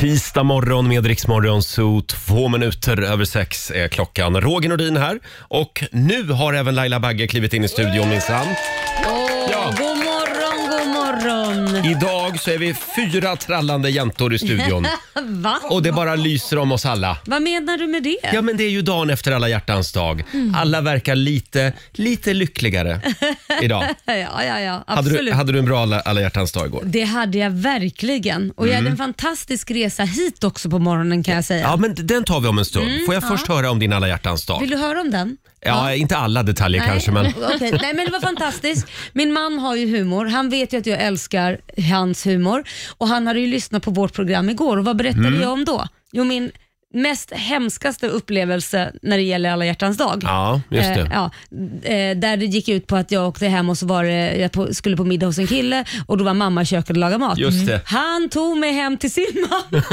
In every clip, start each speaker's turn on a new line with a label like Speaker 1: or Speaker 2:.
Speaker 1: Tisdag morgon med Riksmorgon Zoo. Två minuter över sex är klockan. Roger Nordin här. Och nu har även Laila Bagge klivit in i studion minsann.
Speaker 2: Åh, God morgon, god morgon.
Speaker 1: Idag så är vi fyra trallande jäntor i studion.
Speaker 2: Va?
Speaker 1: Och det bara lyser om oss alla.
Speaker 2: Vad menar du med det?
Speaker 1: Ja men det är ju dagen efter alla hjärtans dag.
Speaker 2: Mm.
Speaker 1: Alla verkar lite, lite lyckligare idag.
Speaker 2: Ja, ja, ja.
Speaker 1: Hade
Speaker 2: Absolut.
Speaker 1: du, hade du en bra alla, alla hjärtans dag igår?
Speaker 2: Det hade jag verkligen. Och jag hade en fantastisk resa hit också på morgonen kan jag säga.
Speaker 1: Mm. Ja men den tar vi om en stund. Får jag först höra om din alla hjärtans dag?
Speaker 2: Mm, Vill du höra om den?
Speaker 1: Ja, inte alla detaljer kanske men...
Speaker 2: okej. Nej, men det var fantastiskt. Min man har ju humor. Han vet ju att jag älskar hans humor. Och Han hade ju lyssnat på vårt program igår och vad berättade
Speaker 1: Mm.
Speaker 2: jag om då? Jo, min mest hemskaste upplevelse när det gäller alla hjärtans dag.
Speaker 1: Ja, just det.
Speaker 2: Eh, ja, eh, där det gick ut på att jag åkte hem och så var det, jag på, skulle på middag hos en kille och då var mamma i köket och lagade mat. Mm.
Speaker 1: Just det.
Speaker 2: Han tog mig hem till sin mamma.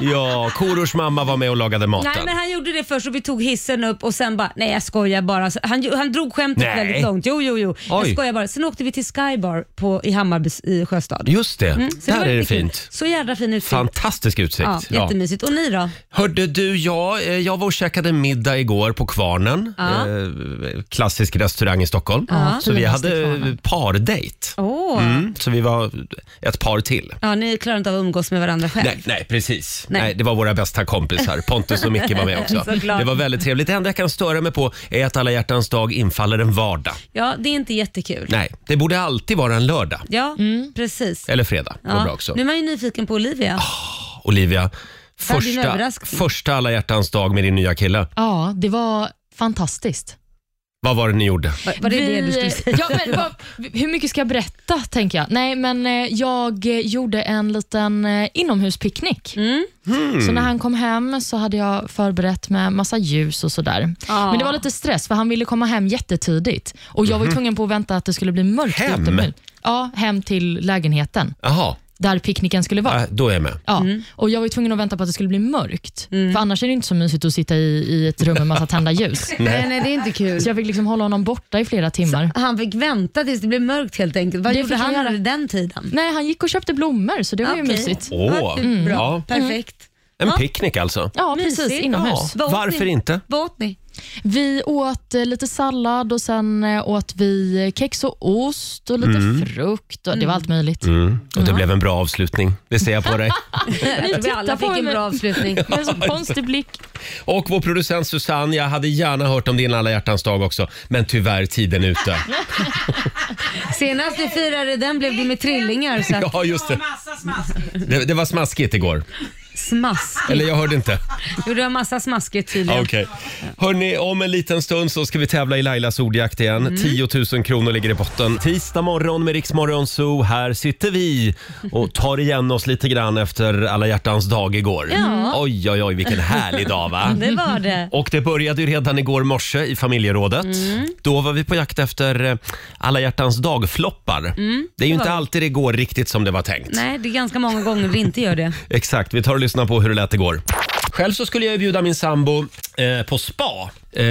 Speaker 1: Ja, Korors mamma var med och lagade maten.
Speaker 2: Nej, men han gjorde det först och vi tog hissen upp och sen bara, nej jag skojar bara. Så Han, han drog skämtet
Speaker 1: Nej.
Speaker 2: väldigt långt. Jo, jo, jo. Jag
Speaker 1: Oj.
Speaker 2: skojar bara. Sen åkte vi till Skybar på, i Hammarby i Sjöstad.
Speaker 1: Just det,
Speaker 2: Mm, Så
Speaker 1: där
Speaker 2: var
Speaker 1: är det
Speaker 2: riktigt kul.
Speaker 1: fint.
Speaker 2: Så jädra fin utsikt.
Speaker 1: Fantastisk utsikt.
Speaker 2: Ja,
Speaker 1: Ja.
Speaker 2: jättemysigt. Och ni då?
Speaker 1: Hörde du, jag, eh, jag var och käkade middag igår på Kvarnen.
Speaker 2: Ja.
Speaker 1: Eh, klassisk restaurang i Stockholm.
Speaker 2: Ja,
Speaker 1: Så vi
Speaker 2: finaste
Speaker 1: hade
Speaker 2: Kvarnen.
Speaker 1: pardejt.
Speaker 2: Åh.
Speaker 1: Mm, så vi var ett par till.
Speaker 2: Ja, ni klarar inte av att umgås med varandra själv.
Speaker 1: Nej, nej precis. Nej.
Speaker 2: Nej.
Speaker 1: det var våra bästa kompisar. Pontus och Micke var med också.
Speaker 2: Såklart.
Speaker 1: Det var väldigt trevligt. Det enda jag kan störa mig på är att alla hjärtans dag infaller en vardag.
Speaker 2: Ja, det är inte jättekul.
Speaker 1: Nej, det borde alltid vara en lördag.
Speaker 2: Ja, precis.
Speaker 1: Eller fredag. Går
Speaker 2: Ja.
Speaker 1: bra också.
Speaker 2: Nu är man ju nyfiken på Olivia.
Speaker 1: Olivia.
Speaker 2: Där blir en
Speaker 1: Första,
Speaker 2: överraskning.
Speaker 1: första alla hjärtans dag med din nya kille.
Speaker 3: Ja, det var fantastiskt.
Speaker 1: Vad var det ni gjorde?
Speaker 2: Var, var det
Speaker 3: Vi-
Speaker 2: det du skulle säga?
Speaker 3: Ja, men, vad, hur mycket ska jag berätta, tänker jag. Nej, men eh, jag eh, gjorde en liten eh, inomhuspicknick.
Speaker 2: Mm.
Speaker 3: Så när han kom hem så hade jag förberett med massa ljus och sådär.
Speaker 2: Ja.
Speaker 3: Men det var lite stress, för han ville komma hem jättetidigt. Och jag var ju tvungen på att vänta att det skulle bli mörkt
Speaker 1: Mhm. Hem?
Speaker 3: utomhus. Ja, hem till lägenheten,
Speaker 1: Jaha,
Speaker 3: där picknicken skulle vara.
Speaker 1: äh, då är jag med.
Speaker 3: Ja,
Speaker 2: Mm.
Speaker 3: och jag var ju tvungen att vänta på att det skulle bli mörkt. För annars är det inte så mysigt att sitta i, i ett rum med massa tända ljus.
Speaker 4: Nej, nej, det är inte kul.
Speaker 3: Så jag fick liksom hålla honom borta i flera timmar.
Speaker 2: Han fick vänta tills det blev mörkt helt enkelt. Vad
Speaker 3: Det
Speaker 2: gjorde
Speaker 3: fick
Speaker 2: han
Speaker 3: jag göra.
Speaker 2: under den tiden?
Speaker 3: Nej, han gick och köpte blommor, så det var ju
Speaker 2: Okej.
Speaker 3: mysigt.
Speaker 1: Åh,
Speaker 2: Ja, typ bra.
Speaker 1: ja.
Speaker 2: Perfekt.
Speaker 1: En
Speaker 2: Ja.
Speaker 1: picknick alltså.
Speaker 3: Ja, precis.
Speaker 2: Mysigt.
Speaker 1: Ja,
Speaker 3: Inomhus.
Speaker 2: Vad åt
Speaker 1: varför
Speaker 2: ni?
Speaker 1: inte?
Speaker 2: Vad åt ni?
Speaker 3: Vi åt eh, lite sallad och sen eh, åt vi kex och ost och lite frukt. Och det var allt möjligt.
Speaker 1: Mm. Och det blev en bra avslutning, det ser jag på dig.
Speaker 2: Jag tror vi
Speaker 3: tittar
Speaker 2: alla
Speaker 3: på
Speaker 2: fick en
Speaker 3: mig.
Speaker 2: bra avslutning.
Speaker 3: Med en sån konstig blick.
Speaker 1: Och vår producent Susanne, jag hade gärna hört om din alla hjärtans dag också, men tyvärr tiden är ute.
Speaker 2: Senast du firade den blev du med trillingar. Så att,
Speaker 1: Ja, just det.
Speaker 5: Massa smaskigt.
Speaker 1: Det, det var smaskigt igår.
Speaker 2: smask.
Speaker 1: Eller jag hörde inte.
Speaker 2: Jo, det var massa smaskigt tydligen.
Speaker 1: Ja, Okej. Hörni, om en liten stund så ska vi tävla i Lailas ordjakt igen. 10 000 kronor ligger i botten. Tisdag morgon med Riksmorgon Zoo. Här sitter vi och tar igen oss lite grann efter alla hjärtans dag igår.
Speaker 2: Ja.
Speaker 1: Oj, oj, oj, vilken härlig dag va?
Speaker 2: Det var det.
Speaker 1: Och det började ju redan igår morse i familjerådet. Då var vi på jakt efter eh, alla hjärtans dag-floppar. Mm. det är ju inte alltid det går riktigt som det var tänkt.
Speaker 2: Nej, det är ganska många gånger vi inte gör det.
Speaker 1: Exakt, vi tar och lyssnar på hur det lät igår. Själv så skulle jag bjuda min sambo eh, på spa. Eh,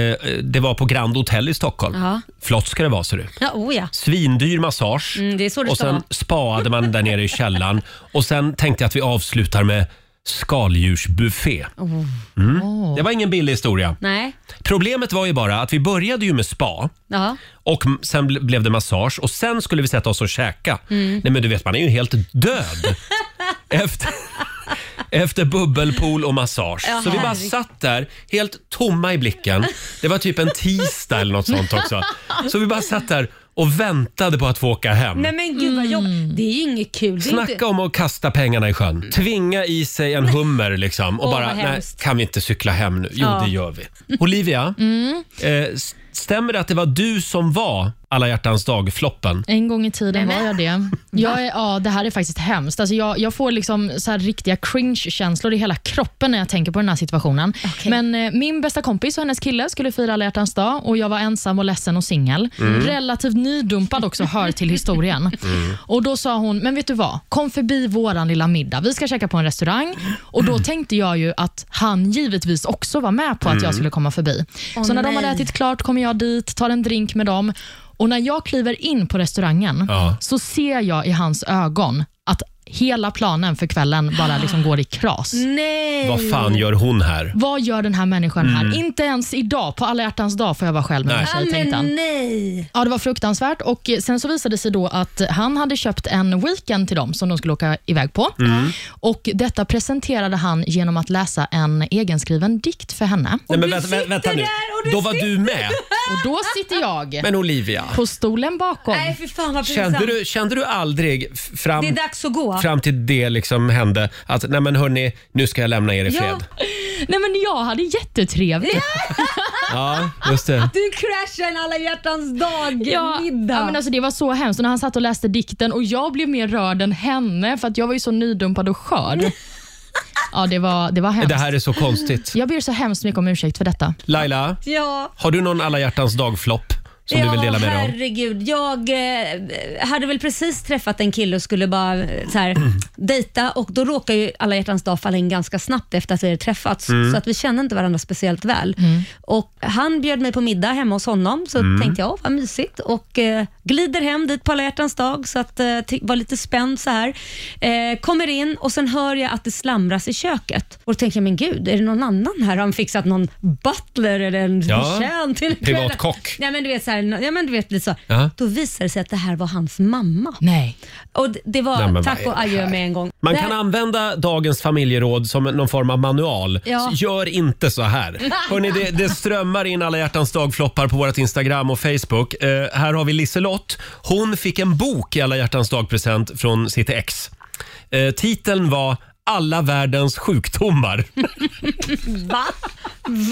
Speaker 1: det var på Grand Hotel i Stockholm.
Speaker 2: Ja.
Speaker 1: Flott ska det vara ser du.
Speaker 2: Ja, oh ja.
Speaker 1: Svindyr massage.
Speaker 2: Mm, det är så det
Speaker 1: och
Speaker 2: ska
Speaker 1: sen
Speaker 2: vara.
Speaker 1: spaade man där nere i källaren. Och sen tänkte jag att vi avslutar med skaldjursbuffé.
Speaker 2: Oh.
Speaker 1: Mm. Det var ingen billig historia.
Speaker 2: Nej.
Speaker 1: Problemet var ju bara att vi började ju med spa.
Speaker 2: Ja.
Speaker 1: Och m- sen ble- blev det massage och sen skulle vi sätta oss och käka.
Speaker 2: Mm.
Speaker 1: Nej men du vet, man är ju helt död efter, efter bubbelpool och massage.
Speaker 2: Ja,
Speaker 1: så vi bara
Speaker 2: herregud.
Speaker 1: satt där, helt tomma i blicken. Det var typ en tisdag eller något sånt också. Så vi bara satt där och väntade på att få åka hem.
Speaker 2: Nej men gud vad jobbigt. Det är ju inget kul. Det är inte- Mm.
Speaker 1: Snacka om att kasta pengarna i sjön. Tvinga i sig en hummer liksom och
Speaker 2: Åh,
Speaker 1: bara,
Speaker 2: vad
Speaker 1: nej,
Speaker 2: hemskt."
Speaker 1: kan vi inte cykla hem nu? Jo,
Speaker 2: Ja. Mm.
Speaker 1: det gör vi. Olivia, eh, s- stämmer det att det var du som var alla hjärtans dag-floppen?
Speaker 3: En gång i tiden var jag det. Jag är, ja, det här är faktiskt hemskt. Alltså jag, jag får liksom så här riktiga cringe-känslor i hela kroppen när jag tänker på den här situationen. Men eh, min bästa kompis och hennes kille skulle fira alla hjärtans dag och jag var ensam och ledsen och singel. Relativt nydumpad också, hör till historien. Och Då sa hon, men vet du vad? Kom förbi våran lilla middag. Vi ska käka på en restaurang. Och Då tänkte jag ju att han givetvis också var med på att jag skulle komma förbi. så när de hade
Speaker 2: nej.
Speaker 3: ätit klart kommer jag dit, tar en drink med dem och när jag kliver in på restaurangen
Speaker 1: Ja.
Speaker 3: så ser jag i hans ögon att hela planen för kvällen bara liksom går i kras.
Speaker 2: Mm. Nej!
Speaker 1: Vad fan gör hon här?
Speaker 3: Vad gör den här människan
Speaker 1: Mm.
Speaker 3: här? Inte ens idag, på alla hjärtans dag, får jag vara själv med min
Speaker 1: Nej.
Speaker 2: ah,
Speaker 3: tjej, tänkte han.
Speaker 2: men nej!
Speaker 3: Ja, det var fruktansvärt. Och eh, Sen så visade det sig då att han hade köpt en weekend till dem som de skulle åka iväg på.
Speaker 1: Mm.
Speaker 3: Och Detta presenterade han genom att läsa en egenskriven dikt för henne.
Speaker 1: Nej, men
Speaker 2: du
Speaker 1: vänta, vänta, vänta
Speaker 2: sitter
Speaker 1: nu.
Speaker 2: där och du
Speaker 1: Då var du med.
Speaker 3: Och Då sitter jag
Speaker 1: Men Olivia,
Speaker 3: på stolen bakom.
Speaker 2: Nej, fy fan vad pinsamt.
Speaker 1: kände du, kände du aldrig f-
Speaker 2: Det är
Speaker 1: fram,
Speaker 2: dags att gå.
Speaker 1: fram till det liksom hände att nej men hörni, nu ska jag lämna er i
Speaker 2: Ja.
Speaker 1: fred?
Speaker 3: Nej, men Jag hade jättetrevligt.
Speaker 1: Ja, just det.
Speaker 2: Du crashar en alla hjärtans
Speaker 3: Ja,
Speaker 2: dag-middag.
Speaker 3: ja, men alltså, det var så hemskt. Och när han satt och läste dikten och jag blev mer rörd än henne för att jag var ju så nydumpad och skör. Ja, det var, det var hemskt.
Speaker 1: Det här är så konstigt.
Speaker 3: Jag ber så hemskt mycket om ursäkt för detta.
Speaker 1: Laila,
Speaker 2: ja.
Speaker 1: har du någon alla hjärtans dag-flopp som
Speaker 2: ja,
Speaker 1: du vill dela med dig av?
Speaker 2: herregud. Jag eh, hade väl precis träffat en kille och skulle bara eh, så
Speaker 1: Mm.
Speaker 2: här, dejta och då råkar ju alla hjärtans dag falla in ganska snabbt efter att vi hade träffats.
Speaker 1: Mm.
Speaker 2: Så att vi kände inte varandra speciellt väl. Och Han bjöd mig på middag hemma hos honom, så
Speaker 1: Mm.
Speaker 2: tänkte jag, åh vad mysigt. Och eh, glider hem dit på alla hjärtans dag, så att eh, ty- var lite spänd så här. Eh, kommer in och sen hör jag att det slamras i köket. Och då tänker jag, men gud, är det någon annan här? Har han fixat någon butler eller en
Speaker 1: Ja.
Speaker 2: betjänt? till kvällen?
Speaker 1: Privatkock.
Speaker 2: Nej men du vet, så här, ja, men du vet lite så.
Speaker 1: Ja.
Speaker 2: Då visade det sig att det här var hans mamma.
Speaker 3: Nej.
Speaker 2: Och d- det var
Speaker 1: Nej, men vad
Speaker 2: tack
Speaker 1: är det
Speaker 2: och adjö med en gång.
Speaker 1: Man
Speaker 2: Det
Speaker 1: kan
Speaker 2: här-
Speaker 1: använda dagens familjeråd som någon form av manual.
Speaker 2: Ja.
Speaker 1: Så Gör inte så här. Hörrni, det, det strömmar in alla hjärtans dagfloppar på vårt Instagram och Facebook. Eh, här har vi Liselott. Hon fick en bok i alla hjärtans dagpresent från sitt ex. Eh, titeln var alla världens sjukdomar.
Speaker 2: Va?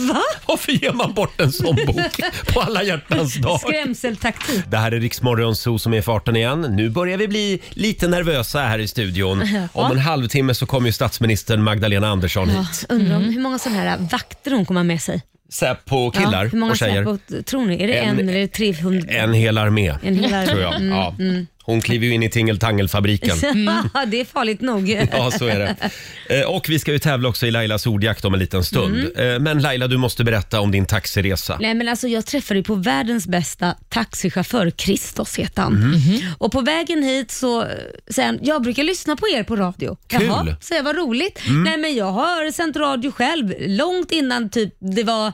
Speaker 2: Va?
Speaker 1: Varför ger man bort en sån bok på alla hjärtans dag?
Speaker 2: Skrämseltaktik.
Speaker 1: Det här är Riksmorgon Zoo som är i farten igen. Nu börjar vi bli lite nervösa här i studion. Om en halvtimme så kommer ju statsministern Magdalena Andersson hit.
Speaker 2: Undrar om hur många sådana här vakter hon kommer ha med sig.
Speaker 1: Säpo killar
Speaker 2: ja, hur många
Speaker 1: och tjejer.
Speaker 2: Säpo, tror ni? Är det en,
Speaker 1: En-
Speaker 2: eller 300?
Speaker 1: En hel armé,
Speaker 2: En hel armé.
Speaker 1: tror jag. Ja.
Speaker 2: mm,
Speaker 1: Hon kliver ju in i tingeltangelfabriken.
Speaker 2: det är farligt nog.
Speaker 1: Ja, så är det. Eh, Och vi ska ju tävla också i Lailas ordjakt om en liten stund.
Speaker 2: Mm.
Speaker 1: Eh, Men Laila, du måste berätta om din taxiresa.
Speaker 2: Nej, men alltså, jag träffade ju på världens bästa taxichaufför, Christos heter han.
Speaker 1: Mhm.
Speaker 2: Och på vägen hit så säger han, jag brukar lyssna på er på radio.
Speaker 1: Kul. Mm.
Speaker 2: Jaha, så jag, vad roligt. Nej men jag har sänt radio själv långt innan typ det var,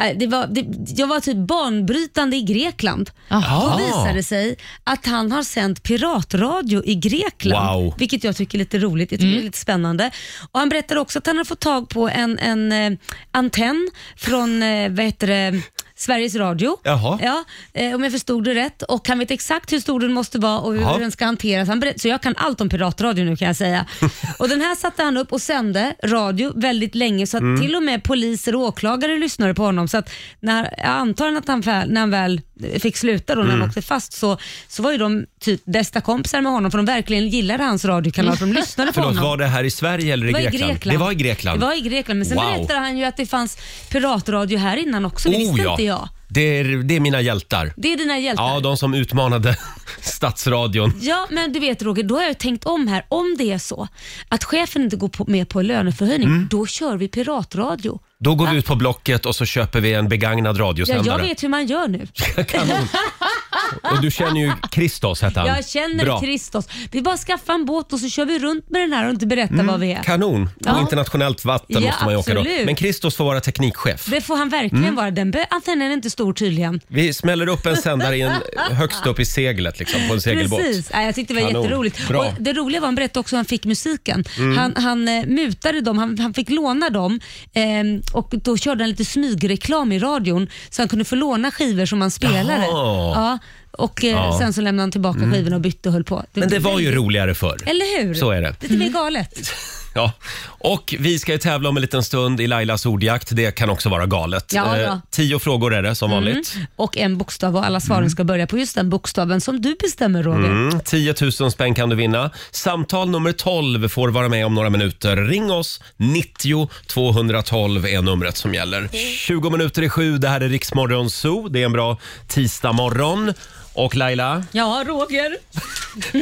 Speaker 2: eh, det var det, jag var typ banbrytande i Grekland.
Speaker 3: Jaha.
Speaker 2: Då visade det sig att han har sänt piratradio i Grekland,
Speaker 1: Wow.
Speaker 2: vilket jag tycker är lite roligt. Jag tycker det är lite spännande. Och Han berättade också att han har fått tag på en, en eh, antenn från eh, vad heter det, Sveriges Radio.
Speaker 1: Jaha.
Speaker 2: Ja, eh, om jag förstod det rätt. Och Han vet exakt hur stor den måste vara och hur
Speaker 1: Jaha.
Speaker 2: den ska hanteras. Han berätt, så jag kan allt om piratradio nu kan jag säga. och Den här satte han upp och sände radio väldigt länge så att
Speaker 1: Mm.
Speaker 2: till och med poliser och åklagare lyssnade på honom. Så att när, jag antar att han, väl- när han väl fick sluta då, när
Speaker 1: Mm.
Speaker 2: han åkte fast så, så var ju de typ bästa kompisar med honom för de verkligen gillade hans radiokanal för de lyssnade på
Speaker 1: Förlåt,
Speaker 2: honom.
Speaker 1: var det här i Sverige eller i
Speaker 2: Det var i
Speaker 1: Grekland?
Speaker 2: Grekland.
Speaker 1: Det var i Grekland.
Speaker 2: Det var i Grekland, men sen
Speaker 1: Wow. Oh,
Speaker 2: berättade han ju att det fanns piratradio här innan också. Det visste inte jag.
Speaker 1: Det är, det är mina hjältar.
Speaker 2: Det är dina hjältar.
Speaker 1: Ja, de som utmanade statsradion.
Speaker 2: Ja, men du vet Roger, då har jag ju tänkt om här. Om det är så att chefen inte går på, med på löneförhöjning, då kör vi piratradio.
Speaker 1: Då går vi ut på Blocket och så köper vi en begagnad
Speaker 2: Ja, jag
Speaker 1: radiosändare.
Speaker 2: vet hur man gör nu.
Speaker 1: Kanon. Och du känner ju Christos hette han.
Speaker 2: Jag känner
Speaker 1: Bra.
Speaker 2: Christos. Vi bara skaffar en båt och så kör vi runt med den här och inte berättar vad vi är.
Speaker 1: Kanon. På
Speaker 2: Ja.
Speaker 1: internationellt vatten
Speaker 2: Ja,
Speaker 1: måste man ju åka då.
Speaker 2: absolut.
Speaker 1: Men Christos får vara teknikchef.
Speaker 2: Det får han verkligen vara. Den be- antennen är inte stor tydligen.
Speaker 1: Vi smäller upp en sändare i en, högst upp i seglet liksom, på en segelbåt.
Speaker 2: Precis. Ja, jag tyckte det var
Speaker 1: Kanon.
Speaker 2: jätteroligt.
Speaker 1: Bra. Mm.
Speaker 2: Och det roliga var han berättade också hur han fick musiken. Han, han eh, mutade dem, han, han fick låna dem ehm, och då körde han lite smygreklam i radion så han kunde få låna skivor som han spelade.
Speaker 1: Jaha.
Speaker 2: Ja, och eh,
Speaker 1: Ja. Mm.
Speaker 2: sen så lämnade han tillbaka skivorna och bytte och höll på.
Speaker 1: Men det var ju roligare förr.
Speaker 2: Eller hur?
Speaker 1: Så är det.
Speaker 2: Det är galet.
Speaker 1: Ja. Och vi ska ju tävla om en liten stund i Lailas ordjakt. Det kan också vara galet.
Speaker 2: Ja, Mm.
Speaker 1: Eh,
Speaker 2: då.
Speaker 1: tio frågor är det som vanligt.
Speaker 2: Och en bokstav och alla svaren ska börja på just den bokstaven som du bestämmer Roger.
Speaker 1: Mm, 10 000 spänn kan du vinna. Samtal nummer 12 får vara med om några minuter. Ring oss. 90 212 är numret som gäller. 20 minuter i sju. Det här är Riksmorgon Zoo. Det är en bra tisdagmorgon. Och Laila,
Speaker 2: Ja, Roger.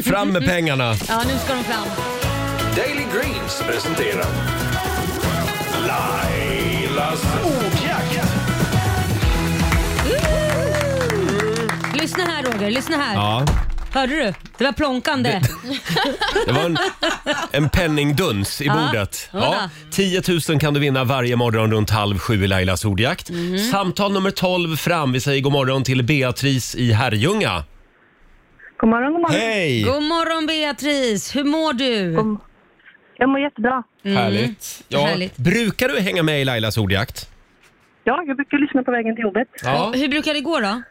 Speaker 1: fram med pengarna!
Speaker 2: Ja, nu ska de fram.
Speaker 4: Daily Greens presenterar Lailas ordjakt.
Speaker 2: Lyssna här Roger, lyssna här.
Speaker 1: Ja,
Speaker 2: Hörde du? Det var plonkande.
Speaker 1: Det var en, en penningduns i
Speaker 2: Ja.
Speaker 1: bordet. Ja,
Speaker 2: Ja.
Speaker 1: 10 000 kan du vinna varje morgon runt halv sju i Lailas ordjakt.
Speaker 2: Mhm.
Speaker 1: Samtal nummer 12 fram. Vi säger god morgon till Beatrice i Herrljunga.
Speaker 5: God morgon, god morgon.
Speaker 1: Hej!
Speaker 2: God morgon Beatrice, hur mår du?
Speaker 5: God- Jag mår jättebra.
Speaker 1: Härligt. Ja,
Speaker 2: Mm. Härligt.
Speaker 1: Brukar du hänga med i Lailas ordjakt?
Speaker 5: Ja, jag brukar lyssna på vägen till jobbet.
Speaker 1: Ja.
Speaker 2: Hur brukar det gå då?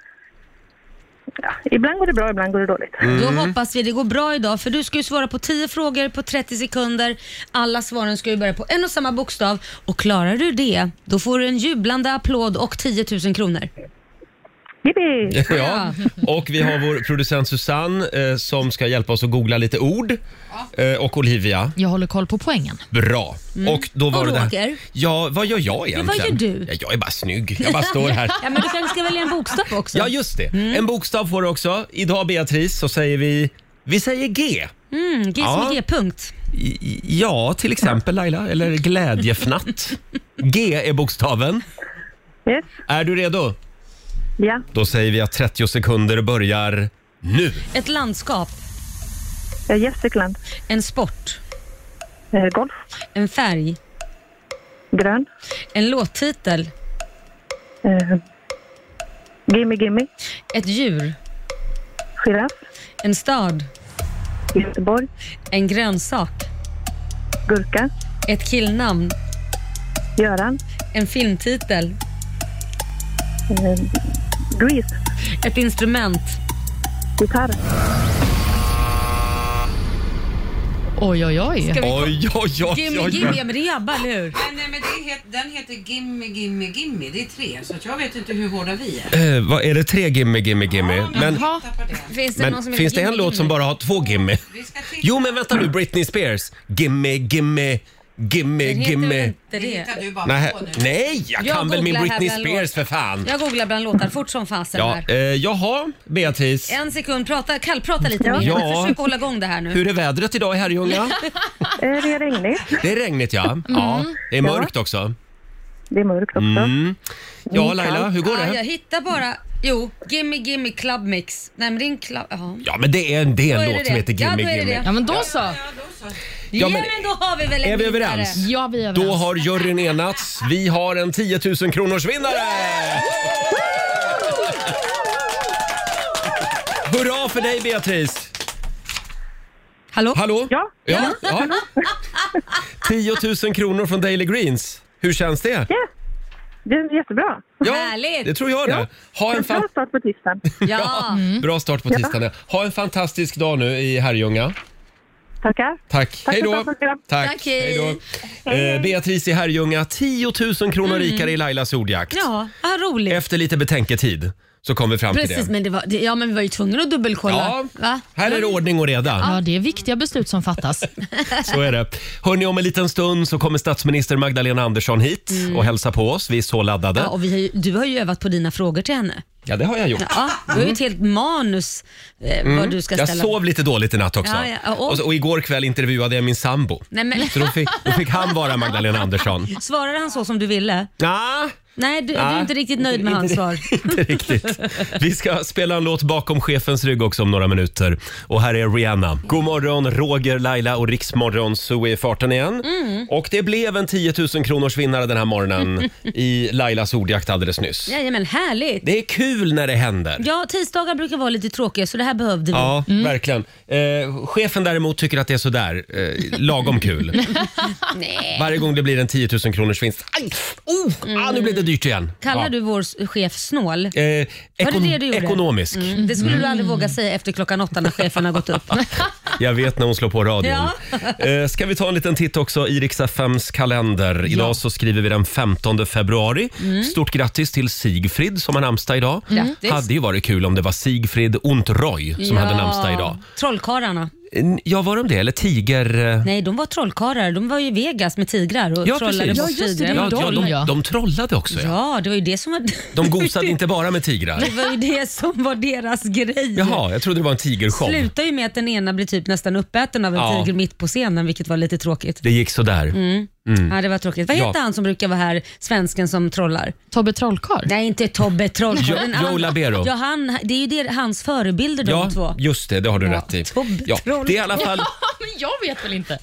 Speaker 5: Ja, ibland går det bra, ibland går det dåligt.
Speaker 2: Då hoppas vi det går bra idag för du ska ju svara på 10 frågor på 30 sekunder. Alla svaren ska ju börja på en och samma bokstav och klarar du det då får du en jublande applåd och 10 000 kronor.
Speaker 5: Jippi!
Speaker 1: Ja. Och vi har vår producent Susanne eh, som ska hjälpa oss att googla lite ord. Eh, och Olivia.
Speaker 3: Jag håller koll på poängen.
Speaker 1: Bra. Och då var
Speaker 2: Mm. Och
Speaker 1: det där-
Speaker 2: Roger.
Speaker 1: Ja, vad gör jag egentligen?
Speaker 2: gör du?
Speaker 1: Ja, jag är bara snygg. Jag bara står här.
Speaker 2: Ja Mm. men du kanske ska välja en bokstav också?
Speaker 1: Ja, just det. En bokstav får du också. Idag, Beatrice, så säger vi... Vi säger G.
Speaker 2: Mm, G
Speaker 1: Ja.
Speaker 2: som G-punkt.
Speaker 1: I- i- Ja, till exempel Laila. Eller glädjefnatt. G är bokstaven.
Speaker 5: Yes.
Speaker 1: Är du redo?
Speaker 5: Ja.
Speaker 1: Då säger vi att 30 sekunder börjar nu.
Speaker 2: Ett landskap,
Speaker 5: Eh, Gästrikland.
Speaker 2: en sport,
Speaker 5: Eh, Golf.
Speaker 2: en färg,
Speaker 5: Grön.
Speaker 2: en låttitel,
Speaker 5: Eh, gimme, gimme.
Speaker 2: ett djur,
Speaker 5: Giraff.
Speaker 2: en stad,
Speaker 5: Göteborg.
Speaker 2: en grönsak,
Speaker 5: Gurka.
Speaker 2: ett killnamn,
Speaker 5: Göran.
Speaker 2: en filmtitel,
Speaker 5: Eh, Grease.
Speaker 2: ett instrument.
Speaker 5: Gitarr.
Speaker 3: Oj, oj, oj.
Speaker 2: Ska vi-
Speaker 1: Oj, oj, oj,
Speaker 2: Gimme,
Speaker 1: oj.
Speaker 2: gimme, ja, men det är ABBA, eller hur?
Speaker 6: Men, nej, men det het, den heter Gimme Gimme Gimme, det är tre så att jag vet inte hur hårda vi är.
Speaker 1: Eh, vad är det tre gimme, gimme, gimme? Men,
Speaker 3: Jaha.
Speaker 6: Tappar det.
Speaker 2: Finns det, någon som
Speaker 1: men
Speaker 2: heter
Speaker 1: finns det en
Speaker 2: Gimme,
Speaker 1: låt
Speaker 2: Gimme?
Speaker 1: som bara har två gimme?
Speaker 6: Vi ska titta.
Speaker 1: Jo, men vänta nu. Britney Spears. Gimme, gimme, gimme,
Speaker 2: Den heter väl
Speaker 1: gimme.
Speaker 2: inte
Speaker 6: det hittar
Speaker 2: det?
Speaker 6: du bara
Speaker 1: Nej,
Speaker 6: på nu.
Speaker 1: nej, jag
Speaker 2: Jag
Speaker 1: kan väl min
Speaker 2: googlar här
Speaker 1: Britney
Speaker 2: bland
Speaker 1: Spears för fan.
Speaker 2: Jag googlar bland låtar fort som fasen
Speaker 1: Ja,
Speaker 2: här.
Speaker 1: eh, jaha, Beatrice.
Speaker 2: En sekund, prata, kallprata lite mer.
Speaker 1: Ja.
Speaker 2: Försök hålla igång det här nu.
Speaker 1: Hur är vädret idag i Herrljunga?
Speaker 5: Eh, det är regnigt.
Speaker 1: Det är regnigt ja.
Speaker 2: Mm.
Speaker 1: ja. Det är mörkt också.
Speaker 5: Det är mörkt också.
Speaker 1: Mm. Ja, Laila, hur går
Speaker 2: Mm, Ja, jag
Speaker 1: det?
Speaker 2: hittar bara... Jo, Gimme Gimme Club Mix. Nej, men det är en club... Ja.
Speaker 1: Ja, men det är en del
Speaker 2: Då är det
Speaker 1: låt som
Speaker 2: det.
Speaker 1: heter
Speaker 2: Ja, då
Speaker 1: Gimme
Speaker 2: är det
Speaker 1: Gimme.
Speaker 2: det.
Speaker 3: Ja, men då så.
Speaker 1: Ja,
Speaker 2: Ja,
Speaker 1: men-
Speaker 2: men, då har vi väl en
Speaker 1: Är vi
Speaker 2: vinnare.
Speaker 1: överens?
Speaker 3: Ja, vi är
Speaker 1: Då
Speaker 3: överens.
Speaker 1: har juryn enats. Vi har en 10 000 kronors vinnare! Hurra för dig Beatrice!
Speaker 2: Hallå?
Speaker 1: Hallå?
Speaker 5: Ja.
Speaker 1: ja, ja. 10 000 kronor från Daily Greens. Hur känns det?
Speaker 5: Ja. Det är jättebra.
Speaker 2: Härligt.
Speaker 1: det tror jag det. Ha en
Speaker 5: En
Speaker 1: fan...
Speaker 5: bra start på tisdagen.
Speaker 2: Ja. Mm.
Speaker 1: Bra start på tisdagen. Ha en fantastisk dag nu i Herrljunga.
Speaker 5: Tackar.
Speaker 1: Tack.
Speaker 5: Tack
Speaker 1: Hej
Speaker 5: för
Speaker 1: då.
Speaker 5: ett bra program.
Speaker 1: Tack.
Speaker 2: Tack, hej.
Speaker 1: Hej då. Eh, Beatrice i Herrljunga, 10 000 kronor
Speaker 2: Mm.
Speaker 1: rikare i Lailas ordjakt.
Speaker 2: Ja, vad roligt.
Speaker 1: Efter lite betänketid så kom vi fram
Speaker 2: Precis,
Speaker 1: till det.
Speaker 2: men, det var, det, ja, men vi var ju tvungna att dubbelkolla.
Speaker 1: Ja,
Speaker 2: Va? Mm.
Speaker 1: här är det ordning och reda.
Speaker 3: Ja, det är viktiga beslut som fattas.
Speaker 1: Så är det. Hörrni, om en liten stund så kommer statsminister Magdalena Andersson hit och hälsa på oss. Vi är så laddade.
Speaker 2: Mm. Ja, och vi har ju, du har ju övat på dina frågor till henne.
Speaker 1: Ja, det har jag gjort.
Speaker 2: Ja, du har ju ett helt manus eh, vad du ska
Speaker 1: Mm. Jag
Speaker 2: ställa.
Speaker 1: sov lite dåligt i natt också.
Speaker 2: Ja, ja, och-
Speaker 1: Och, så, och igår kväll intervjuade jag min sambo.
Speaker 2: Nej, men,
Speaker 1: Så då fick, då fick han vara Magdalena Andersson.
Speaker 2: svarade han så som du ville?
Speaker 1: Nja,
Speaker 2: Nej, du, du
Speaker 1: Nej.
Speaker 2: är inte riktigt nöjd med hans svar.
Speaker 1: inte riktigt. Vi ska spela en låt bakom chefens rygg också om några minuter. Och här är Rihanna. God morgon, Roger, Laila och Riksmorgon så är farten igen.
Speaker 2: Mm.
Speaker 1: Och det blev en 10 000 kronors vinnare den här morgonen i Lailas ordjakt alldeles nyss.
Speaker 2: Jajamän, härligt.
Speaker 1: Det är kul när det händer.
Speaker 2: Ja, Mm. tisdagar brukar vara lite tråkiga så det här behövde vi.
Speaker 1: Ja, verkligen. Eh, chefen däremot tycker att det är sådär, eh, lagom kul. Varje gång det blir en 10 000 kronors vinst. Aj! Oh! Ah, nu blev det dyrt igen.
Speaker 2: Mm. Kallar
Speaker 1: Ja.
Speaker 2: du vår chef snål?
Speaker 1: Eh,
Speaker 2: Var det
Speaker 1: ekon-
Speaker 2: det du gjorde? Mm.
Speaker 1: ekonomisk.
Speaker 2: Det skulle du
Speaker 1: Mm.
Speaker 2: aldrig våga säga efter klockan åtta när chefen har gått upp.
Speaker 1: Jag vet när hon slår på radion. Eh, Ska vi ta en liten titt också i Riks-FMs kalender? Idag så skriver vi den 15 februari. Stort grattis till Sigfrid som har namnsdag idag.
Speaker 2: Mm. Grattis.
Speaker 1: Hade ju varit kul om det var Sigfrid Ontroy som hade namnsdag idag.
Speaker 2: Trollkarlarna.
Speaker 1: Eh, Ja, var de det? Eller Tiger... eh,
Speaker 2: Nej, de var trollkarlar. De var ju i Vegas med tigrar och
Speaker 1: Ja,
Speaker 2: trollade
Speaker 1: precis.
Speaker 2: bort
Speaker 3: Ja, just det,
Speaker 2: tigrar.
Speaker 1: Ja,
Speaker 3: de,
Speaker 1: ja, de,
Speaker 3: ja.
Speaker 1: de trollade också. Ja.
Speaker 2: Ja, det var ju det som var...
Speaker 1: De gosade inte bara med tigrar.
Speaker 2: Det var ju det som var deras grej.
Speaker 1: Jaha, jag trodde det var en tigershow.
Speaker 2: Slutar ju med att den ena blir typ nästan uppäten av en
Speaker 1: Ja.
Speaker 2: tiger mitt på scenen, vilket var lite tråkigt.
Speaker 1: Det gick sådär.
Speaker 2: Ja, det var tråkigt. Vad
Speaker 1: Mm. Ja.
Speaker 2: heter han som brukar vara här, svensken som trollar?
Speaker 3: Tobbe Trollkarl?
Speaker 2: Nej, inte Tobbe Trollkarl.
Speaker 1: Jo-
Speaker 2: Den andra-
Speaker 1: Joe Labero.
Speaker 2: Ja, han, det är ju det, hans förebilder de
Speaker 1: Ja,
Speaker 2: två.
Speaker 1: just det. Det har du
Speaker 2: Ja,
Speaker 1: rätt i.
Speaker 2: Tobbe
Speaker 1: Ja,
Speaker 2: Troll.
Speaker 1: det är i alla fall,
Speaker 3: Men jag vet väl inte?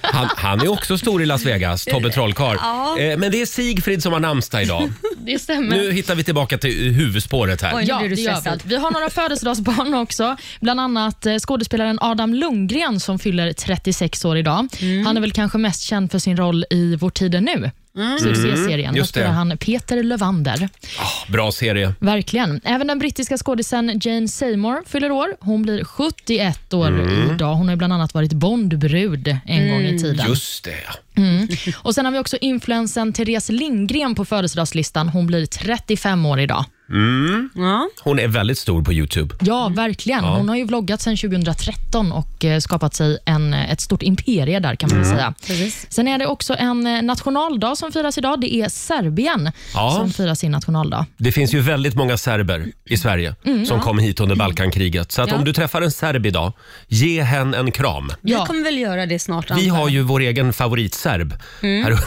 Speaker 1: han, han är också stor i Las Vegas, Tobbe Trollkarl.
Speaker 2: Ja.
Speaker 1: Eh, Men det är Sigfrid som har namnsdag idag.
Speaker 3: Det stämmer.
Speaker 1: Nu hittar vi tillbaka till huvudspåret här.
Speaker 2: Oj. nu blir du
Speaker 3: det gör
Speaker 2: stressad.
Speaker 3: vi. vi har några födelsedagsbarn också. Bland annat eh, skådespelaren Adam Lundgren som fyller 36 år idag. Han är väl kanske mest känd för sin roll i Vår tid är nu. Succéserien. Där
Speaker 1: just det.
Speaker 3: spelar han Peter Lövander.
Speaker 1: Bra serie.
Speaker 3: Verkligen. Även den brittiska skådisen Jane Seymour fyller år. Hon blir 71 år idag. Hon har ju bland annat varit Bondbrud en gång i tiden.
Speaker 1: Just det. ja.
Speaker 3: Och Sen har vi också influensen Therese Lindgren på födelsedagslistan. Hon blir 35 år idag.
Speaker 2: Ja.
Speaker 1: Hon är väldigt stor på Youtube.
Speaker 3: Ja, verkligen. Hon har ju vloggat sedan 2013 och eh, skapat sig en, eh, ett stort imperie där kan man väl säga.
Speaker 2: Precis.
Speaker 3: Sen är det också en eh, nationaldag som firas idag. Det är Serbien
Speaker 1: Ja.
Speaker 3: som firar sin nationaldag.
Speaker 1: Det finns ju väldigt många serber i Sverige som kom hit under Balkankriget. Så att
Speaker 2: Ja.
Speaker 1: om du träffar en serb idag, ge hen en kram.
Speaker 2: Vi
Speaker 3: Ja.
Speaker 2: kommer väl göra det snart
Speaker 1: Vi
Speaker 2: antar
Speaker 1: har
Speaker 2: jag.
Speaker 1: ju vår egen favoritserb här,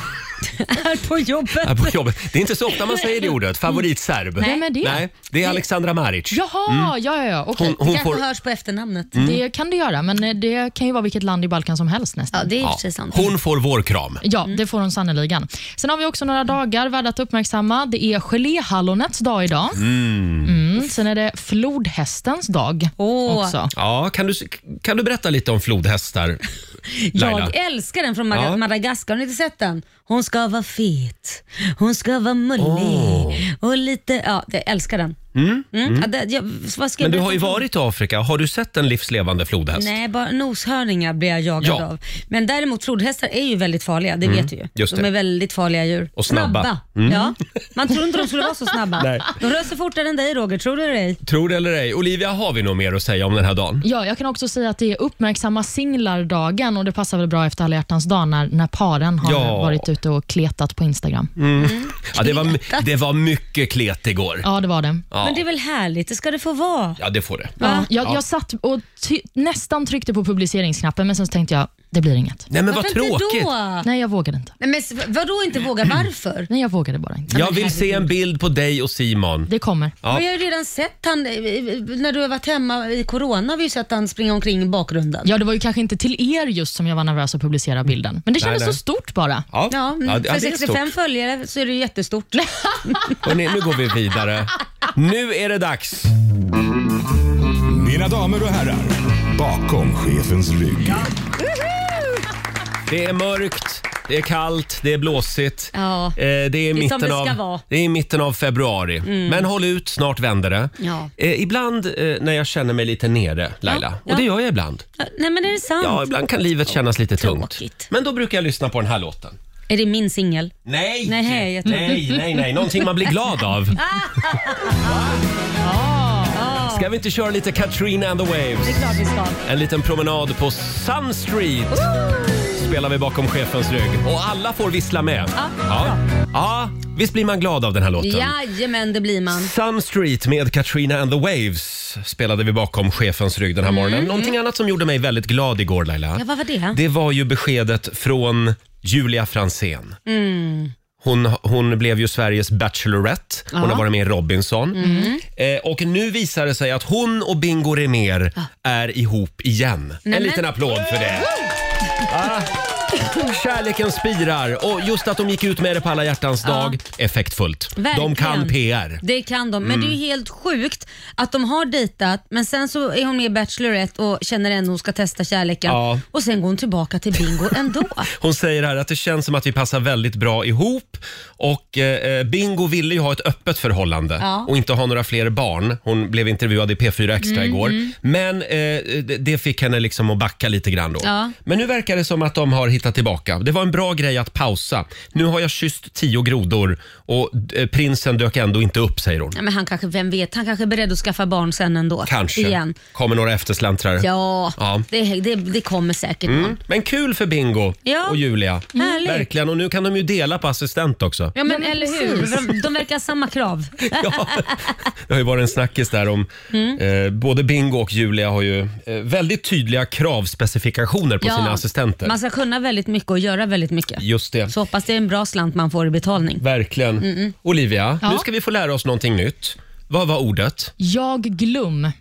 Speaker 2: här på jobbet.
Speaker 1: här på jobbet. Det är inte så ofta man säger det ordet, favoritserb.
Speaker 3: Vem är det?
Speaker 1: Nej, det är Alexandra Maric.
Speaker 3: Jaha, ja, ja, ja. okej.
Speaker 1: Hon, hon
Speaker 2: kanske
Speaker 1: får, Mm.
Speaker 2: hörs på efternamnet.
Speaker 3: Det kan det göra, men eh, det kan ju vara vilket land i Balkan som helst nästan.
Speaker 2: Ja, Mm. det är i och
Speaker 1: ja,
Speaker 2: för sig sant.
Speaker 1: hon får vår kram.
Speaker 3: Ja, det får hon sannoliken. Sen har vi också några dagar värda att uppmärksamma. Det är geléhallonets dag idag. Mm. Sen är det flodhästens dag
Speaker 2: Åh.
Speaker 3: också.
Speaker 1: Ja, kan du, kan du berätta lite om flodhästar, Laila?
Speaker 2: Jag älskar den från Maga-
Speaker 1: Ja.
Speaker 2: Madagaskar. Har ni inte sett den? Hon ska vara fet, hon ska vara mullig och lite... Ja, jag älskar den. Mm. Ja, det, jag, vad ska jag
Speaker 1: Men du har ju
Speaker 2: berätta om-
Speaker 1: varit i Afrika. Har du sett en livslevande flodhäst?
Speaker 2: Nej, bara noshörningar blir jag jagad
Speaker 1: Ja. Mm.
Speaker 2: av. Men däremot flodhästar är ju väldigt farliga, det vet vi ju.
Speaker 1: just
Speaker 2: De
Speaker 1: det.
Speaker 2: är väldigt farliga djur.
Speaker 1: Och snabba. Mm.
Speaker 2: Ja. Man tror inte de skulle vara så snabba.
Speaker 1: Nej.
Speaker 2: De rör sig fortare än dig Roger, tror du det? ej?
Speaker 1: Tror det eller ej. Olivia, har vi nog mer att säga om den här dagen?
Speaker 3: Ja, jag kan också säga att det är uppmärksamma singlardagen och det passar väl bra efter alla hjärtans dag när, när paren har
Speaker 1: Ja. Mm.
Speaker 3: varit ute och kletat på Instagram.
Speaker 1: Ja, det, var, det var mycket klet igår.
Speaker 3: Ja, det var det.
Speaker 2: Men det är väl härligt, det ska det få vara.
Speaker 1: Ja, det får det.
Speaker 3: Ja, jag, jag satt och ty- nästan tryckte på publiceringsknappen men sen så tänkte jag, det blir inget.
Speaker 1: Nej, men vad
Speaker 2: Varför inte
Speaker 1: tråkigt.
Speaker 2: då?
Speaker 3: Nej, jag vågade inte.
Speaker 2: Nej, men s- vadå inte våga? Varför?
Speaker 3: Nej, jag vågade bara inte.
Speaker 1: Jag vill se en bild på dig och Simon.
Speaker 3: Det kommer.
Speaker 1: Ja.
Speaker 2: Men jag har ju redan sett han, eh, eh, när du har varit hemma i corona, har vi ju sett han springa omkring i bakgrunden.
Speaker 3: Ja, det var ju kanske inte till er just som jag var nervös att publicera bilden, men det kändes
Speaker 1: nej.
Speaker 3: så stort bara.
Speaker 1: Ja,
Speaker 2: Ja, mm,
Speaker 1: ja, det- ja,
Speaker 2: för
Speaker 1: det är
Speaker 2: 65
Speaker 1: stort.
Speaker 2: följare så är det ju jättestort.
Speaker 1: Hörrni, nu går vi vidare. Nu är det dags.
Speaker 7: Mina damer och herrar, bakom chefens rygg.
Speaker 1: Det är mörkt, det är kallt, det är blåsigt.
Speaker 2: Ja.
Speaker 1: Eh, det, är i
Speaker 2: Det är som
Speaker 1: mitten
Speaker 2: det ska
Speaker 1: av,
Speaker 2: vara. Mm.
Speaker 1: det är i mitten av februari. Men håll ut, snart vänder det.
Speaker 2: Ja.
Speaker 1: Eh, ibland eh, när jag känner mig lite nere, Laila,
Speaker 2: Ja.
Speaker 1: och det gör jag ibland.
Speaker 2: Nej men är det sant?
Speaker 1: Ja, ibland kan livet kännas lite tungt.
Speaker 2: Tråkigt.
Speaker 1: Men då brukar jag lyssna på den här låten.
Speaker 2: Är det min singel?
Speaker 1: Nej!
Speaker 2: Nej, jag tror-
Speaker 1: nej, nej, nej. Någonting man blir glad av. Ska vi inte köra lite Katrina and the
Speaker 2: Ah. Det
Speaker 1: Waves?
Speaker 2: är klart vi ska.
Speaker 1: En liten promenad på Sun Street spelar vi bakom chefens rygg. Och alla får vissla med. Ja, ja visst blir man glad av den här låten?
Speaker 2: Jajamän, det blir man.
Speaker 1: Sun Street med Katrina and the Waves spelade vi bakom chefens rygg den här
Speaker 2: Mm.
Speaker 1: morgonen. Någonting annat som gjorde mig väldigt glad igår Laila.
Speaker 2: Ja, vad var det?
Speaker 1: Det var ju beskedet från Julia Fransén. Hon, hon blev ju Sveriges Bachelorette. Hon har varit med i Robinson. Eh, och nu visar det sig att hon och Bingo Rimér är ihop igen. en
Speaker 2: men-
Speaker 1: liten applåd för det. Ah. Kärleken spirar och just att de gick ut med det på alla hjärtans dag, effektfullt. De
Speaker 2: Verkligen.
Speaker 1: kan Mm. PR.
Speaker 2: Det kan de, men det är ju helt sjukt att de har dejtat men sen så är hon med i Bachelorette och känner ändå hon ska testa kärleken
Speaker 1: Ja.
Speaker 2: och sen går hon tillbaka till Bingo ändå.
Speaker 1: Hon säger här att det känns som att vi passar väldigt bra ihop och eh, Bingo ville ju ha ett öppet förhållande
Speaker 2: Ja.
Speaker 1: och inte ha några fler barn. Hon blev intervjuad i P4 Extra
Speaker 2: Mm,
Speaker 1: igår. Men eh, det- det fick henne liksom att backa lite grann då.
Speaker 2: Ja.
Speaker 1: Men nu verkar det som att de har hittat tillbaka. Det var en bra grej att pausa. Nu har jag kysst tio grodor och eh, prinsen dök ändå inte upp säger hon.
Speaker 2: Ja, men han kanske, vem vet, han kanske är beredd att skaffa barn sen ändå.
Speaker 1: Kanske
Speaker 2: Igen.
Speaker 1: kommer några eftersläntrare.
Speaker 2: Ja,
Speaker 1: Ja.
Speaker 2: Det, det, det kommer säkert någon.
Speaker 1: Men kul för Bingo
Speaker 2: Ja.
Speaker 1: och Julia.
Speaker 2: Härligt.
Speaker 1: Verkligen. Och nu kan de ju dela på assistent också.
Speaker 2: Ja men, eller hur, de, de verkar ha samma krav.
Speaker 1: Ja, det har ju varit en snackis där om
Speaker 3: Mm.
Speaker 1: eh, både Bingo och Julia har ju eh, väldigt tydliga kravspecifikationer på
Speaker 2: Ja.
Speaker 1: sina assistenter.
Speaker 2: Man ska kunna väldigt mycket och göra väldigt mycket.
Speaker 1: Just det.
Speaker 2: Så hoppas det är en bra slant man får i betalning.
Speaker 1: Verkligen. Olivia,
Speaker 3: Mm, Ja.
Speaker 1: nu ska vi få lära oss någonting nytt. Vad var ordet?
Speaker 3: Jag glum.
Speaker 1: Eh,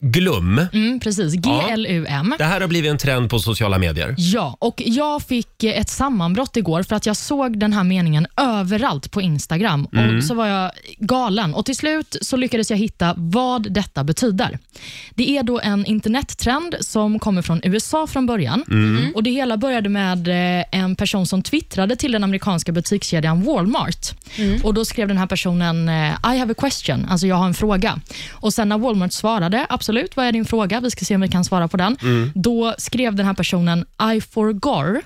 Speaker 1: Glum.
Speaker 3: Mm, precis. G-L-U-M.
Speaker 1: Det här har blivit en trend på sociala medier.
Speaker 3: Ja, och jag fick eh, ett sammanbrott igår för att jag såg den här meningen överallt på Instagram och så var jag galen och till slut så lyckades jag hitta vad detta betyder. Det är då en internettrend som kommer från USA från början och det hela började med eh, en person som twittrade till den amerikanska butikskedjan Walmart och då skrev den här personen eh, I have a question, alltså jag har en fråga. Och sen när Walmart svarade, absolut, vad är din fråga? Vi ska se om vi kan svara på den. Då skrev den här personen I forgor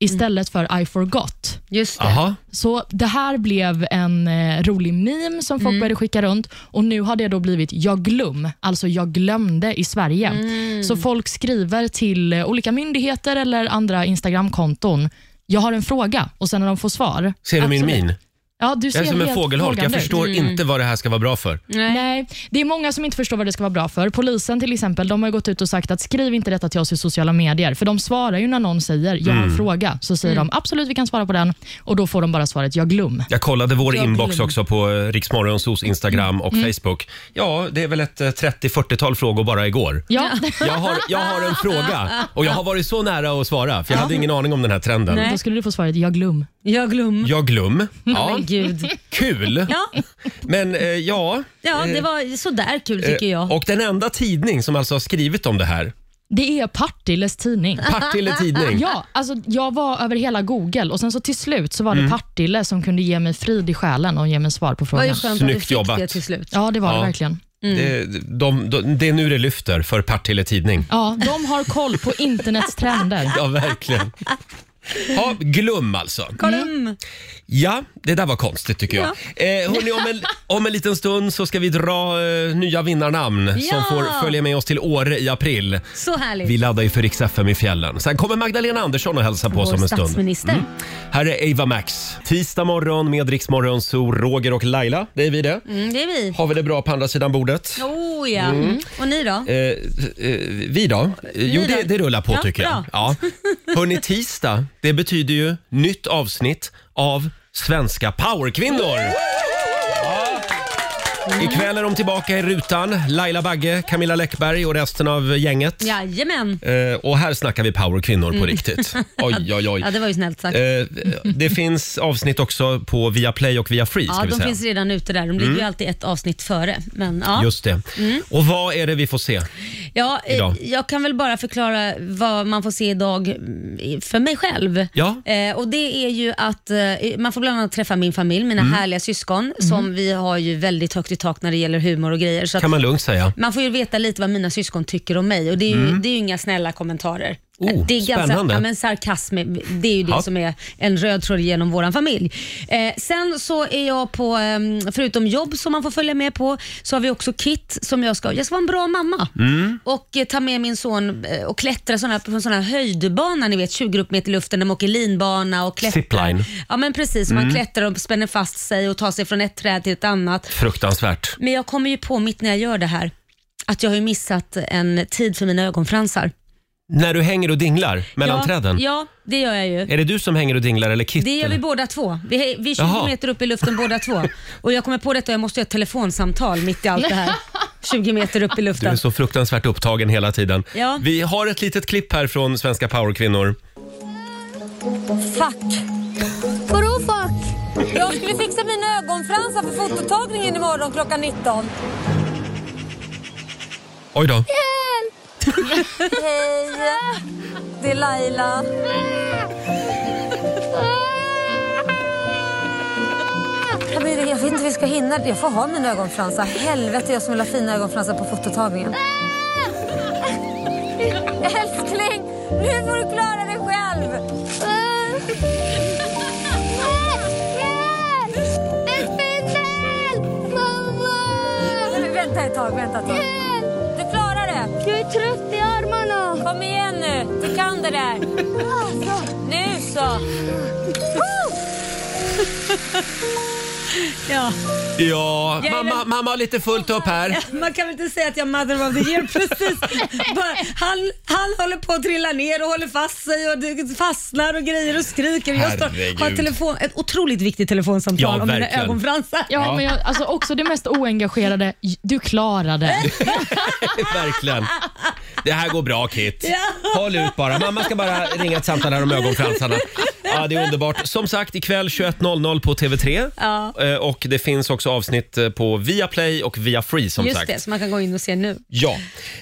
Speaker 3: istället för I forgot.
Speaker 2: Just det.
Speaker 1: Aha.
Speaker 3: Så det här blev en eh, rolig meme som folk började skicka runt och nu har det då blivit jag glöm, alltså jag glömde i Sverige. Så folk skriver till eh, olika myndigheter eller andra Instagramkonton jag har en fråga och sen när de får svar.
Speaker 1: Ser du min
Speaker 3: Absolut.
Speaker 1: min?
Speaker 3: Ja, du ser
Speaker 1: Jag är som en
Speaker 3: helt
Speaker 1: fågelholk. Jag
Speaker 3: frågande Mm. ut.
Speaker 1: förstår inte vad det här ska vara bra för.
Speaker 3: Nej, det är många som inte förstår vad det ska vara bra för. Polisen till exempel, de har ju gått ut och sagt att skriv inte detta till oss i sociala medier, för de svarar ju när någon säger jag
Speaker 1: Mm.
Speaker 3: har en fråga, så säger de absolut vi kan svara på den och då får de bara svaret jag glöm. Mm.
Speaker 1: Jag kollade vår
Speaker 3: Jag
Speaker 1: inbox
Speaker 3: glömde.
Speaker 1: också på eh, Riksmorgonsos Instagram och Facebook. Ja, det är väl ett eh, 30-40-tal frågor bara igår.
Speaker 3: Ja,
Speaker 1: Jag har, jag har en fråga och jag har varit så nära att svara för jag hade ingen aning om den här trenden.
Speaker 2: Nej.
Speaker 3: då skulle du få svaret jag glöm.
Speaker 2: Jag glömmer.
Speaker 1: Jag glöm. Ja,
Speaker 2: Men gud.
Speaker 1: kul.
Speaker 2: Ja,
Speaker 1: Men eh, ja.
Speaker 2: ja, det var sådär kul tycker
Speaker 1: Eh,
Speaker 2: jag.
Speaker 1: Och den enda tidning som alltså har skrivit om det här,
Speaker 3: Det är Partilles tidning.
Speaker 1: Mm. Partille Tidning.
Speaker 3: Ja, alltså jag var över hela Google och sen så till slut så var det
Speaker 1: Mm.
Speaker 3: Partille som kunde ge mig frid i själen och ge mig svar på
Speaker 2: Det var
Speaker 3: frågan.
Speaker 2: ju skönt att
Speaker 1: Snyggt
Speaker 2: du fick
Speaker 1: jobbat.
Speaker 2: det till slut.
Speaker 3: Ja, det var
Speaker 1: Ja.
Speaker 3: det verkligen.
Speaker 2: Mm.
Speaker 1: Det, de, de, det är nu det lyfter för Partille Tidning.
Speaker 3: Ja, de har koll på internets trender.
Speaker 1: Ja, verkligen. Ja, glum alltså.
Speaker 2: Glöm.
Speaker 1: Ja, det där var konstigt tycker jag. Eh, hörni, om, en, om en liten stund så ska vi dra eh, nya vinnarnamn som
Speaker 2: Ja.
Speaker 1: får följa med oss till Åre i april.
Speaker 2: Så härligt.
Speaker 1: Vi laddar ju för Rix FM i fjällen. Sen kommer Magdalena Andersson och hälsa på oss
Speaker 2: Vår
Speaker 1: om en stund. Mm.
Speaker 2: statsminister.
Speaker 1: Här är Ava Max. Tisdag morgon med Rix Morgon, så Roger och Laila, det är vi det.
Speaker 2: Mm, det är vi.
Speaker 1: Har vi det bra på andra sidan bordet?
Speaker 2: Oh ja. Och ni då?
Speaker 1: Eh, eh, vi då? Eh, Jo,
Speaker 2: då?
Speaker 1: det, det rullar på
Speaker 2: Ja,
Speaker 1: tycker jag.
Speaker 2: bra.
Speaker 1: Ja. Hörni, tisdag, det betyder ju nytt avsnitt av Svenska powerkvinnor. Ja. Ikväll är de tillbaka i rutan. Laila Bagge, Camilla Läckberg och resten av gänget.
Speaker 2: Jajamän.
Speaker 1: Eh, och här snackar vi powerkvinnor på riktigt. Oj, oj, oj.
Speaker 2: Mm. Ja, det var ju snällt sagt.
Speaker 1: Eh, det finns avsnitt också på Viaplay och Viafree. ska
Speaker 2: Ja,
Speaker 1: vi
Speaker 2: de
Speaker 1: säga. Mm.
Speaker 2: finns redan ute där. De ligger ju alltid ett avsnitt före. Men, ja.
Speaker 1: Just det.
Speaker 2: Mm.
Speaker 1: Och vad är det vi får se?
Speaker 2: Ja, eh,
Speaker 1: idag?
Speaker 2: jag kan väl bara förklara vad man får se idag mm, för mig själv.
Speaker 1: Ja.
Speaker 2: Eh, och Det är ju att eh, man får bland annat träffa min familj, mina
Speaker 1: Mm.
Speaker 2: härliga syskon, som vi har ju väldigt högt i tak när det gäller humor och grejer. Så att
Speaker 1: Kan man lugnt säga.
Speaker 2: man får ju veta lite vad mina syskon tycker om mig och det är ju, det är ju inga snälla kommentarer.
Speaker 1: Mm. Oh,
Speaker 2: det är
Speaker 1: spännande.
Speaker 2: ganska, ja, men sarkasm, det är ju det
Speaker 1: Ja.
Speaker 2: som är en röd tråd genom vår familj. Eh, sen så är jag på, eh, förutom jobb som man får följa med på, så har vi också KIT som jag ska, jag ska vara en bra mamma
Speaker 1: Mm.
Speaker 2: och eh, ta med min son eh, och klättra såna, på en sån här höjdbana, ni vet 20 upp meter i luften, där man åker linbana och klättrar.
Speaker 1: Zipline.
Speaker 2: Ja men precis,
Speaker 1: Mm.
Speaker 2: man klättrar och spänner fast sig och tar sig från ett träd till ett annat.
Speaker 1: Fruktansvärt.
Speaker 2: Men jag kommer ju på mitt när jag gör det här att jag har ju missat en tid för mina ögonfransar.
Speaker 1: När du hänger och dinglar mellan
Speaker 2: ja,
Speaker 1: träden?
Speaker 2: Ja, det gör jag ju.
Speaker 1: Är det du som hänger och dinglar eller Kit?
Speaker 2: Det gör vi båda två. Vi, vi är 20
Speaker 1: Jaha.
Speaker 2: meter upp i luften båda två. Och jag kommer på detta och jag måste göra ett telefonsamtal mitt i allt det här. 20 meter upp i
Speaker 1: Du är
Speaker 2: luften.
Speaker 1: så fruktansvärt upptagen hela tiden.
Speaker 2: Ja.
Speaker 1: Vi har ett litet klipp här från Svenska powerkvinnor.
Speaker 8: Fuck. Vadå fuck? Jag skulle fixa mina ögonfransar för fototagningen imorgon klockan 19.
Speaker 1: Oj då.
Speaker 8: Hej, det är Laila. Jag vet inte hur vi ska hinna det. Jag får ha mina ögonfransar. Helvete, jag som vill ha fina ögonfransar på fototagningen. Älskling, nu får du klara dig själv. Nej, men Vänta ett tag, vänta ett tag. Du klarar det. Jag är trött i armarna. Kom igen nu, du kan det där. Nu så.
Speaker 2: Ja.
Speaker 1: Ja,
Speaker 2: Jag är
Speaker 1: mamma,
Speaker 2: den-
Speaker 1: mamma har lite fullt upp här.
Speaker 2: Man kan väl inte säga att jag är mother of the year precis. Bara, han, han håller på att trilla ner och håller fast sig och det fastnar och grejer och skriker. Jag
Speaker 1: Herregud.
Speaker 2: står, har ett, telefon, ett otroligt viktigt telefonsamtal
Speaker 1: Ja,
Speaker 2: om mina
Speaker 1: verkligen.
Speaker 2: ögonfransar.
Speaker 3: Ja,
Speaker 1: Ja.
Speaker 3: men jag, alltså också det mest oengagerade. Du klarar det.
Speaker 1: Verkligen. Det här går bra Kit.
Speaker 2: Ja.
Speaker 1: Håll ut bara. Mamma ska bara ringa ett samtal här om ögonfransarna. Ja, det är underbart. Som sagt, ikväll 21.00 på TV3.
Speaker 2: Ja.
Speaker 1: Eh, Och det finns också avsnitt eh, på Viaplay och via Free som
Speaker 2: Just
Speaker 1: sagt.
Speaker 2: det, så man kan gå in och se nu.
Speaker 1: Ja.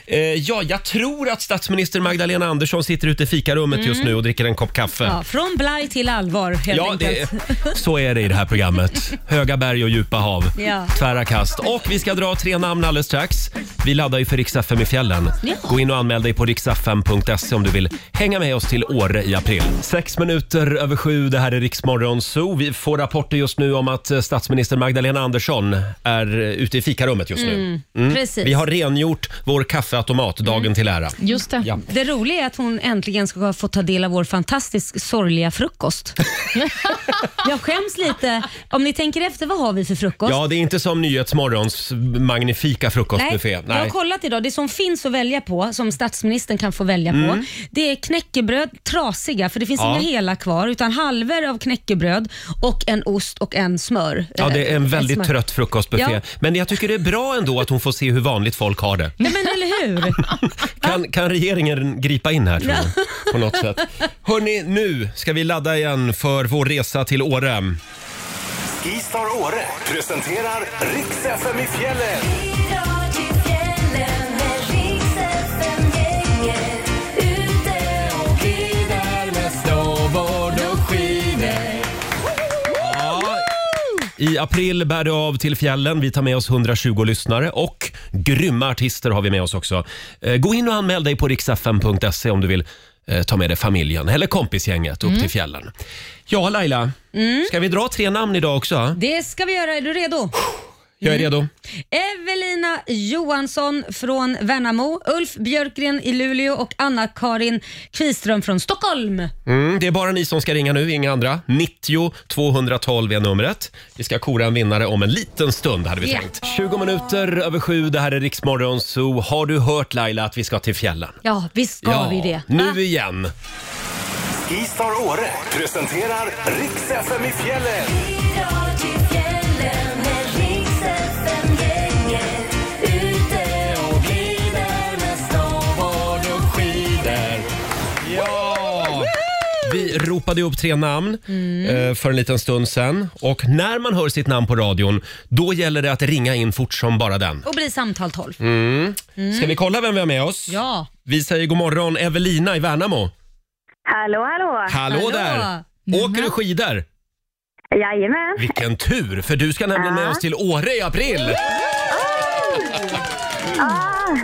Speaker 1: Eh, ja, jag tror att statsminister Magdalena Andersson sitter ute i fikarummet just nu och dricker en kopp kaffe.
Speaker 2: Mm. Ja, från blaj till allvar helt
Speaker 1: Ja,
Speaker 2: enkelt.
Speaker 1: det, så är det i det här programmet. Höga berg och djupa hav.
Speaker 2: Ja.
Speaker 1: Tvära kast. Och vi ska dra tre namn alldeles strax. Vi laddar ju för Rix FM i fjällen.
Speaker 2: Ja.
Speaker 1: Gå in och anmäl dig på rixfm.se om du vill hänga med oss till Åre i april. Sex minuter över sju, det här är Riksmorgon Zoo. Vi får rapporter just nu om att eh, statsminister Magdalena Andersson är eh, ute i fikarummet just nu.
Speaker 2: Mm,
Speaker 1: Mm.
Speaker 2: Precis. Mm.
Speaker 1: Vi har rengjort vår kaffeautomat dagen till ära.
Speaker 3: Just det.
Speaker 1: Ja.
Speaker 2: Det roliga är att hon äntligen ska få ta del av vår fantastiskt sorgliga frukost. jag skäms lite. Om ni tänker efter, vad har vi för frukost?
Speaker 1: Ja, det är inte som Nyhetsmorgons magnifika frukostbuffé.
Speaker 2: jag har kollat idag. Det som finns att välja på, som statsministern kan få välja på, det är knäckebröd, trasiga, för det finns
Speaker 1: Mm. Ja.
Speaker 2: inga hela kvar, utan halvor av knäckebröd och en ost och en smör.
Speaker 1: Ja, det är en
Speaker 2: Eh,
Speaker 1: väldigt
Speaker 2: smör.
Speaker 1: trött frukostbuffé.
Speaker 2: Ja.
Speaker 1: Men jag tycker det är bra ändå att hon får se hur vanligt folk har det.
Speaker 2: Nej, men eller hur?
Speaker 1: Kan, kan regeringen gripa in här tror du? På något sätt. Hörni, nu ska vi ladda igen för vår resa till Åre.
Speaker 4: Skistar Åre presenterar Riks FM i fjällen.
Speaker 1: Ja, I april bär det av till fjällen. Vi tar med oss 120 lyssnare och grymma artister har vi med oss också. Eh, Gå in och anmäl dig på riksfm.se om du vill eh, ta med dig familjen eller kompisgänget
Speaker 2: Mm.
Speaker 1: upp till fjällen. Ja, Laila. Ska vi dra tre namn idag också?
Speaker 2: Det ska vi göra. Är du redo?
Speaker 1: Jag är
Speaker 2: Mm.
Speaker 1: redo.
Speaker 2: Evelina Johansson från Värnamo, Ulf Björkgren i Luleå och Anna-Karin Kviström från Stockholm.
Speaker 1: Mm, det är bara ni som ska ringa nu, inga andra. 90 212 är numret. Vi ska kora en vinnare om en liten stund hade vi
Speaker 2: Ja.
Speaker 1: tänkt. 20 minuter över sju, det här är Riksmorgon Zoo. Har du hört Laila att vi ska till fjällen?
Speaker 2: Ja, visst ska vi det? Ah, Va?
Speaker 1: nu igen.
Speaker 4: Skistar Åre presenterar Riks FM i fjällen.
Speaker 1: Ja! Vi ropade upp tre namn
Speaker 2: Mm.
Speaker 1: eh, för en liten stund sen. Och när man hör sitt namn på radion, då gäller det att ringa in fort som bara den.
Speaker 2: Och bli samtal 12.
Speaker 1: Mm. Ska vi kolla vem vi har med oss?
Speaker 2: Mm. Ja.
Speaker 1: Vi säger god morgon Evelina i Värnamo.
Speaker 5: Hallå, hallå!
Speaker 1: Hallå,
Speaker 2: Hallå. Mm.
Speaker 1: där! Åker du skidor?
Speaker 5: Jajamän!
Speaker 1: Vilken tur, för du ska nämligen med oss till Åre i april.
Speaker 5: Ah,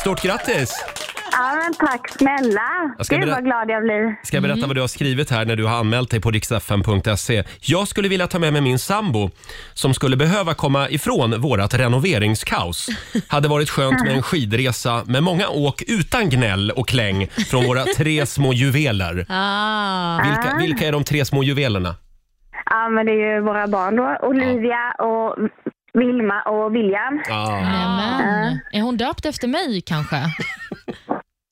Speaker 1: Stort grattis!
Speaker 5: ja, men tack snälla!
Speaker 1: Jag ska
Speaker 5: Gud
Speaker 1: berä-
Speaker 5: vad glad jag blir.
Speaker 1: Ska jag berätta vad du har skrivit här när du har anmält dig på riksfn.se. Jag skulle vilja ta med mig min sambo som skulle behöva komma ifrån vårat renoveringskaos. Hade varit skönt med en skidresa med många åk utan gnäll och kläng från våra tre små juveler.
Speaker 2: Ah.
Speaker 1: Vilka, vilka är de tre små juvelerna?
Speaker 5: Ja, men det är ju våra barn då. Olivia och Vilma och William.
Speaker 1: Ah.
Speaker 3: Nämen. Är hon döpt efter mig kanske?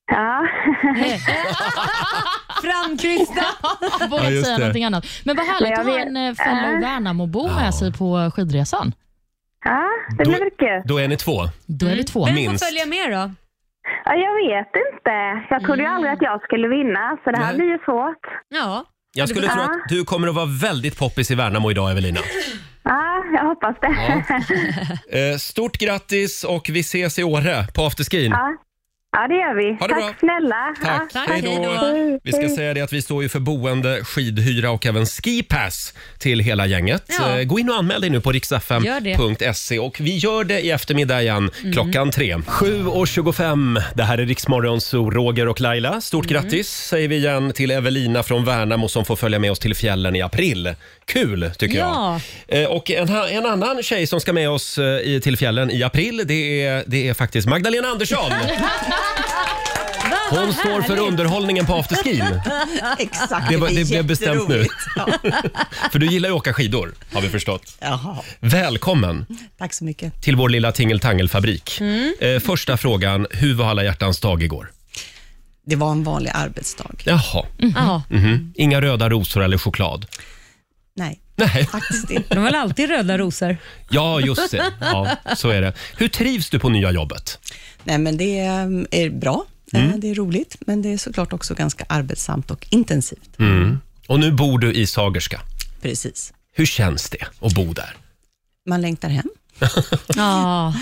Speaker 5: Ja.
Speaker 2: Framkrysta.
Speaker 3: Jag vågar
Speaker 1: Ja,
Speaker 3: inte
Speaker 1: just
Speaker 3: säga
Speaker 1: det.
Speaker 3: någonting annat. Men vad härligt
Speaker 5: jag
Speaker 3: att ha
Speaker 5: vet-
Speaker 3: en eh, fellow Värnamobo
Speaker 1: Ja.
Speaker 3: med sig på skidresan.
Speaker 5: ja, det
Speaker 1: Då-
Speaker 5: blir väl kul.
Speaker 1: Då är ni två.
Speaker 3: Då är vi två.
Speaker 2: Vem får
Speaker 1: Minst.
Speaker 2: följa med då?
Speaker 5: Ja, jag vet inte. Jag trodde ju aldrig att jag skulle vinna, så det här
Speaker 1: Mm. Nej.
Speaker 5: blir ju svårt.
Speaker 2: Ja.
Speaker 1: Jag skulle tro att du kommer att vara väldigt poppis i Värnamo idag, Evelina.
Speaker 5: Ja, jag hoppas det.
Speaker 1: Ja. Eh, Stort grattis och vi ses i Åre på afterskin.
Speaker 5: Ja, ja det gör vi.
Speaker 1: Ha det
Speaker 5: tack
Speaker 1: bra.
Speaker 5: snälla.
Speaker 1: Tack.
Speaker 5: Ja.
Speaker 2: Tack,
Speaker 1: Hej då.
Speaker 2: hej
Speaker 1: Vi ska säga det att vi står ju för boende, skidhyra och även skipass till hela gänget.
Speaker 2: Ja.
Speaker 1: Eh, Gå in och anmäl dig nu på
Speaker 2: Gör det.
Speaker 1: riksfm.se E. och vi gör det i eftermiddag igen klockan tre. 7.25, det här är Riksmorgon Zoo, Roger och Laila. Stort
Speaker 2: Mm.
Speaker 1: grattis säger vi igen till Evelina från Värnamo som får följa med oss till fjällen i april. Kul tycker
Speaker 2: Ja.
Speaker 1: jag. Eh, Och en, ha- en annan tjej som ska med oss eh, i- till fjällen i april, det är, det är faktiskt Magdalena Andersson.
Speaker 2: Va?
Speaker 1: Hon står för underhållningen på afterskin.
Speaker 9: Exakt.
Speaker 1: Det var-
Speaker 9: blir
Speaker 1: det blev bestämt nu.
Speaker 9: jätteroligt. Ja.
Speaker 1: För du gillar ju att åka skidor, har vi förstått.
Speaker 9: Jaha,
Speaker 1: Välkommen
Speaker 9: tack så mycket.
Speaker 1: till vår lilla tingeltangelfabrik. Eh, första frågan, hur var alla hjärtans dag igår?
Speaker 9: Det var en vanlig arbetsdag.
Speaker 1: Jaha,
Speaker 2: Ja,
Speaker 1: mhm. inga röda rosor eller choklad?
Speaker 9: Nej,
Speaker 1: Nej,
Speaker 9: faktiskt inte.
Speaker 2: de har väl alltid röda rosor.
Speaker 1: ja just det. Ja, så är det. Hur trivs du på nya jobbet?
Speaker 9: Nej, men det eh, är bra.
Speaker 1: Mm.
Speaker 9: Eh, Det är roligt, men det är såklart också ganska arbetsamt och intensivt.
Speaker 1: Mm. Och nu bor du i Sagerska.
Speaker 9: Precis.
Speaker 1: Hur känns det att bo där?
Speaker 9: Man längtar hem.
Speaker 2: Ja,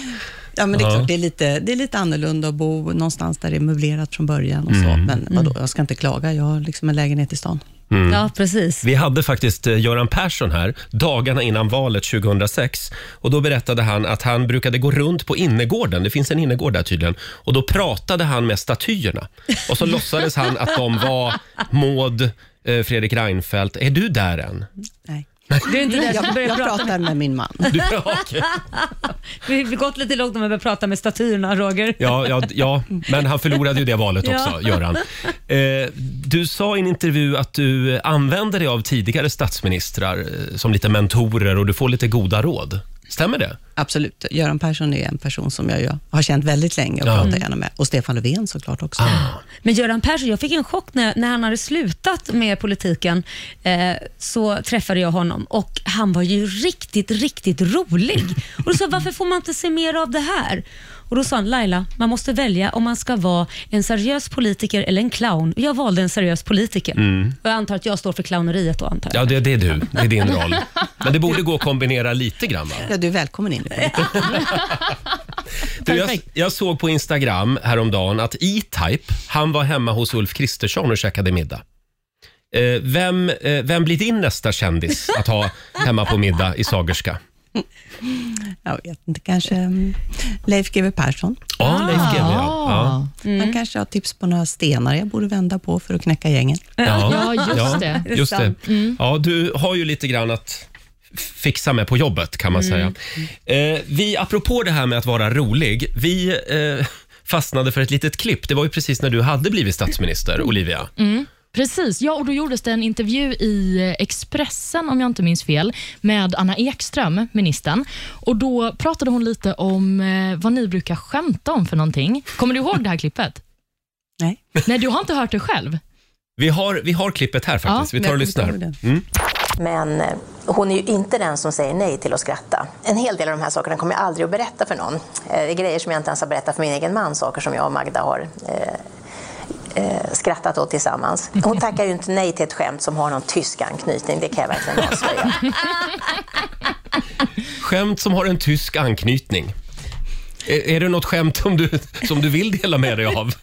Speaker 9: Ja, men det är
Speaker 1: Ja.
Speaker 9: klart, det är, lite, det är lite annorlunda att bo någonstans där det är möblerat från början och så,
Speaker 1: Mm.
Speaker 9: men vadå, jag ska inte klaga. Jag har liksom en lägenhet i stan. Mm.
Speaker 2: ja precis.
Speaker 1: Vi hade faktiskt eh, Göran Persson här dagarna innan valet 2006 och då berättade han att han brukade gå runt på innergården. Det finns en innergård där tydligen och då pratade han med statyerna och så låtsades han att de var Maud, eh, Fredrik Reinfeldt. Är du där än?
Speaker 9: Nej.
Speaker 2: Du är inte där som
Speaker 9: Jag,
Speaker 2: börjar
Speaker 9: jag
Speaker 2: prata.
Speaker 9: pratar med min man.
Speaker 1: Du, ja, okej.
Speaker 2: Vi har gått lite långt om vi börjar prata med statyerna, Roger.
Speaker 1: ja, ja, ja, men han förlorade ju det valet också,
Speaker 2: Ja.
Speaker 1: Göran. Eh, du sa i en intervju att du eh, använder dig av tidigare statsministrar eh, som lite mentorer och du får lite goda råd. Stämmer det?
Speaker 9: Absolut. Göran Persson är en person som jag ju har känt väldigt länge och
Speaker 1: Ja.
Speaker 9: pratar gärna med. Och Stefan Löfven såklart också.
Speaker 2: Men Göran Persson, jag fick en chock när, när han hade slutat med politiken. Eh, så träffade jag honom och han var ju riktigt, riktigt rolig. Och då sa jag, varför får man inte se mer av det här? Och Då sa han, Laila, man måste välja om man ska vara en seriös politiker eller en clown. Jag valde en seriös politiker.
Speaker 9: Mm.
Speaker 2: Och jag antar att jag står för clowneriet då. Antar jag.
Speaker 1: Ja, det, det är du. Det är din roll. Men det borde gå att kombinera lite grann. Va?
Speaker 9: Ja, du är välkommen in.
Speaker 1: Du, jag, jag såg på Instagram häromdagen att E-Type, han var hemma hos Ulf Kristersson och käkade middag. Eh, vem, eh, vem blir din nästa kändis att ha hemma på middag i Sagerska?
Speaker 9: Jag vet inte, kanske mm, Leif GW Persson.
Speaker 1: Ja, Leif
Speaker 3: Ah.
Speaker 1: GW. Ja.
Speaker 9: Han kanske har tips på några stenar jag borde vända på för att knäcka gängen.
Speaker 1: Ja.
Speaker 3: Ja, just det.
Speaker 1: just det. Ja, du har ju lite grann att fixa med på jobbet kan man säga. Eh, vi, apropå det här med att vara rolig, vi eh, fastnade för ett litet klipp. Det var ju precis när du hade blivit statsminister, Olivia.
Speaker 3: Precis, ja och då gjordes det en intervju i eh, Expressen om jag inte minns fel med Anna Ekström, ministern. Och då pratade hon lite om eh, vad ni brukar skämta om för någonting. Kommer du ihåg det här klippet?
Speaker 9: Nej.
Speaker 3: Nej, du har inte hört det själv?
Speaker 1: Vi har, vi har klippet här faktiskt.
Speaker 3: Ja,
Speaker 1: vi tar och
Speaker 9: jag kommer
Speaker 1: lyssnar.
Speaker 9: inte ihåg
Speaker 1: Mm.
Speaker 10: Men eh, hon är ju inte den som säger nej till att skratta. En hel del av de här sakerna kommer jag aldrig att berätta för någon. Eh, Det är grejer som jag inte ens har berättat för min egen man, saker som jag och Magda har eh, eh, skrattat åt tillsammans. Hon tackar ju inte nej till ett skämt som har någon tysk anknytning, det kan jag verkligen avslöja.
Speaker 1: Skämt som har en tysk anknytning. Är, är det något skämt som du, som du vill dela med dig av?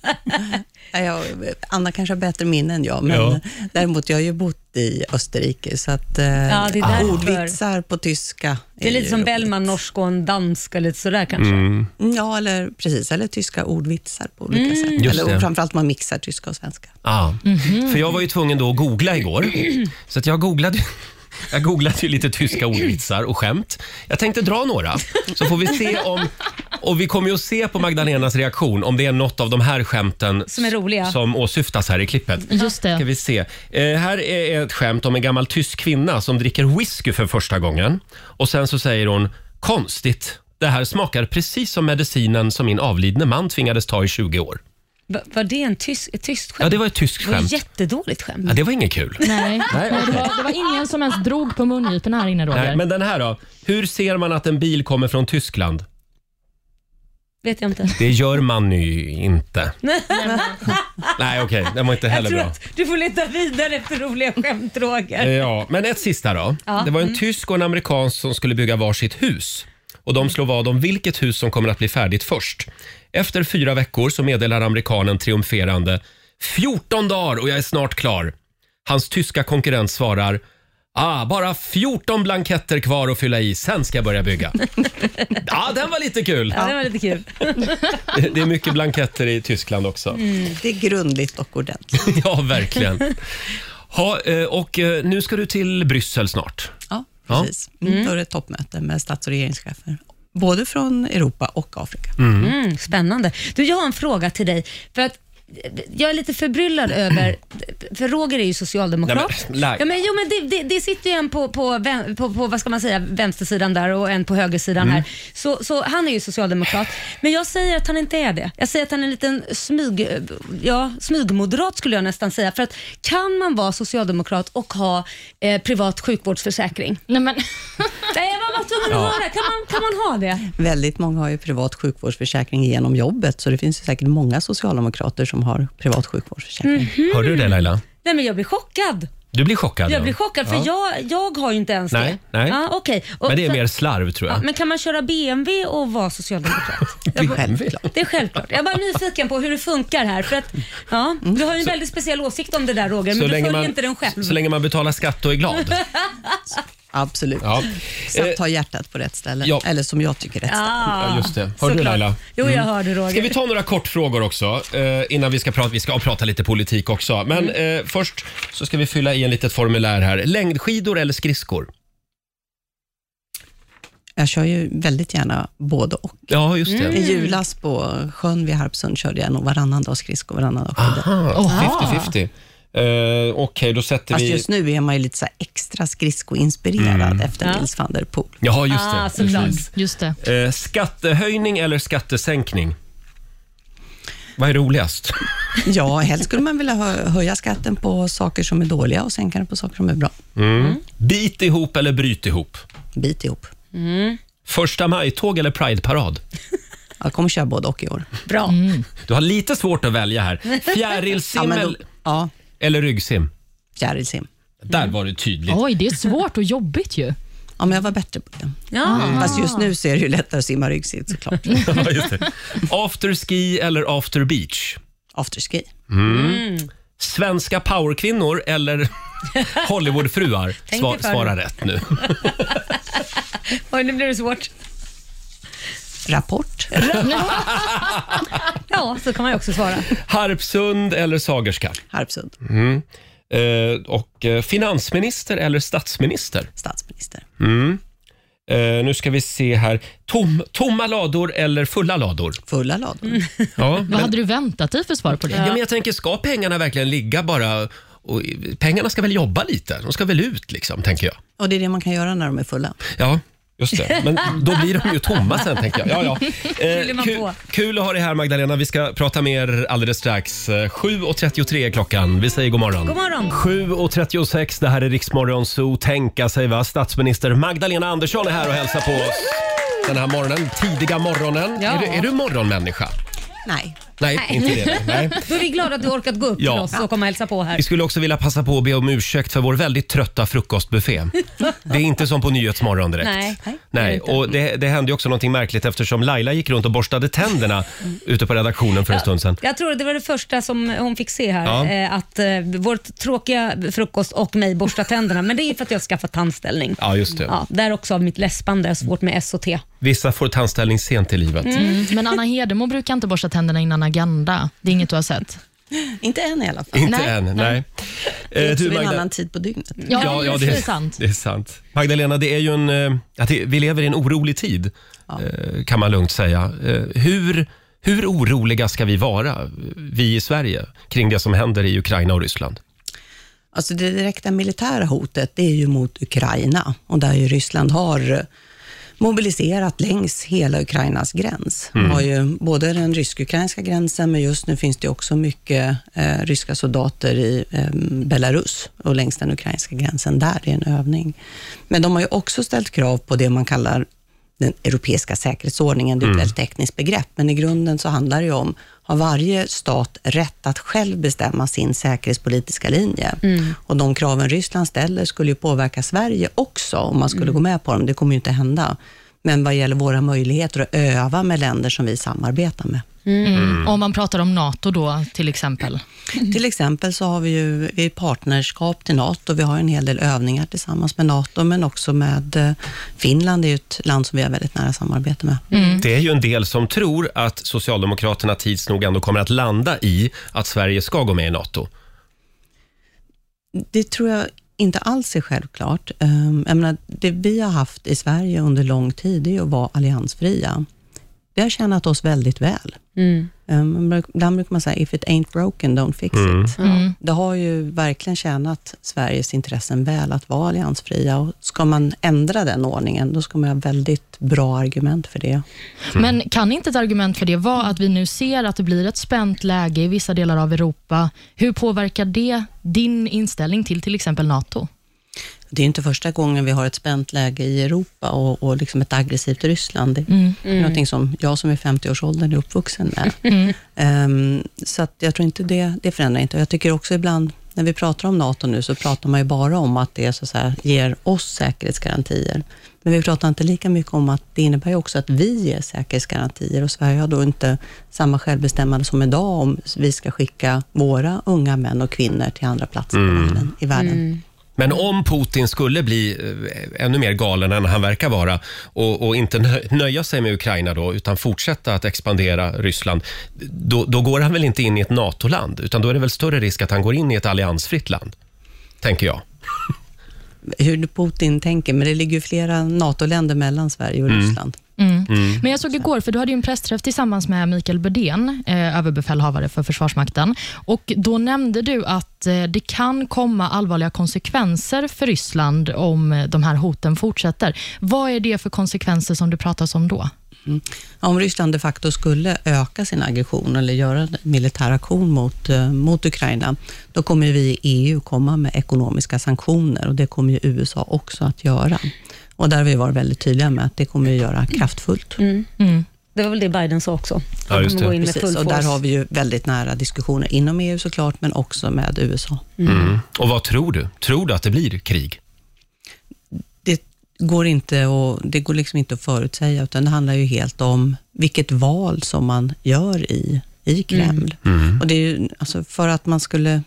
Speaker 9: Ja, jag- Anna kanske har bättre minne än jag, men eh,
Speaker 1: Ja.
Speaker 9: däremot jag har ju bott i Österrike, så att eh,
Speaker 2: Ja, det är därför.
Speaker 9: ordvitsar på tyska.
Speaker 2: Det är lite
Speaker 9: ju
Speaker 2: som
Speaker 9: roligt.
Speaker 2: Bellman, norsk och en dansk, eller lite sådär kanske.
Speaker 1: Mm.
Speaker 9: Mm, Ja, eller precis, eller tyska ordvitsar på olika sätt.
Speaker 1: Mm. Just
Speaker 9: Eller,
Speaker 1: det.
Speaker 9: och framförallt man mixar tyska och svenska.
Speaker 1: Ja,
Speaker 2: Mhm.
Speaker 1: för jag var ju tvungen då att googla igår. Så att jag googlade jag googlade ju lite tyska ordvitsar och skämt. Jag tänkte dra några, så får vi se om... Och vi kommer ju att se på Magdalenas reaktion om det är något av de här skämten
Speaker 2: Som är roliga.
Speaker 1: som åsyftas här i klippet.
Speaker 3: Just
Speaker 1: Ska
Speaker 3: det.
Speaker 1: vi se. Eh, här är ett skämt om en gammal tysk kvinna som dricker whisky för första gången. Och sen så säger hon “Konstigt, det här smakar precis som medicinen som min avlidne man tvingades ta i 20 år”.
Speaker 2: Va- Var det en tysk, ett tyskt skämt?
Speaker 1: Ja, det var ett tyskt
Speaker 2: Det var ett
Speaker 1: skämt.
Speaker 2: jättedåligt skämt.
Speaker 1: Ja, det var inget kul.
Speaker 3: Nej,
Speaker 1: Nej,
Speaker 3: Nej det, var, det var ingen som ens drog på mungiporna här inne Roger.
Speaker 1: Nej, men den här då. Hur ser man att en bil kommer från Tyskland?
Speaker 2: Vet jag inte.
Speaker 1: Det gör man ju inte. Nej, okej. Den var inte heller
Speaker 2: Jag tror
Speaker 1: bra.
Speaker 2: att du får leta vidare efter roliga skämt, Roger.
Speaker 1: Eh, Ja, men ett sista då.
Speaker 2: Ja. Mm.
Speaker 1: Det var en tysk och en amerikan som skulle bygga varsitt hus. Och de slår vad om vilket hus som kommer att bli färdigt först. Efter fyra veckor så meddelar amerikanen triumferande 14 dagar och jag är snart klar. Hans tyska konkurrent svarar Ah, bara 14 blanketter kvar att fylla i, sen ska jag börja bygga. Ja, den var lite kul.
Speaker 2: Ja, det var lite kul.
Speaker 1: Det är mycket blanketter i Tyskland också.
Speaker 2: Mm.
Speaker 9: Det är grundligt och ordentligt.
Speaker 1: Ja, verkligen. Ha, eh, och eh, nu ska du till Bryssel snart.
Speaker 9: Ja,
Speaker 1: Ja.
Speaker 9: precis. Mm. Då är det ett toppmöte med stats och regeringschefer, både från Europa och Afrika.
Speaker 2: Mm, spännande. Du, jag har en fråga till dig. För att jag är lite förbryllad över, för Roger är ju socialdemokrat.
Speaker 1: Nej, men, Laila.
Speaker 2: ja, men, jo, men det, det, det sitter ju en på, på, vän- på, på, vad ska man säga, vänstersidan där och en på högersidan
Speaker 1: Mm.
Speaker 2: här. Så, så han är ju socialdemokrat. Men jag säger att han inte är det. Jag säger att han är en liten smyg, ja, smygmoderat skulle jag nästan säga. För att kan man vara socialdemokrat och ha eh, privat sjukvårdsförsäkring?
Speaker 3: Nej, men...
Speaker 2: Nej, jag var tvungen
Speaker 9: Ja.
Speaker 2: att höra. Kan man, kan man ha det?
Speaker 9: Väldigt många har ju privat sjukvårdsförsäkring genom jobbet, så det finns ju säkert många socialdemokrater som har privat sjukvårdsförsäkring.
Speaker 1: Hör du det Laila?
Speaker 2: Nej, men jag blir chockad.
Speaker 1: Du blir chockad.
Speaker 2: Mm. Jag
Speaker 1: ja.
Speaker 2: blir chockad för
Speaker 1: Ja.
Speaker 2: jag, jag har ju inte ens
Speaker 1: Nej,
Speaker 2: det.
Speaker 1: nej.
Speaker 2: Ja, okej. Och
Speaker 1: Men det är
Speaker 2: så-
Speaker 1: mer slarv tror
Speaker 2: Ja,
Speaker 1: jag.
Speaker 2: men kan man köra BMW och vara socialdemokrat?
Speaker 1: Självklart.
Speaker 2: Det är självklart. Jag är bara nyfiken på hur det funkar här. För att, ja, du har ju en väldigt speciell åsikt om det där Roger, men du följer inte den själv.
Speaker 1: så länge man betalar skatt och är glad.
Speaker 9: Absolut.
Speaker 1: Ja. Eh,
Speaker 9: Samt ha hjärtat på rätt ställe,
Speaker 1: ja.
Speaker 9: eller som jag tycker rätt
Speaker 2: Ah,
Speaker 1: Ja, just det. Hörde du
Speaker 2: såklart.
Speaker 1: Laila?
Speaker 2: Jo, jag
Speaker 1: Mm.
Speaker 2: hörde Roger.
Speaker 1: Ska vi ta några kortfrågor också eh, innan vi ska prata, vi ska prata lite politik också. Men
Speaker 2: Mm.
Speaker 1: eh, först så ska vi fylla i en litet formulär här. Längdskidor eller skridskor?
Speaker 9: Jag kör ju väldigt gärna både och.
Speaker 1: Ja, just
Speaker 2: Mm.
Speaker 1: det.
Speaker 9: I julas på sjön vid Harpsund körde jag nog varannan dag skridskor, varannan dag skidor.
Speaker 1: Aha, 50-50. Eh, Okej, då sätter
Speaker 9: Fast
Speaker 1: vi...
Speaker 9: just nu är man ju lite så här extra skridskoinspirerad
Speaker 1: Mm.
Speaker 9: efter
Speaker 1: Ja.
Speaker 9: Nils van der Poel.
Speaker 1: Jaha, just
Speaker 9: Ah,
Speaker 1: det. Precis.
Speaker 3: Just det.
Speaker 1: Eh, skattehöjning eller skattesänkning? Vad är roligast?
Speaker 9: Ja, helst skulle man vilja hö- höja skatten på saker som är dåliga och sänka den på saker som är bra.
Speaker 1: Mm. Bit ihop eller bryt ihop?
Speaker 9: Bit ihop.
Speaker 1: Första maj-tåg eller prideparad?
Speaker 9: Jag kommer köra både och i år.
Speaker 2: Bra.
Speaker 1: Du har lite svårt att välja här. Fjärilsim
Speaker 9: Ja, men då-
Speaker 1: eller- eller ryggsim?
Speaker 9: Fjärilsim.
Speaker 1: Där
Speaker 9: Mm.
Speaker 1: var det tydligt.
Speaker 3: Oj, det är svårt och jobbigt ju.
Speaker 9: Ja, men jag var bättre på det. Mm.
Speaker 2: Ja.
Speaker 9: Fast just nu så är det ju lättare att simma ryggsitt såklart.
Speaker 1: Ja, just det. Afterski eller after beach?
Speaker 9: Afterski.
Speaker 1: Mm. Svenska powerkvinnor eller Hollywoodfruar?
Speaker 2: Tänk
Speaker 1: Sva-
Speaker 2: dig för.
Speaker 1: svara rätt nu.
Speaker 2: Oj, nu blir det svårt.
Speaker 9: Rapport.
Speaker 2: Ja, så kan man ju också svara.
Speaker 1: Harpsund eller Sagerska?
Speaker 9: Harpsund.
Speaker 1: Mm. Eh, och eh, finansminister eller statsminister?
Speaker 9: Statsminister.
Speaker 1: Mm. Eh, nu ska vi se här. Tom, tomma lador eller fulla lador?
Speaker 9: Fulla lador.
Speaker 1: Ja,
Speaker 3: Vad
Speaker 1: men,
Speaker 3: hade du väntat dig för svar på det?
Speaker 1: ja, men jag tänker, ska pengarna verkligen ligga bara... Och, pengarna ska väl jobba lite? De ska väl ut, liksom, tänker jag.
Speaker 9: Och det är det man kan göra när de är fulla.
Speaker 1: Ja, just det. Men då blir de ju tomma sen, tänker jag. Ja, ja.
Speaker 2: blir man
Speaker 1: kul,
Speaker 2: på.
Speaker 1: kul att ha dig här, Magdalena. Vi ska prata mer alldeles strax. Eh, 7.33 är klockan. Vi säger god morgon.
Speaker 2: God morgon.
Speaker 1: 7.36, det här är Riksmorgon Zoo. Tänka sig, va? Statsminister Magdalena Andersson är här och hälsar på oss den här morgonen. Tidiga morgonen.
Speaker 2: Ja.
Speaker 1: Är, du, är du morgonmänniska?
Speaker 9: Nej.
Speaker 1: Nej, inte det. nej. Nej.
Speaker 2: Då är vi glada att du orkat gå upp
Speaker 1: Ja.
Speaker 2: till oss och komma och hälsa på här.
Speaker 1: Vi skulle också vilja passa på att be om ursäkt för vår väldigt trötta frukostbuffé. Det är inte som på Nyhetsmorgon direkt.
Speaker 2: Nej. Nej,
Speaker 1: Nej,
Speaker 2: inte.
Speaker 1: och det, det hände ju också någonting märkligt eftersom Laila gick runt och borstade tänderna ute på redaktionen för en stund sedan.
Speaker 2: Jag tror det var det första som hon fick se här,
Speaker 1: Ja.
Speaker 2: eh, att eh, vår tråkiga frukost och mig borsta tänderna. Men det är ju för att jag har skaffat tandställning.
Speaker 1: Ja, just det.
Speaker 2: Ja, där också av mitt läspande, svårt med S och T.
Speaker 1: Vissa får tandställning sent i livet.
Speaker 3: Mm. Men Anna Hedemo brukar inte borsta tänderna innan Agenda. Det är inget du har sett.
Speaker 9: Inte än i alla fall.
Speaker 1: Inte
Speaker 3: Nej.
Speaker 1: än, nej.
Speaker 9: Det är
Speaker 1: Eh,
Speaker 9: också vid en
Speaker 1: Magda-
Speaker 9: annan tid på dygnet.
Speaker 3: Ja,
Speaker 1: Ja, ja,
Speaker 3: just
Speaker 1: det
Speaker 3: det
Speaker 1: är
Speaker 3: är sant.
Speaker 1: Det är sant. Magdalena, det är ju en, eh, att det, vi lever i en orolig tid, eh, kan man lugnt säga. Eh, Hur, hur oroliga ska vi vara, vi i Sverige, kring det som händer i Ukraina och Ryssland?
Speaker 9: Alltså det direkta militära hotet, det är ju mot Ukraina och där ju Ryssland har mobiliserat längs hela Ukrainas gräns. Man har ju både den rysk-ukrainska gränsen, men just nu finns det ju också mycket eh, ryska soldater i eh, Belarus och längs den ukrainska gränsen där i en övning. Men de har ju också ställt krav på det man kallar den europeiska säkerhetsordningen. Det är ett väldigt tekniskt begrepp, men i grunden så handlar det ju om, har varje stat rätt att själv bestämma sin säkerhetspolitiska linje? Och de kraven Ryssland ställer skulle ju påverka Sverige också, om man skulle gå med på dem. Det kommer ju inte hända. Men vad gäller våra möjligheter att öva med länder som vi samarbetar med.
Speaker 3: Mm. Om man pratar om NATO då, till exempel.
Speaker 9: Till exempel så har vi ju vi är partnerskap till NATO. Vi har en hel del övningar tillsammans med NATO, men också med eh, Finland. Det är ju ett land som vi har väldigt nära samarbete med.
Speaker 1: Det är ju en del som tror att Socialdemokraterna tids nog ändå kommer att landa i att Sverige ska gå med i NATO.
Speaker 9: Det tror jag inte alls är självklart. Ehm, Jag menar, det vi har haft i Sverige under lång tid är ju att vara alliansfria. Vi har tjänat oss väldigt väl. Um, man bruk- Ibland brukar man säga, if it ain't broken, don't fix
Speaker 11: Mm.
Speaker 9: it.
Speaker 11: Mm.
Speaker 9: Det har ju verkligen tjänat Sveriges intressen väl att vara alliansfria. Och ska man ändra den ordningen, då ska man ha väldigt bra argument för det.
Speaker 3: Men kan inte ett argument för det vara att vi nu ser att det blir ett spänt läge i vissa delar av Europa? Hur påverkar det din inställning till till exempel NATO?
Speaker 9: Det är ju inte första gången vi har ett spänt läge i Europa och, och liksom ett aggressivt Ryssland. Det är
Speaker 3: Mm.
Speaker 9: mm. någonting som jag som är 50-årsåldern är uppvuxen med. Ehm, så att jag tror inte det, det förändrar inte. Och Jag tycker också ibland, när vi pratar om NATO nu, så pratar man ju bara om att det så att säga, ger oss säkerhetsgarantier. Men vi pratar inte lika mycket om att det innebär ju också att vi ger säkerhetsgarantier och Sverige har då inte samma självbestämmande som idag om vi ska skicka våra unga män och kvinnor till andra platser
Speaker 1: Mm.
Speaker 9: i världen. I världen.
Speaker 1: Men om Putin skulle bli eh, ännu mer galen än han verkar vara och, och inte nö- nöja sig med Ukraina då, utan fortsätta att expandera Ryssland, då, då går han väl inte in i ett NATO-land, utan då är det väl större risk att han går in i ett alliansfritt land, tänker jag.
Speaker 9: hur Putin tänker, men det ligger ju flera NATO-länder mellan Sverige och
Speaker 1: Mm.
Speaker 9: Ryssland.
Speaker 3: Mm.
Speaker 1: Mm.
Speaker 3: Men jag såg igår, för du hade ju en pressträff tillsammans med Mikael Bödén, eh, överbefälhavare för Försvarsmakten. Och Då nämnde du att eh, det kan komma allvarliga konsekvenser för Ryssland om eh, de här hoten fortsätter. Vad är det för konsekvenser som du pratas om då?
Speaker 9: Om Ryssland de facto skulle öka sin aggression eller göra en militär aktion mot, eh, mot Ukraina, då kommer ju vi i EU komma med ekonomiska sanktioner och det kommer ju USA också att göra. Och där har vi varit väldigt tydliga med att det kommer vi göra kraftfullt.
Speaker 2: Det var väl det Biden sa också.
Speaker 9: Ja,
Speaker 2: Han
Speaker 9: just
Speaker 2: kommer
Speaker 9: det.
Speaker 2: gå in Mm, med
Speaker 9: Precis,
Speaker 2: full
Speaker 9: och där
Speaker 2: force.
Speaker 9: har vi ju väldigt nära diskussioner inom EU såklart, men också med USA.
Speaker 1: Mm. Och vad tror du? Tror du att det blir krig?
Speaker 9: det går inte och det går liksom inte att förutsäga, utan det handlar ju helt om vilket val som man gör i, i Kreml. Och det är ju, alltså för att man skulle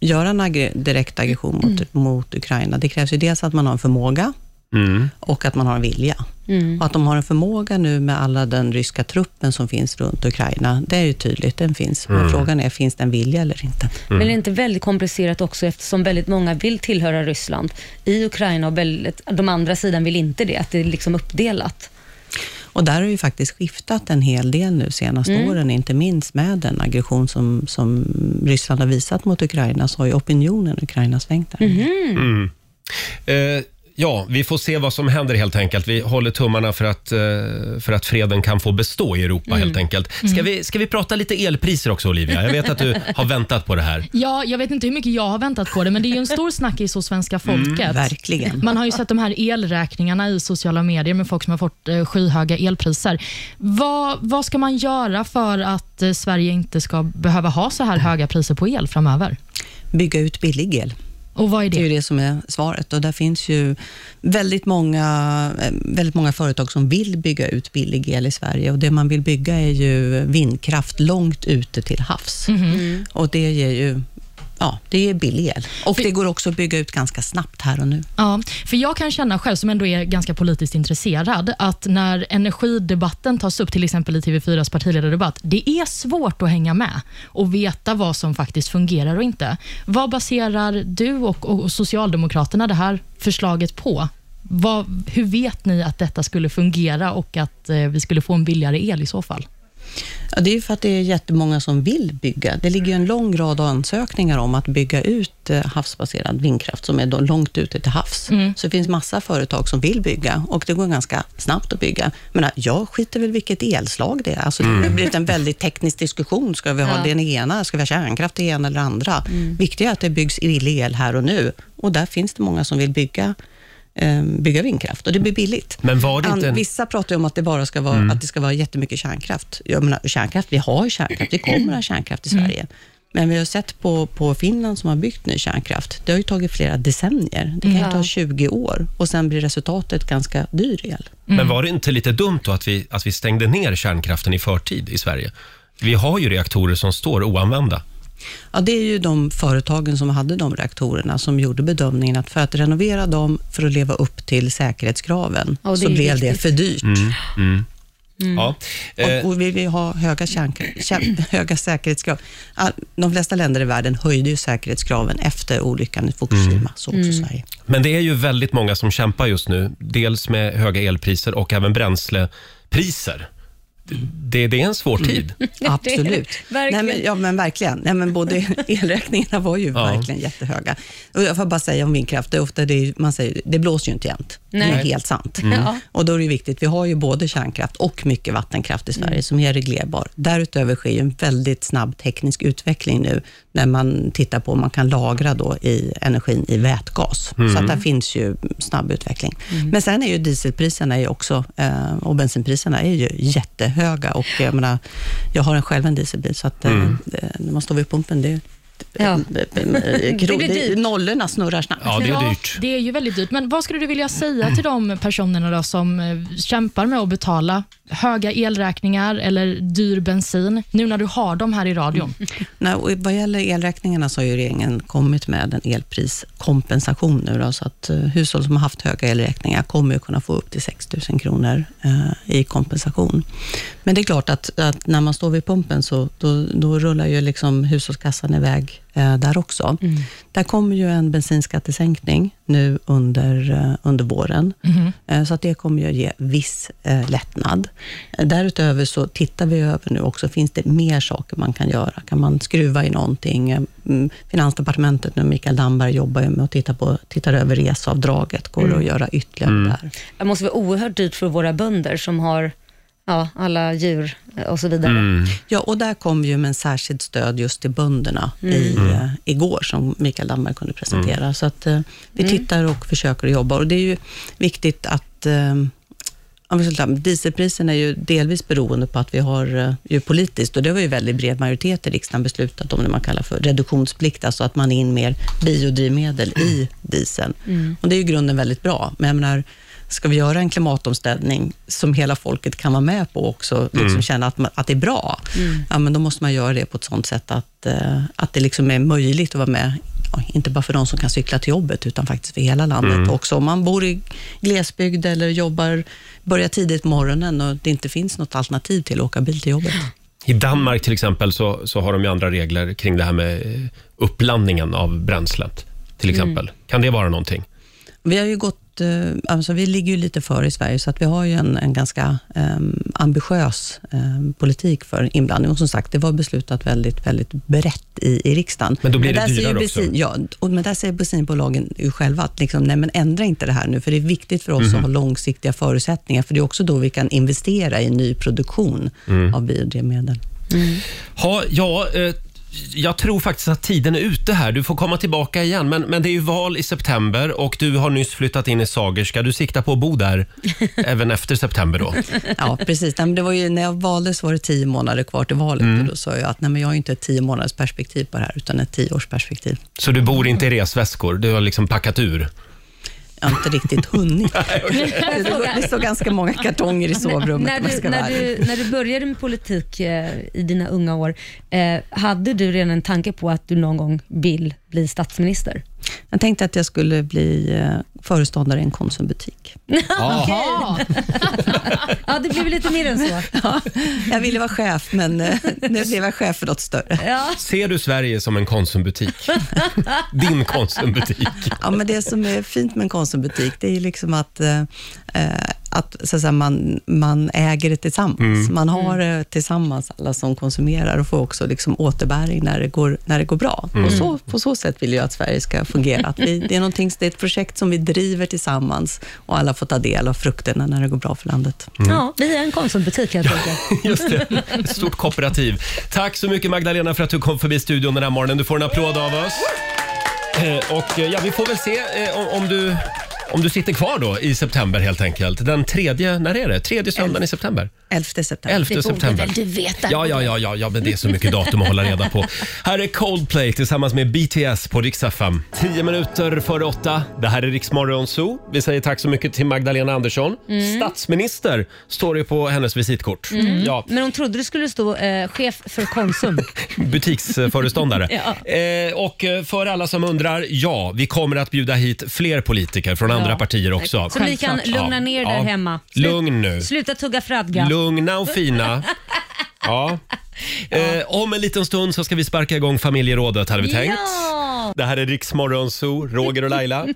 Speaker 9: göra en aggre- direkt aggression mot, mot Ukraina, det krävs ju dels att man har en förmåga
Speaker 1: Mm.
Speaker 9: och att man har en vilja. Och att de har en förmåga nu med alla den ryska truppen som finns runt Ukraina, det är ju tydligt, den finns. Men
Speaker 2: Mm.
Speaker 9: frågan är, finns det en vilja eller inte?
Speaker 2: Men det är inte väldigt komplicerat också eftersom väldigt många vill tillhöra Ryssland i Ukraina och väldigt, de andra sidan vill inte det, att det är liksom uppdelat.
Speaker 9: Och där har ju faktiskt skiftat en hel del nu senaste
Speaker 2: Mm.
Speaker 9: åren, inte minst med den aggression som, som Ryssland har visat mot Ukraina, så har ju opinionen i Ukraina svängt där.
Speaker 1: Mm. Eh, ja, vi får se vad som händer helt enkelt. Vi håller tummarna för att, eh, för att freden kan få bestå i Europa
Speaker 3: Mm.
Speaker 1: helt enkelt. Ska,
Speaker 3: Mm.
Speaker 1: vi, ska vi prata lite elpriser också Olivia? Jag vet att du har väntat på det här.
Speaker 3: Ja, jag vet inte hur mycket jag har väntat på det, men det är ju en stor snackis hos svenska
Speaker 1: Mm,
Speaker 3: folket.
Speaker 9: verkligen.
Speaker 3: Man har ju sett de här elräkningarna i sociala medier med folk som har fått eh, skyhöga elpriser. Vad, vad ska man göra för att eh, Sverige inte ska behöva ha så här höga priser på el framöver?
Speaker 9: Bygga ut billig el.
Speaker 3: Och vad är det?
Speaker 9: Det är ju det som är svaret. Och där finns ju väldigt många, eh, väldigt många företag som vill bygga ut billig el i Sverige. Och det man vill bygga är ju vindkraft långt ute till havs. Och det ger ju ja, det ger billig el. Och det går också att bygga ut ganska snabbt här och nu.
Speaker 3: Ja, för jag kan känna själv, som ändå är ganska politiskt intresserad, att när energidebatten tas upp, till exempel i TV4s partiledardebatt, det är svårt att hänga med och veta vad som faktiskt fungerar och inte. Vad baserar du och, och Socialdemokraterna det här förslaget på? Vad, hur vet ni att detta skulle fungera och att eh, vi skulle få en billigare el i så fall?
Speaker 9: Ja, det är ju för att det är jättemånga som vill bygga. Det ligger ju en lång rad av ansökningar om att bygga ut eh, havsbaserad vindkraft, som är då långt ute till havs.
Speaker 1: Mm.
Speaker 9: Så det finns massa företag som vill bygga och det går ganska snabbt att bygga. Men jag skiter väl vilket elslag det är. Alltså, Det har
Speaker 11: Mm.
Speaker 9: blivit en väldigt teknisk diskussion. Ska vi ha
Speaker 11: Ja.
Speaker 9: den ena? Ska vi ha kärnkraft, det ena eller det andra?
Speaker 1: Mm.
Speaker 9: Viktigt är att det byggs billig el här och nu. Och där finns det många som vill bygga eh, bygga vindkraft och det blir billigt.
Speaker 1: Men var det
Speaker 9: An-
Speaker 1: inte en-
Speaker 9: Vissa pratar ju om att det bara ska vara, att det ska vara jättemycket kärnkraft. Jag menar, kärnkraft, vi har ju kärnkraft, vi kommer att ha kärnkraft i Sverige. Men vi har sett på, på Finland som har byggt ny kärnkraft, det har ju tagit flera decennier. Det kan ju
Speaker 1: Mm.
Speaker 9: ta
Speaker 1: Ja.
Speaker 9: 20 år och sen blir resultatet ganska dyr el.
Speaker 3: Mm.
Speaker 1: Men var det inte lite dumt då att vi, att vi stängde ner kärnkraften i förtid i Sverige? Vi har ju reaktorer som står oanvända.
Speaker 9: Ja, det är ju de företagen som hade de reaktorerna som gjorde bedömningen att för att renovera dem för att leva upp till säkerhetskraven
Speaker 11: Ja, det
Speaker 9: så
Speaker 11: är ju
Speaker 9: blev det
Speaker 11: viktigt.
Speaker 9: för dyrt.
Speaker 1: Mm. Mm. Ja. Eh,
Speaker 9: Och, och vill vi ha höga, kärnk- kär- höga säkerhetskrav. All, de flesta länder i världen höjde ju säkerhetskraven efter olyckan i Fukushima, så också Sverige.
Speaker 1: Men det är ju väldigt många som kämpar just nu, dels med höga elpriser och även bränslepriser. det, det är en
Speaker 3: Mm.
Speaker 1: svår tid.
Speaker 9: Absolut. Nej, men, ja, men verkligen. Nej, men både elräkningarna var ju
Speaker 1: Ja.
Speaker 9: verkligen jättehöga. Och jag får bara säga om vindkraft, det är ofta det, är- man säger, det blåser ju inte jämt. Det är
Speaker 11: Nej.
Speaker 9: helt sant.
Speaker 11: Mm. Ja.
Speaker 9: Och då är det ju viktigt, vi har ju både kärnkraft och mycket vattenkraft i Sverige
Speaker 11: Mm.
Speaker 9: som är reglerbar. Därutöver sker ju en väldigt snabb teknisk utveckling nu, när man tittar på om man kan lagra då i energin i vätgas.
Speaker 11: Mm.
Speaker 9: Så att där finns ju snabb utveckling. Men sen är ju dieselpriserna är ju också, eh, och bensinpriserna är ju jättehöga. Och jag, menar, jag har en själv en dieselbil, så att, eh,
Speaker 1: Mm.
Speaker 9: det- när man står vid pumpen, det är ju-
Speaker 2: Ja.
Speaker 9: det
Speaker 3: Det blir
Speaker 9: det-
Speaker 3: dyrt.
Speaker 9: Nollorna snurrar snabbt.
Speaker 3: Det är ju väldigt dyrt. Men vad skulle du vilja säga till de personerna då som eh, kämpar med att betala höga elräkningar eller dyr bensin, nu när du har dem här i radion?
Speaker 2: Mm.
Speaker 9: Nej, och vad gäller elräkningarna så har ju regeringen kommit med en elpriskompensation nu, då, så att eh, hushåll som har haft höga elräkningar kommer ju kunna få upp till 6 000 kronor eh, i kompensation. Men det är klart att, att när man står vid pumpen så då, då rullar ju liksom hushållskassan iväg eh, där också. Där kommer ju en bensinskattesänkning nu under, eh, under våren.
Speaker 11: Mhm.
Speaker 9: Eh, Så att det kommer ju att ge viss eh, lättnad. Eh, Därutöver så tittar vi över nu också, finns det mer saker man kan göra? Kan man skruva i någonting? Eh, mm, Finansdepartementet nu, Mikael Damberg, jobbar ju med att titta på, tittar över reseavdraget. Går det
Speaker 2: Mm.
Speaker 9: att göra ytterligare där?
Speaker 2: Det måste vara oerhört dyrt för våra bönder som har ja, alla djur och så vidare.
Speaker 9: Ja, och där kom ju med en särskild stöd just till bönderna i,
Speaker 2: Mm.
Speaker 9: eh, igår, som Mikael Damberg kunde presentera. Så att eh, vi
Speaker 2: Mm.
Speaker 9: tittar och försöker jobba och det är ju viktigt att eh, om vi ska ta- Dieselpriserna är ju delvis beroende på att vi har eh, ju politiskt, och det var ju väldigt bred majoritet i riksdagen beslutat om det man kallar för reduktionsplikt, alltså att man är in mer biodrivmedel i dieseln.
Speaker 11: Mm.
Speaker 9: Och det är ju i grunden väldigt bra, men jag menar, ska vi göra en klimatomställning som hela folket kan vara med på också, liksom
Speaker 11: Mm.
Speaker 9: känna att, man, att det är bra, ja, men då måste man göra det på ett sånt sätt att, eh, att det liksom är möjligt att vara med, ja, inte bara för de som kan cykla till jobbet, utan faktiskt för hela landet
Speaker 11: Mm.
Speaker 9: också. Om man bor i glesbygd eller jobbar, börjar tidigt på morgonen och det inte finns något alternativ till att åka bil till jobbet.
Speaker 1: I Danmark till exempel så, så har de ju andra regler kring det här med eh, uppblandningen av bränslet. Till
Speaker 3: Mm.
Speaker 1: exempel. Kan det vara någonting?
Speaker 9: Vi har ju gått, eh, alltså vi ligger ju lite före i Sverige, så att vi har ju en, en ganska eh, ambitiös eh, politik för inblandning. Och som sagt, det var beslutat väldigt, väldigt brett i, i riksdagen.
Speaker 11: Men då blir det
Speaker 9: där säger
Speaker 11: dyrare
Speaker 9: bensin,
Speaker 11: också.
Speaker 9: Ja, och, men där säger bensinbolagen ju själva att liksom, nej, men ändra inte det här nu, för det är viktigt för oss
Speaker 11: Mhm.
Speaker 9: att ha långsiktiga förutsättningar, för det är också då vi kan investera i ny produktion
Speaker 1: Mm.
Speaker 9: av biodrivmedel.
Speaker 1: Ha, ja, eh, jag tror faktiskt att tiden är ute här. Du får komma tillbaka igen. Men, men det är ju val i september och du har nyss flyttat in i Sagerska. Du siktar på att bo där även efter september då.
Speaker 9: Ja, precis. Nej, men det var ju, när jag valdes var det tio månader kvar till valet
Speaker 11: Mm.
Speaker 9: och då sa jag att nej, men jag har ju inte ett tio månaders perspektiv på det här, utan ett tioårsperspektiv.
Speaker 1: Så du bor inte i resväskor? Du har liksom packat ur?
Speaker 9: Jag har inte riktigt hunnit.
Speaker 2: okej.
Speaker 9: det, låg- det står ganska många kartonger i sovrummet
Speaker 2: när,
Speaker 9: om jag
Speaker 2: du,
Speaker 9: ska vara
Speaker 2: när,
Speaker 9: ärlig.
Speaker 2: du, när du började med politik eh, i dina unga år, eh, hade du redan en tanke på att du någon gång vill bli statsminister?
Speaker 9: Jag tänkte att jag skulle bli eh, föreståndare i en Konsumbutik.
Speaker 2: Okej. ja, det blev lite mer än så.
Speaker 9: Jag ville vara chef, men eh, nu blev jag chef för något större.
Speaker 2: Ja.
Speaker 1: Ser du Sverige som en Konsumbutik? Din Konsumbutik?
Speaker 9: Ja, men det som är fint med en Konsumbutik, det är ju liksom att, eh, eh, att, så att säga, man, man äger det tillsammans.
Speaker 11: Mm.
Speaker 9: Man har det tillsammans, alla som konsumerar, och får också liksom återbäring när det går, när det går bra.
Speaker 11: Mm.
Speaker 9: Och så, på så sätt vill jag att Sverige ska fungera. Att vi, det, är någonting, det är ett projekt som vi driver tillsammans och alla får ta del av frukterna när det går bra för landet.
Speaker 1: Mm.
Speaker 2: Ja, vi är en Konsumbutik helt enkelt.
Speaker 1: Just det. Ett stort kooperativ. Tack så mycket Magdalena för att du kom förbi studion den här morgonen. Du får en applåd av oss. Eh, Och eh, ja, vi får väl se eh, om, om du om du sitter kvar då i september helt enkelt. Den tredje, när är det? Tredje söndagen i september?
Speaker 9: 11 september.
Speaker 1: 11 september.
Speaker 2: veta.
Speaker 1: Ja, ja, ja, ja, ja, men det är så mycket datum att hålla reda på. Här är Coldplay tillsammans med BTS på Rix FM. Tio minuter före åtta. Det här är Rix Morgon Zoo. Vi säger tack så mycket till Magdalena Andersson.
Speaker 2: Mm.
Speaker 1: Statsminister står det på hennes visitkort.
Speaker 2: Mm.
Speaker 1: Ja,
Speaker 2: Men hon trodde det skulle stå eh, chef för Konsum.
Speaker 1: butiksföreståndare.
Speaker 2: Ja.
Speaker 1: eh, och eh, för alla som undrar, ja, vi kommer att bjuda hit fler politiker från andra
Speaker 2: Ja.
Speaker 1: partier också.
Speaker 2: Så ni kan lugna ner
Speaker 1: Ja,
Speaker 2: där
Speaker 1: ja.
Speaker 2: hemma. Slut-
Speaker 1: Lugn nu.
Speaker 2: Sluta tugga fradga.
Speaker 1: Lugna och fina. Ja. Eh, om en liten stund så ska vi sparka igång familjerådet hade vi tänkt.
Speaker 2: Ja!
Speaker 1: Det här är Riksmorgon Zoo, Roger och Laila.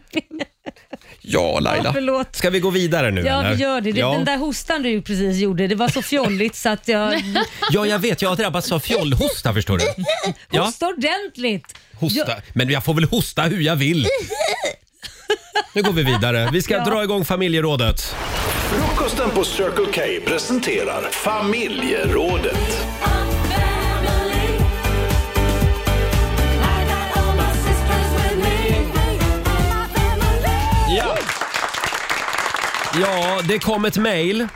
Speaker 1: Ja, Laila.
Speaker 2: Ja, förlåt.
Speaker 1: Ska vi gå vidare nu
Speaker 2: Ja,
Speaker 1: eller?
Speaker 2: vi gör det. Det-
Speaker 1: Ja.
Speaker 2: Den där hostan du precis gjorde, det var så fjolligt så att jag...
Speaker 1: ja, jag vet. Jag har drabbats av fjollhosta förstår du. Ja,
Speaker 2: Hosta ordentligt.
Speaker 1: hosta. Men jag får väl hosta hur jag vill. Nu går vi vidare. Vi ska
Speaker 4: Ja.
Speaker 1: dra igång familjerådet.
Speaker 4: Frukosten på Circle K presenterar Familjerådet.
Speaker 1: Ja. Ja, det kom ett mejl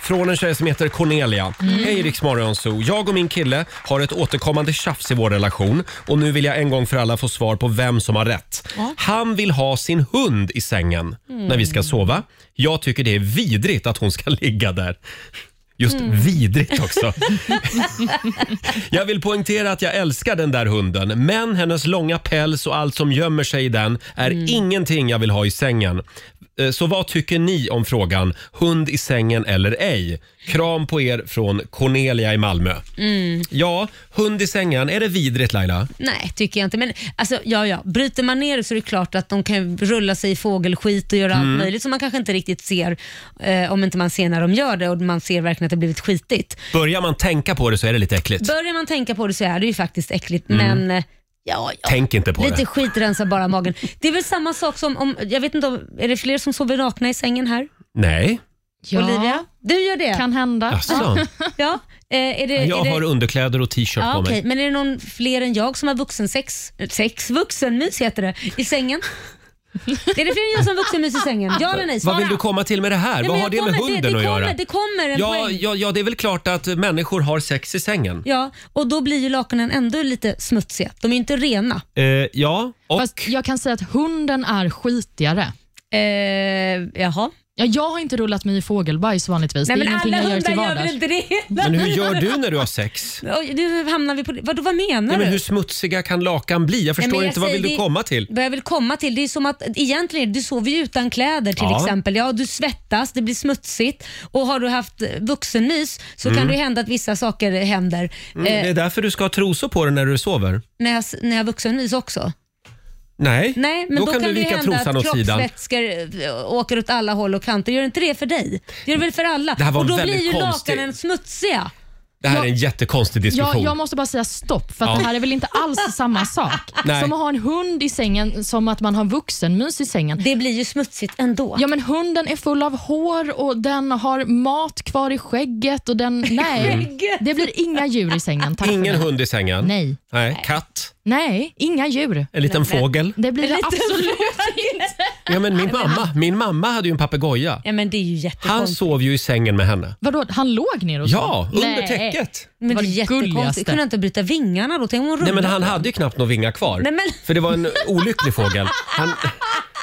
Speaker 1: från en tjej som heter Cornelia.
Speaker 11: Mm.
Speaker 1: Hej Rix Morgonzoo. Jag och min kille har ett återkommande tjafs i vår relation och nu vill jag en gång för alla få svar på vem som har rätt.
Speaker 11: Ja.
Speaker 1: Han vill ha sin hund i sängen
Speaker 11: Mm.
Speaker 1: när vi ska sova. Jag tycker det är vidrigt att hon ska ligga där. Just
Speaker 11: Mm.
Speaker 1: vidrigt också. Jag vill poängtera att jag älskar den där hunden, men hennes långa päls och allt som gömmer sig i den är
Speaker 2: Mm.
Speaker 1: ingenting jag vill ha i sängen. Eh, Så vad tycker ni om frågan hund i sängen eller ej? Kram på er från Cornelia i Malmö.
Speaker 2: Mm.
Speaker 1: Ja, hund i sängen, är det vidrigt Laila?
Speaker 2: Nej, tycker jag inte. Men alltså, ja, ja. bryter man ner det så är det klart att de kan rulla sig i fågelskit och göra
Speaker 1: Mm.
Speaker 2: allt möjligt som man kanske inte riktigt ser eh, om inte man ser när de gör det och man ser verkligen att det blivit skitigt.
Speaker 1: Börjar man tänka på det så är det lite äckligt.
Speaker 2: Börjar man tänka på det så är det ju faktiskt äckligt,
Speaker 1: Mm.
Speaker 2: men eh, ja, ja.
Speaker 1: Tänk inte på
Speaker 2: Lite
Speaker 1: det.
Speaker 2: skit rensar bara magen. Det är väl samma sak som om, jag vet inte om, är det fler som sover nakna i sängen här?
Speaker 1: Nej,
Speaker 3: Ja.
Speaker 2: Olivia, du gör det? Kan
Speaker 3: hända.
Speaker 1: Jaså?
Speaker 2: ja. Eh, är det, är
Speaker 1: jag
Speaker 2: det...
Speaker 1: har underkläder och t-shirt
Speaker 2: Ja,
Speaker 1: på mig.
Speaker 2: okej. Men är det någon fler än jag som har vuxensex, sex, vuxenmys heter det, i sängen? är det fler än jag som har vuxenmys i sängen? Ja eller nej? Svara.
Speaker 1: Vad vill du komma till med det här? Vad
Speaker 2: Nej, men
Speaker 1: har
Speaker 2: jag
Speaker 1: det med
Speaker 2: kommer-
Speaker 1: hunden
Speaker 2: det, det
Speaker 1: att
Speaker 2: kommer,
Speaker 1: göra?
Speaker 2: Det kommer en
Speaker 1: ja,
Speaker 2: poäng.
Speaker 1: ja, ja, det är väl klart att människor har sex i sängen.
Speaker 2: Ja, och då blir ju lakanen ändå lite smutsiga. De är ju inte rena.
Speaker 1: Eh, ja, och
Speaker 3: Fast jag kan säga att hunden är skitigare.
Speaker 2: Eh, jaha?
Speaker 3: Ja, jag har inte rullat mig i fågelbajs vanligtvis.
Speaker 2: Nej
Speaker 3: det är
Speaker 2: men
Speaker 3: ingenting
Speaker 2: alla hundar
Speaker 3: jag gör till
Speaker 2: gör
Speaker 3: vardags.
Speaker 2: väl inte det?
Speaker 1: Men hur gör du när du har sex?
Speaker 2: Oj, nu hamnar vi på det. Vadå, vad menar
Speaker 1: Nej, men
Speaker 2: du?
Speaker 1: hur smutsiga kan lakan bli? Jag
Speaker 2: Nej, men
Speaker 1: förstår inte. Vad
Speaker 2: säger
Speaker 1: vill du
Speaker 2: det-
Speaker 1: komma till?
Speaker 2: Vad jag vill komma till, det är som att egentligen, du sover ju utan kläder till
Speaker 1: Ja.
Speaker 2: exempel. Ja, du svettas, det blir smutsigt och har du haft vuxenmys så
Speaker 1: Mm.
Speaker 2: kan det hända att vissa saker händer.
Speaker 1: Mm, det är
Speaker 2: eh,
Speaker 1: därför du ska ha trosor på dig när du sover.
Speaker 2: när, jag, när jag har vuxenmys också.
Speaker 1: Nej,
Speaker 2: Nej, men
Speaker 1: då,
Speaker 2: då,
Speaker 1: kan du
Speaker 2: det
Speaker 1: vika
Speaker 2: hända
Speaker 1: trosan
Speaker 2: att
Speaker 1: åt sidan.
Speaker 2: kroppsvätskor eh, åker åt alla håll och kanter. Gör inte det för dig? Det Gör det väl för alla?
Speaker 1: Det här var
Speaker 2: och då
Speaker 1: väldigt
Speaker 2: blir ju
Speaker 1: konstig-
Speaker 2: lakanen smutsiga.
Speaker 1: Det här är en jättekonstig diskussion.
Speaker 3: Jag, jag måste bara säga stopp, för att
Speaker 1: Ja.
Speaker 3: det här är väl inte alls samma sak?
Speaker 1: Nej.
Speaker 3: Som att ha en hund i sängen som att man har vuxenmys i sängen.
Speaker 2: Det blir ju smutsigt ändå.
Speaker 3: Ja, men hunden är full av hår och den har mat kvar i skägget och den... Nej, det blir inga djur i sängen. Tack för
Speaker 1: Ingen
Speaker 3: mig.
Speaker 1: hund i sängen?
Speaker 3: Nej.
Speaker 1: Nej. Katt?
Speaker 3: Nej, inga djur.
Speaker 1: En liten fågel?
Speaker 3: Det blir det
Speaker 2: En liten
Speaker 3: absolut
Speaker 2: inte.
Speaker 1: Ja, men min, mamma, min mamma hade ju en papegoja.
Speaker 2: Ja, men det är ju
Speaker 1: Han
Speaker 2: jättekonstigt.
Speaker 1: sov ju i sängen med henne.
Speaker 3: Vadå, han låg ner och
Speaker 1: Ja,
Speaker 3: sov?
Speaker 1: under täcket.
Speaker 2: Men det
Speaker 3: Vad
Speaker 2: är
Speaker 3: gulligaste.
Speaker 2: jättekonstigt. Kunde han inte bryta vingarna då? Tänk om hon
Speaker 1: Nej, men
Speaker 2: rullade
Speaker 1: han
Speaker 2: på
Speaker 1: hade ju knappt några vingar kvar.
Speaker 2: Nej, men-
Speaker 1: För det var en olycklig fågel. Han,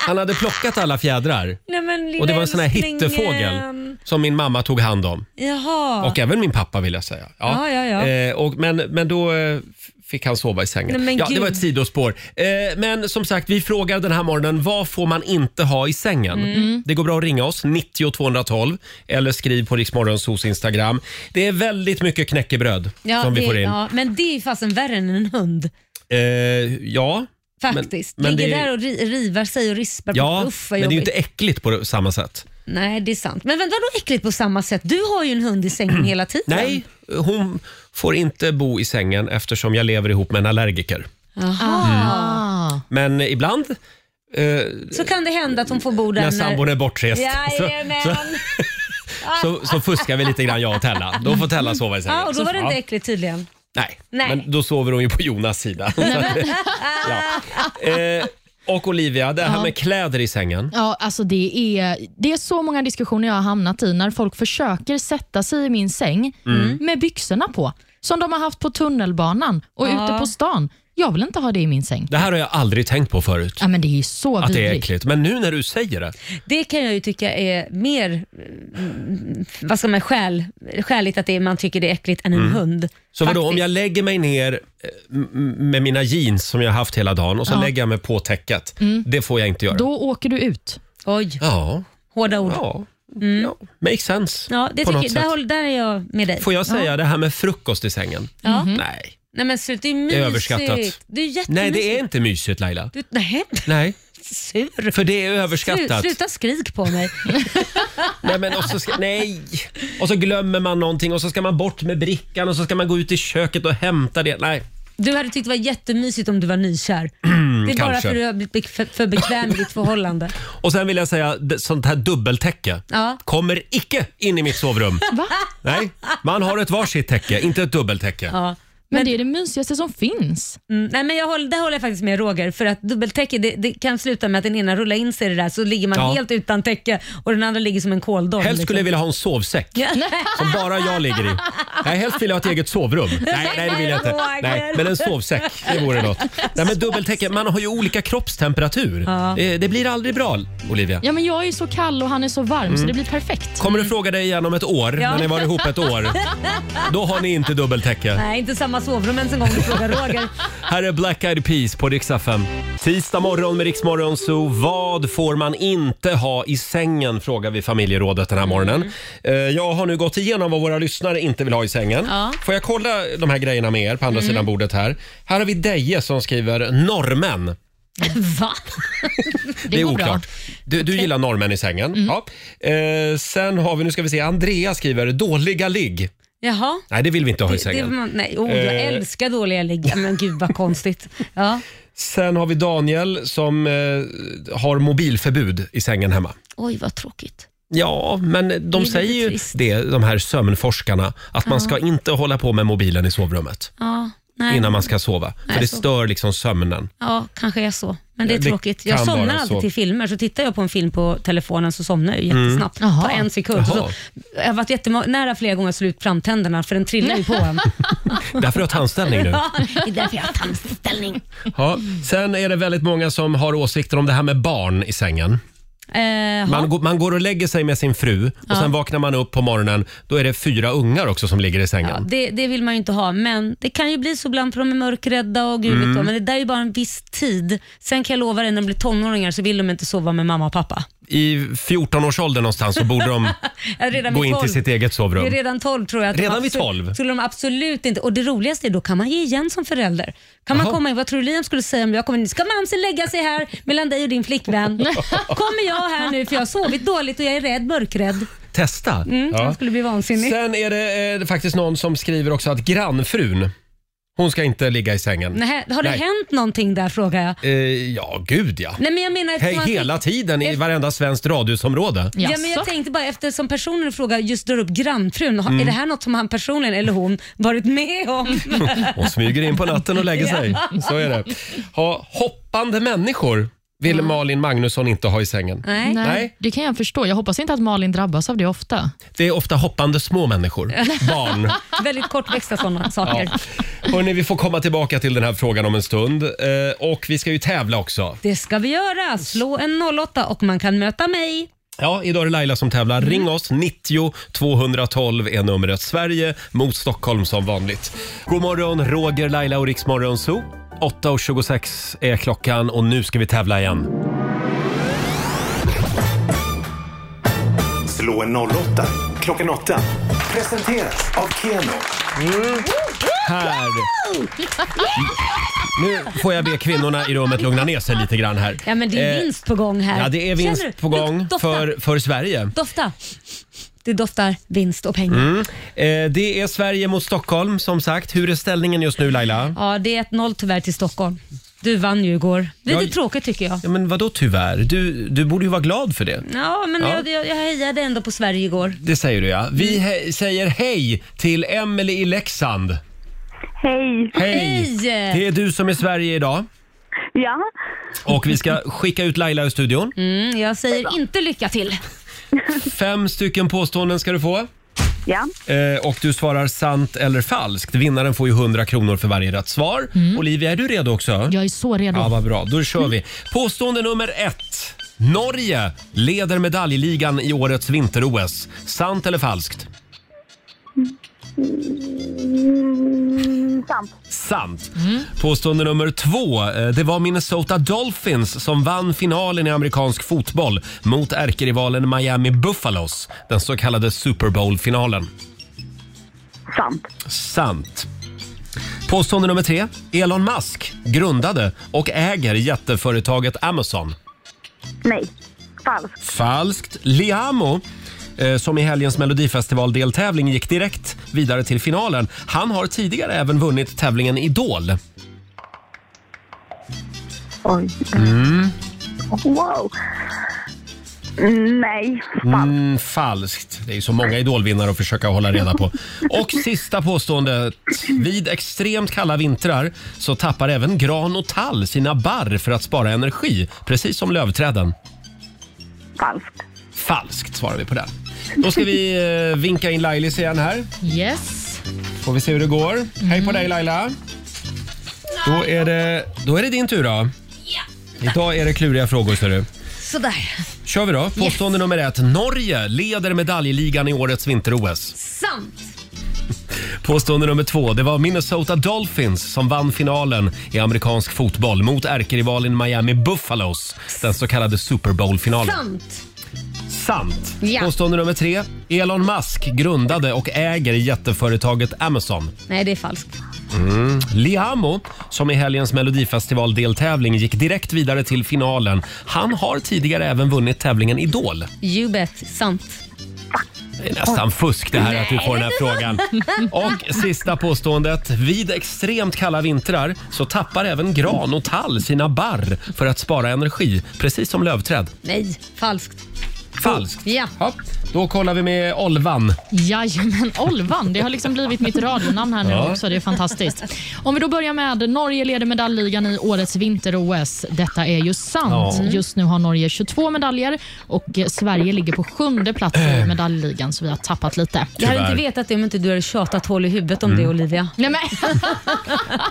Speaker 1: han hade plockat alla fjädrar.
Speaker 2: Nej, men lilla eh,
Speaker 1: Och det var en sån här
Speaker 2: älsklingen.
Speaker 1: hittefågel som min mamma tog hand om.
Speaker 2: Jaha.
Speaker 1: Och även min pappa vill jag säga.
Speaker 2: Ja, ja, ja.
Speaker 1: Eh, och, men, men då eh, f- fick han sova i sängen.
Speaker 2: Nej, men
Speaker 1: ja, det
Speaker 2: gud.
Speaker 1: var ett sidospår. Eh, men som sagt, vi frågar den här morgonen vad får man inte ha i sängen?
Speaker 11: Mm.
Speaker 1: Det går bra att ringa oss, 90 212 eller skriv på Riksmorgonsos Instagram. Det är väldigt mycket knäckebröd
Speaker 2: Ja,
Speaker 1: som vi
Speaker 2: det,
Speaker 1: får in.
Speaker 2: Ja, men det är ju fasen värre än en hund.
Speaker 1: Eh, ja. men-
Speaker 2: Faktiskt.
Speaker 1: men
Speaker 2: Ligger
Speaker 1: det-
Speaker 2: där och ri, rivar sig och rispar
Speaker 1: Ja,
Speaker 2: på Uff, vad
Speaker 1: men det är ju
Speaker 2: jobbigt.
Speaker 1: inte äckligt på samma sätt.
Speaker 2: Nej, det är sant. Men vänta, vadå äckligt på samma sätt? Du har ju en hund i sängen hela tiden.
Speaker 1: Nej, hon får inte bo i sängen eftersom jag lever ihop med en allergiker.
Speaker 3: Ah.
Speaker 2: Aha.
Speaker 1: Men ibland eh,
Speaker 2: Så kan det hända att hon får bo där
Speaker 1: när sambon är bortrest så,
Speaker 2: Jajamän.
Speaker 1: så, så, så fuskar vi lite grann jag och Tella. Då får Tella sova i sängen.
Speaker 2: Ja, och då var det
Speaker 1: Ja.
Speaker 2: inte äckligt tydligen.
Speaker 1: Nej,
Speaker 2: Nej.
Speaker 1: men då sover hon ju på Jonas sida. Så att, ja. eh, och Olivia, det här
Speaker 3: Ja.
Speaker 1: med kläder i sängen.
Speaker 3: Ja, alltså det, är, det är så många diskussioner jag har hamnat i när folk försöker sätta sig i min säng
Speaker 1: Mm.
Speaker 3: med byxorna på, som de har haft på tunnelbanan och
Speaker 1: Ja.
Speaker 3: ute på stan. Jag vill inte ha det i min säng.
Speaker 1: Det här har jag aldrig tänkt på förut.
Speaker 3: Ja, men det är så
Speaker 1: att det är
Speaker 3: vidrigt.
Speaker 1: äckligt. Men nu när du säger det.
Speaker 2: Det kan jag ju tycka är mer, mm, vad ska man skäl, skäligt att det är, man tycker det är äckligt än en
Speaker 1: Mm.
Speaker 2: hund.
Speaker 1: Så vadå, om
Speaker 2: Faktiskt.
Speaker 1: jag lägger mig ner eh, m- m- med mina jeans som jag har haft hela dagen och så
Speaker 3: Ja.
Speaker 1: lägger jag mig på täcket.
Speaker 3: Mm.
Speaker 1: Det får jag inte göra.
Speaker 3: Då åker du ut.
Speaker 2: Oj,
Speaker 1: Ja,
Speaker 2: hårda ord.
Speaker 1: ja.
Speaker 2: Mm.
Speaker 1: ja. Makes sense.
Speaker 2: Ja, det
Speaker 1: på något
Speaker 2: tycker, där,
Speaker 1: sätt.
Speaker 2: håller, där är jag med dig.
Speaker 1: Får jag säga
Speaker 2: ja.
Speaker 1: det här med frukost i sängen? Mm-hmm.
Speaker 2: Ja. Mm-hmm.
Speaker 1: Nej.
Speaker 2: Nej men sluta, det är
Speaker 1: Det är
Speaker 2: mysigt.
Speaker 1: överskattat.
Speaker 2: Det är jättemysigt.
Speaker 1: Nej, det är inte mysigt Laila.
Speaker 2: Du, nej.
Speaker 1: Nej.
Speaker 2: sur.
Speaker 1: För det är överskattat.
Speaker 2: Slu- Sluta skrik på mig.
Speaker 1: Nej, men och så ska, nej! Och så glömmer man någonting och så ska man bort med brickan och så ska man gå ut i köket och hämta det. Nej.
Speaker 2: Du hade tyckt det var jättemysigt om du var nykär. det är bara
Speaker 1: Mm, kanske.
Speaker 2: för att du har blivit bek- för- för bekväm i ditt förhållande.
Speaker 1: Och sen vill jag säga, d- sånt här dubbeltäcke
Speaker 2: Ja.
Speaker 1: kommer icke in i mitt sovrum.
Speaker 3: Va?
Speaker 1: Nej, man har ett varsitt täcke, inte ett dubbeltäcke.
Speaker 2: Ja.
Speaker 3: Men, det är det mysigaste som finns.
Speaker 2: Mm, nej men jag håller, det håller jag faktiskt med Roger, för att dubbeltäcke det, det kan sluta med att den ena rullar in sig i det där så ligger man
Speaker 1: Ja.
Speaker 2: helt utan täcke och den andra ligger som en kåldolk.
Speaker 1: Helst skulle jag vilja
Speaker 2: liksom.
Speaker 1: ha en sovsäck som bara jag ligger i. Nej, helst vill jag ha ett eget sovrum. Nej, nej det vill jag inte. Nej, men en sovsäck, det vore något. Nej, men dubbeltäcke, man har ju olika kroppstemperatur.
Speaker 3: Ja.
Speaker 1: Eh, Det blir aldrig bra, Olivia.
Speaker 3: Ja, men jag är så kall och han är så varm så
Speaker 1: Mm.
Speaker 3: det blir perfekt.
Speaker 1: Kommer du fråga dig igen om ett år, när ni var ihop ett år? Då har ni inte dubbeltäcke.
Speaker 2: Nej, inte samma sovrum ens en gång du frågar Roger.
Speaker 1: Här är Black Eyed Peas på Rix FM. Tisdag morgon med Rix Morgon Zoo. Vad får man inte ha i sängen? Frågar vi familjerådet den här morgonen. Eh, Jag har nu gått igenom vad våra lyssnare inte vill ha i sängen.
Speaker 11: Ja.
Speaker 1: Får jag kolla de här grejerna med er på andra
Speaker 11: Mm.
Speaker 1: sidan bordet här? Här har vi Deje som skriver normen.
Speaker 2: Va?
Speaker 1: Det, är oklart. Du, du gillar normen i sängen. Ja. Eh, sen har vi, nu ska vi se, Andrea skriver dåliga ligg.
Speaker 2: Jaha.
Speaker 1: Nej, det vill vi inte ha i
Speaker 2: Det,
Speaker 1: sängen.
Speaker 2: man- nej, oh, jag
Speaker 1: Eh.
Speaker 2: älskar dåliga ligg. Men gud vad konstigt. Ja.
Speaker 1: Sen har vi Daniel som eh, har mobilförbud i sängen hemma.
Speaker 2: Oj, vad tråkigt.
Speaker 1: Ja, men de
Speaker 2: lite
Speaker 1: säger ju
Speaker 2: trist.
Speaker 1: det, de här sömnforskarna, att man
Speaker 2: Ja.
Speaker 1: ska inte hålla på med mobilen i sovrummet
Speaker 2: Ja, nej.
Speaker 1: innan man ska sova.
Speaker 2: Nej,
Speaker 1: för det
Speaker 2: så.
Speaker 1: stör liksom sömnen.
Speaker 2: Ja, kanske är så. Men det är
Speaker 1: Det
Speaker 2: tråkigt. Jag
Speaker 1: kan
Speaker 2: somnar
Speaker 1: vara
Speaker 2: alltid
Speaker 1: så.
Speaker 2: till filmer, så tittar jag på en film på telefonen så somnar jag ju jättesnabbt.
Speaker 1: Mm.
Speaker 2: På
Speaker 1: Jaha.
Speaker 2: en sekund. Så,
Speaker 1: Jaha.
Speaker 2: jag har varit jättenära flera gånger att slå ut framtänderna, för den trillar ju på en.
Speaker 1: Därför har jag tandställning nu.
Speaker 2: Ja, det är därför jag har tandställning.
Speaker 1: Ja. Sen är det väldigt många som har åsikter om det här med barn i sängen.
Speaker 2: Eh,
Speaker 1: Man, går- man går och lägger sig med sin fru och
Speaker 2: Ja.
Speaker 1: sen vaknar man upp på morgonen. Då är det fyra ungar också som ligger i sängen.
Speaker 2: ja, det, det vill man ju inte ha, men det kan ju bli så ibland för de är mörkrädda och gud vet
Speaker 1: Mm.
Speaker 2: vad, men det där är ju bara en viss tid. Sen kan jag lova dig, när de blir tonåringar så vill de inte sova med mamma och pappa.
Speaker 1: I 14-årsåldern någonstans så borde de
Speaker 2: Ja, Redan
Speaker 1: gå
Speaker 2: vid
Speaker 1: in
Speaker 2: 12.
Speaker 1: till sitt eget
Speaker 2: Det
Speaker 1: sovrum.
Speaker 2: är redan 12 tror jag. att de
Speaker 1: Redan vid
Speaker 2: absolut-
Speaker 1: 12?
Speaker 2: Skulle de absolut inte. Och det roligaste är då kan man ge igen som förälder. Kan man
Speaker 1: Jaha.
Speaker 2: komma in, vad tror du Liam skulle säga om jag kommer in? Ska mamsen lägga sig här mellan dig och din flickvän? kommer jag här nu för jag har sovit dåligt och jag är rädd, mörkrädd.
Speaker 1: Testa.
Speaker 2: Mm,
Speaker 1: Ja.
Speaker 2: Han skulle bli vansinnig.
Speaker 1: Sen är det eh, faktiskt någon som skriver också att grannfrun, hon ska inte ligga i sängen.
Speaker 2: Nej, har det
Speaker 1: Nej.
Speaker 2: hänt någonting där frågar jag.
Speaker 1: Eh, ja, gud ja.
Speaker 2: Nej, men jag menar,
Speaker 1: He-
Speaker 2: man-
Speaker 1: Hela tiden i varenda svenskt radhusområde.
Speaker 2: Ja, men jag tänkte bara eftersom personen i fråga just drar upp grannfrun, har-
Speaker 1: Mm.
Speaker 2: är det här något som han personligen eller hon varit med om?
Speaker 1: Hon smyger in på natten och lägger sig.
Speaker 2: Ja.
Speaker 1: Så är det. Ha, hoppande människor vill Malin Magnusson inte ha i sängen.
Speaker 3: Nej. det kan jag förstå. Jag hoppas inte att Malin drabbas av det ofta.
Speaker 1: Det är ofta hoppande små människor. Barn.
Speaker 2: Väldigt kortväxta sådana saker.
Speaker 1: Ja. Hörrni, vi får komma tillbaka till den här frågan om en stund. Eh, och vi ska ju tävla också.
Speaker 2: Det ska vi göra. Slå en 08 och man kan möta mig.
Speaker 1: Ja, idag är det Laila som tävlar. Ring
Speaker 2: Mm.
Speaker 1: oss, 90 212 är numret. Sverige mot Stockholm som vanligt. God morgon, Roger, Laila och Riksmorgon Zoo. 8.26 är klockan och nu ska vi tävla igen.
Speaker 4: Slå en 08 klockan 8. Presenteras av Keno.
Speaker 1: Här. Nu får jag be kvinnorna i rummet lugna ner sig lite grann här.
Speaker 2: Ja, men det är
Speaker 1: Eh,
Speaker 2: vinst på gång här.
Speaker 1: Ja, det är vinst
Speaker 2: Känner du?
Speaker 1: på gång
Speaker 2: Luk- dofta.
Speaker 1: för, för Sverige.
Speaker 2: Dofta. Det doftar vinst och pengar.
Speaker 1: Mm. Eh, det är Sverige mot Stockholm som sagt. Hur är ställningen just nu Laila?
Speaker 2: Ja, det är 1-0 tyvärr till Stockholm. Du vann ju igår. Lite
Speaker 1: Jag-
Speaker 2: tråkigt tycker jag.
Speaker 1: Ja, men vadå tyvärr? Du, du borde ju vara glad för det.
Speaker 2: Ja, men
Speaker 1: Ja.
Speaker 2: Jag, jag, jag hejade ändå på Sverige igår.
Speaker 1: Det säger du ja. Vi he- säger hej till Emelie i Leksand.
Speaker 5: Hej!
Speaker 1: Hej! Det är du som är Sverige idag
Speaker 5: Ja,
Speaker 1: och vi ska skicka ut Laila ur studion.
Speaker 2: Mm, jag säger inte lycka till.
Speaker 1: Fem stycken påståenden ska du få.
Speaker 5: ja.
Speaker 1: Eh, och du svarar sant eller falskt. Vinnaren får ju 100 kronor för varje rätt svar. Olivia, är du redo också?
Speaker 3: Jag är så redo.
Speaker 1: Mm. Ja, vad bra. Då kör vi. Påstående nummer ett. Norge leder medaljligan i årets vinter-OS. Sant eller falskt?
Speaker 5: Mm, sant.
Speaker 1: Sant. Påstående nummer två. Eh, Det var Minnesota Dolphins som vann finalen i amerikansk fotboll mot ärkerivalen Miami Buffalos, den så kallade Super Bowl-finalen.
Speaker 5: Sant.
Speaker 1: Sant. Påstående nummer tre. Elon Musk grundade och äger jätteföretaget Amazon.
Speaker 5: Nej. Falskt.
Speaker 1: Falskt. Liamo, eh, som i helgens Melodifestival-deltävling gick direkt vidare till finalen. Han har tidigare även vunnit tävlingen Idol.
Speaker 5: Oj.
Speaker 1: Mm.
Speaker 5: Wow. Mm, Nej.
Speaker 1: Mm, falskt. Det är ju så många idolvinnare att försöka hålla reda på. Och sista påståendet. Vid extremt kalla vintrar så tappar även gran och tall sina barr för att spara energi, precis som lövträden.
Speaker 5: Falskt.
Speaker 1: Falskt svarar vi på den. Då ska vi eh, vinka in Lailis igen här.
Speaker 3: Yes.
Speaker 1: Får vi se hur det går. Hej på dig Laila. Då är det, då är det din tur då. Idag är det kluriga frågor ser du.
Speaker 2: Sådär.
Speaker 1: Kör vi då. Påstående nummer ett. Norge leder medaljligan i årets vinter-OS.
Speaker 2: Sant.
Speaker 1: Påstående nummer två. Det var Minnesota Dolphins som vann finalen i amerikansk fotboll mot ärkerivalen Miami Buffalos, den så kallade Super Bowl-finalen.
Speaker 2: Sant.
Speaker 1: Sant.
Speaker 2: Ja.
Speaker 1: Påstående nummer tre. Elon Musk grundade och äger jätteföretaget Amazon.
Speaker 2: Nej, det är falskt.
Speaker 1: Mm. Liamo, som i helgens Melodifestival-deltävling gick direkt vidare till finalen. Han har tidigare även vunnit tävlingen Idol.
Speaker 2: You bet. Sant.
Speaker 1: Det är nästan fusk det här att du får den här frågan. Och sista påståendet. Vid extremt kalla vintrar så tappar även gran och tall sina barr för att spara energi, precis som lövträd.
Speaker 2: Nej, falskt.
Speaker 1: Falskt.
Speaker 2: Ja.
Speaker 1: Då kollar vi med Olvan.
Speaker 3: Jajamän, Olvan. Det har liksom blivit mitt radionamn här nu
Speaker 1: Ja.
Speaker 3: också. Det är fantastiskt. Om vi då börjar med Norge leder medaljligan i årets vinter-OS. Detta är ju sant.
Speaker 11: Ja.
Speaker 3: Just nu har Norge 22 medaljer och eh, Sverige ligger på sjunde plats i medaljligan, så vi har tappat lite.
Speaker 2: Jag hade inte vetat det om inte du hade tjatat hål i huvudet om
Speaker 1: Mm.
Speaker 2: det Olivia.
Speaker 3: Nej, men.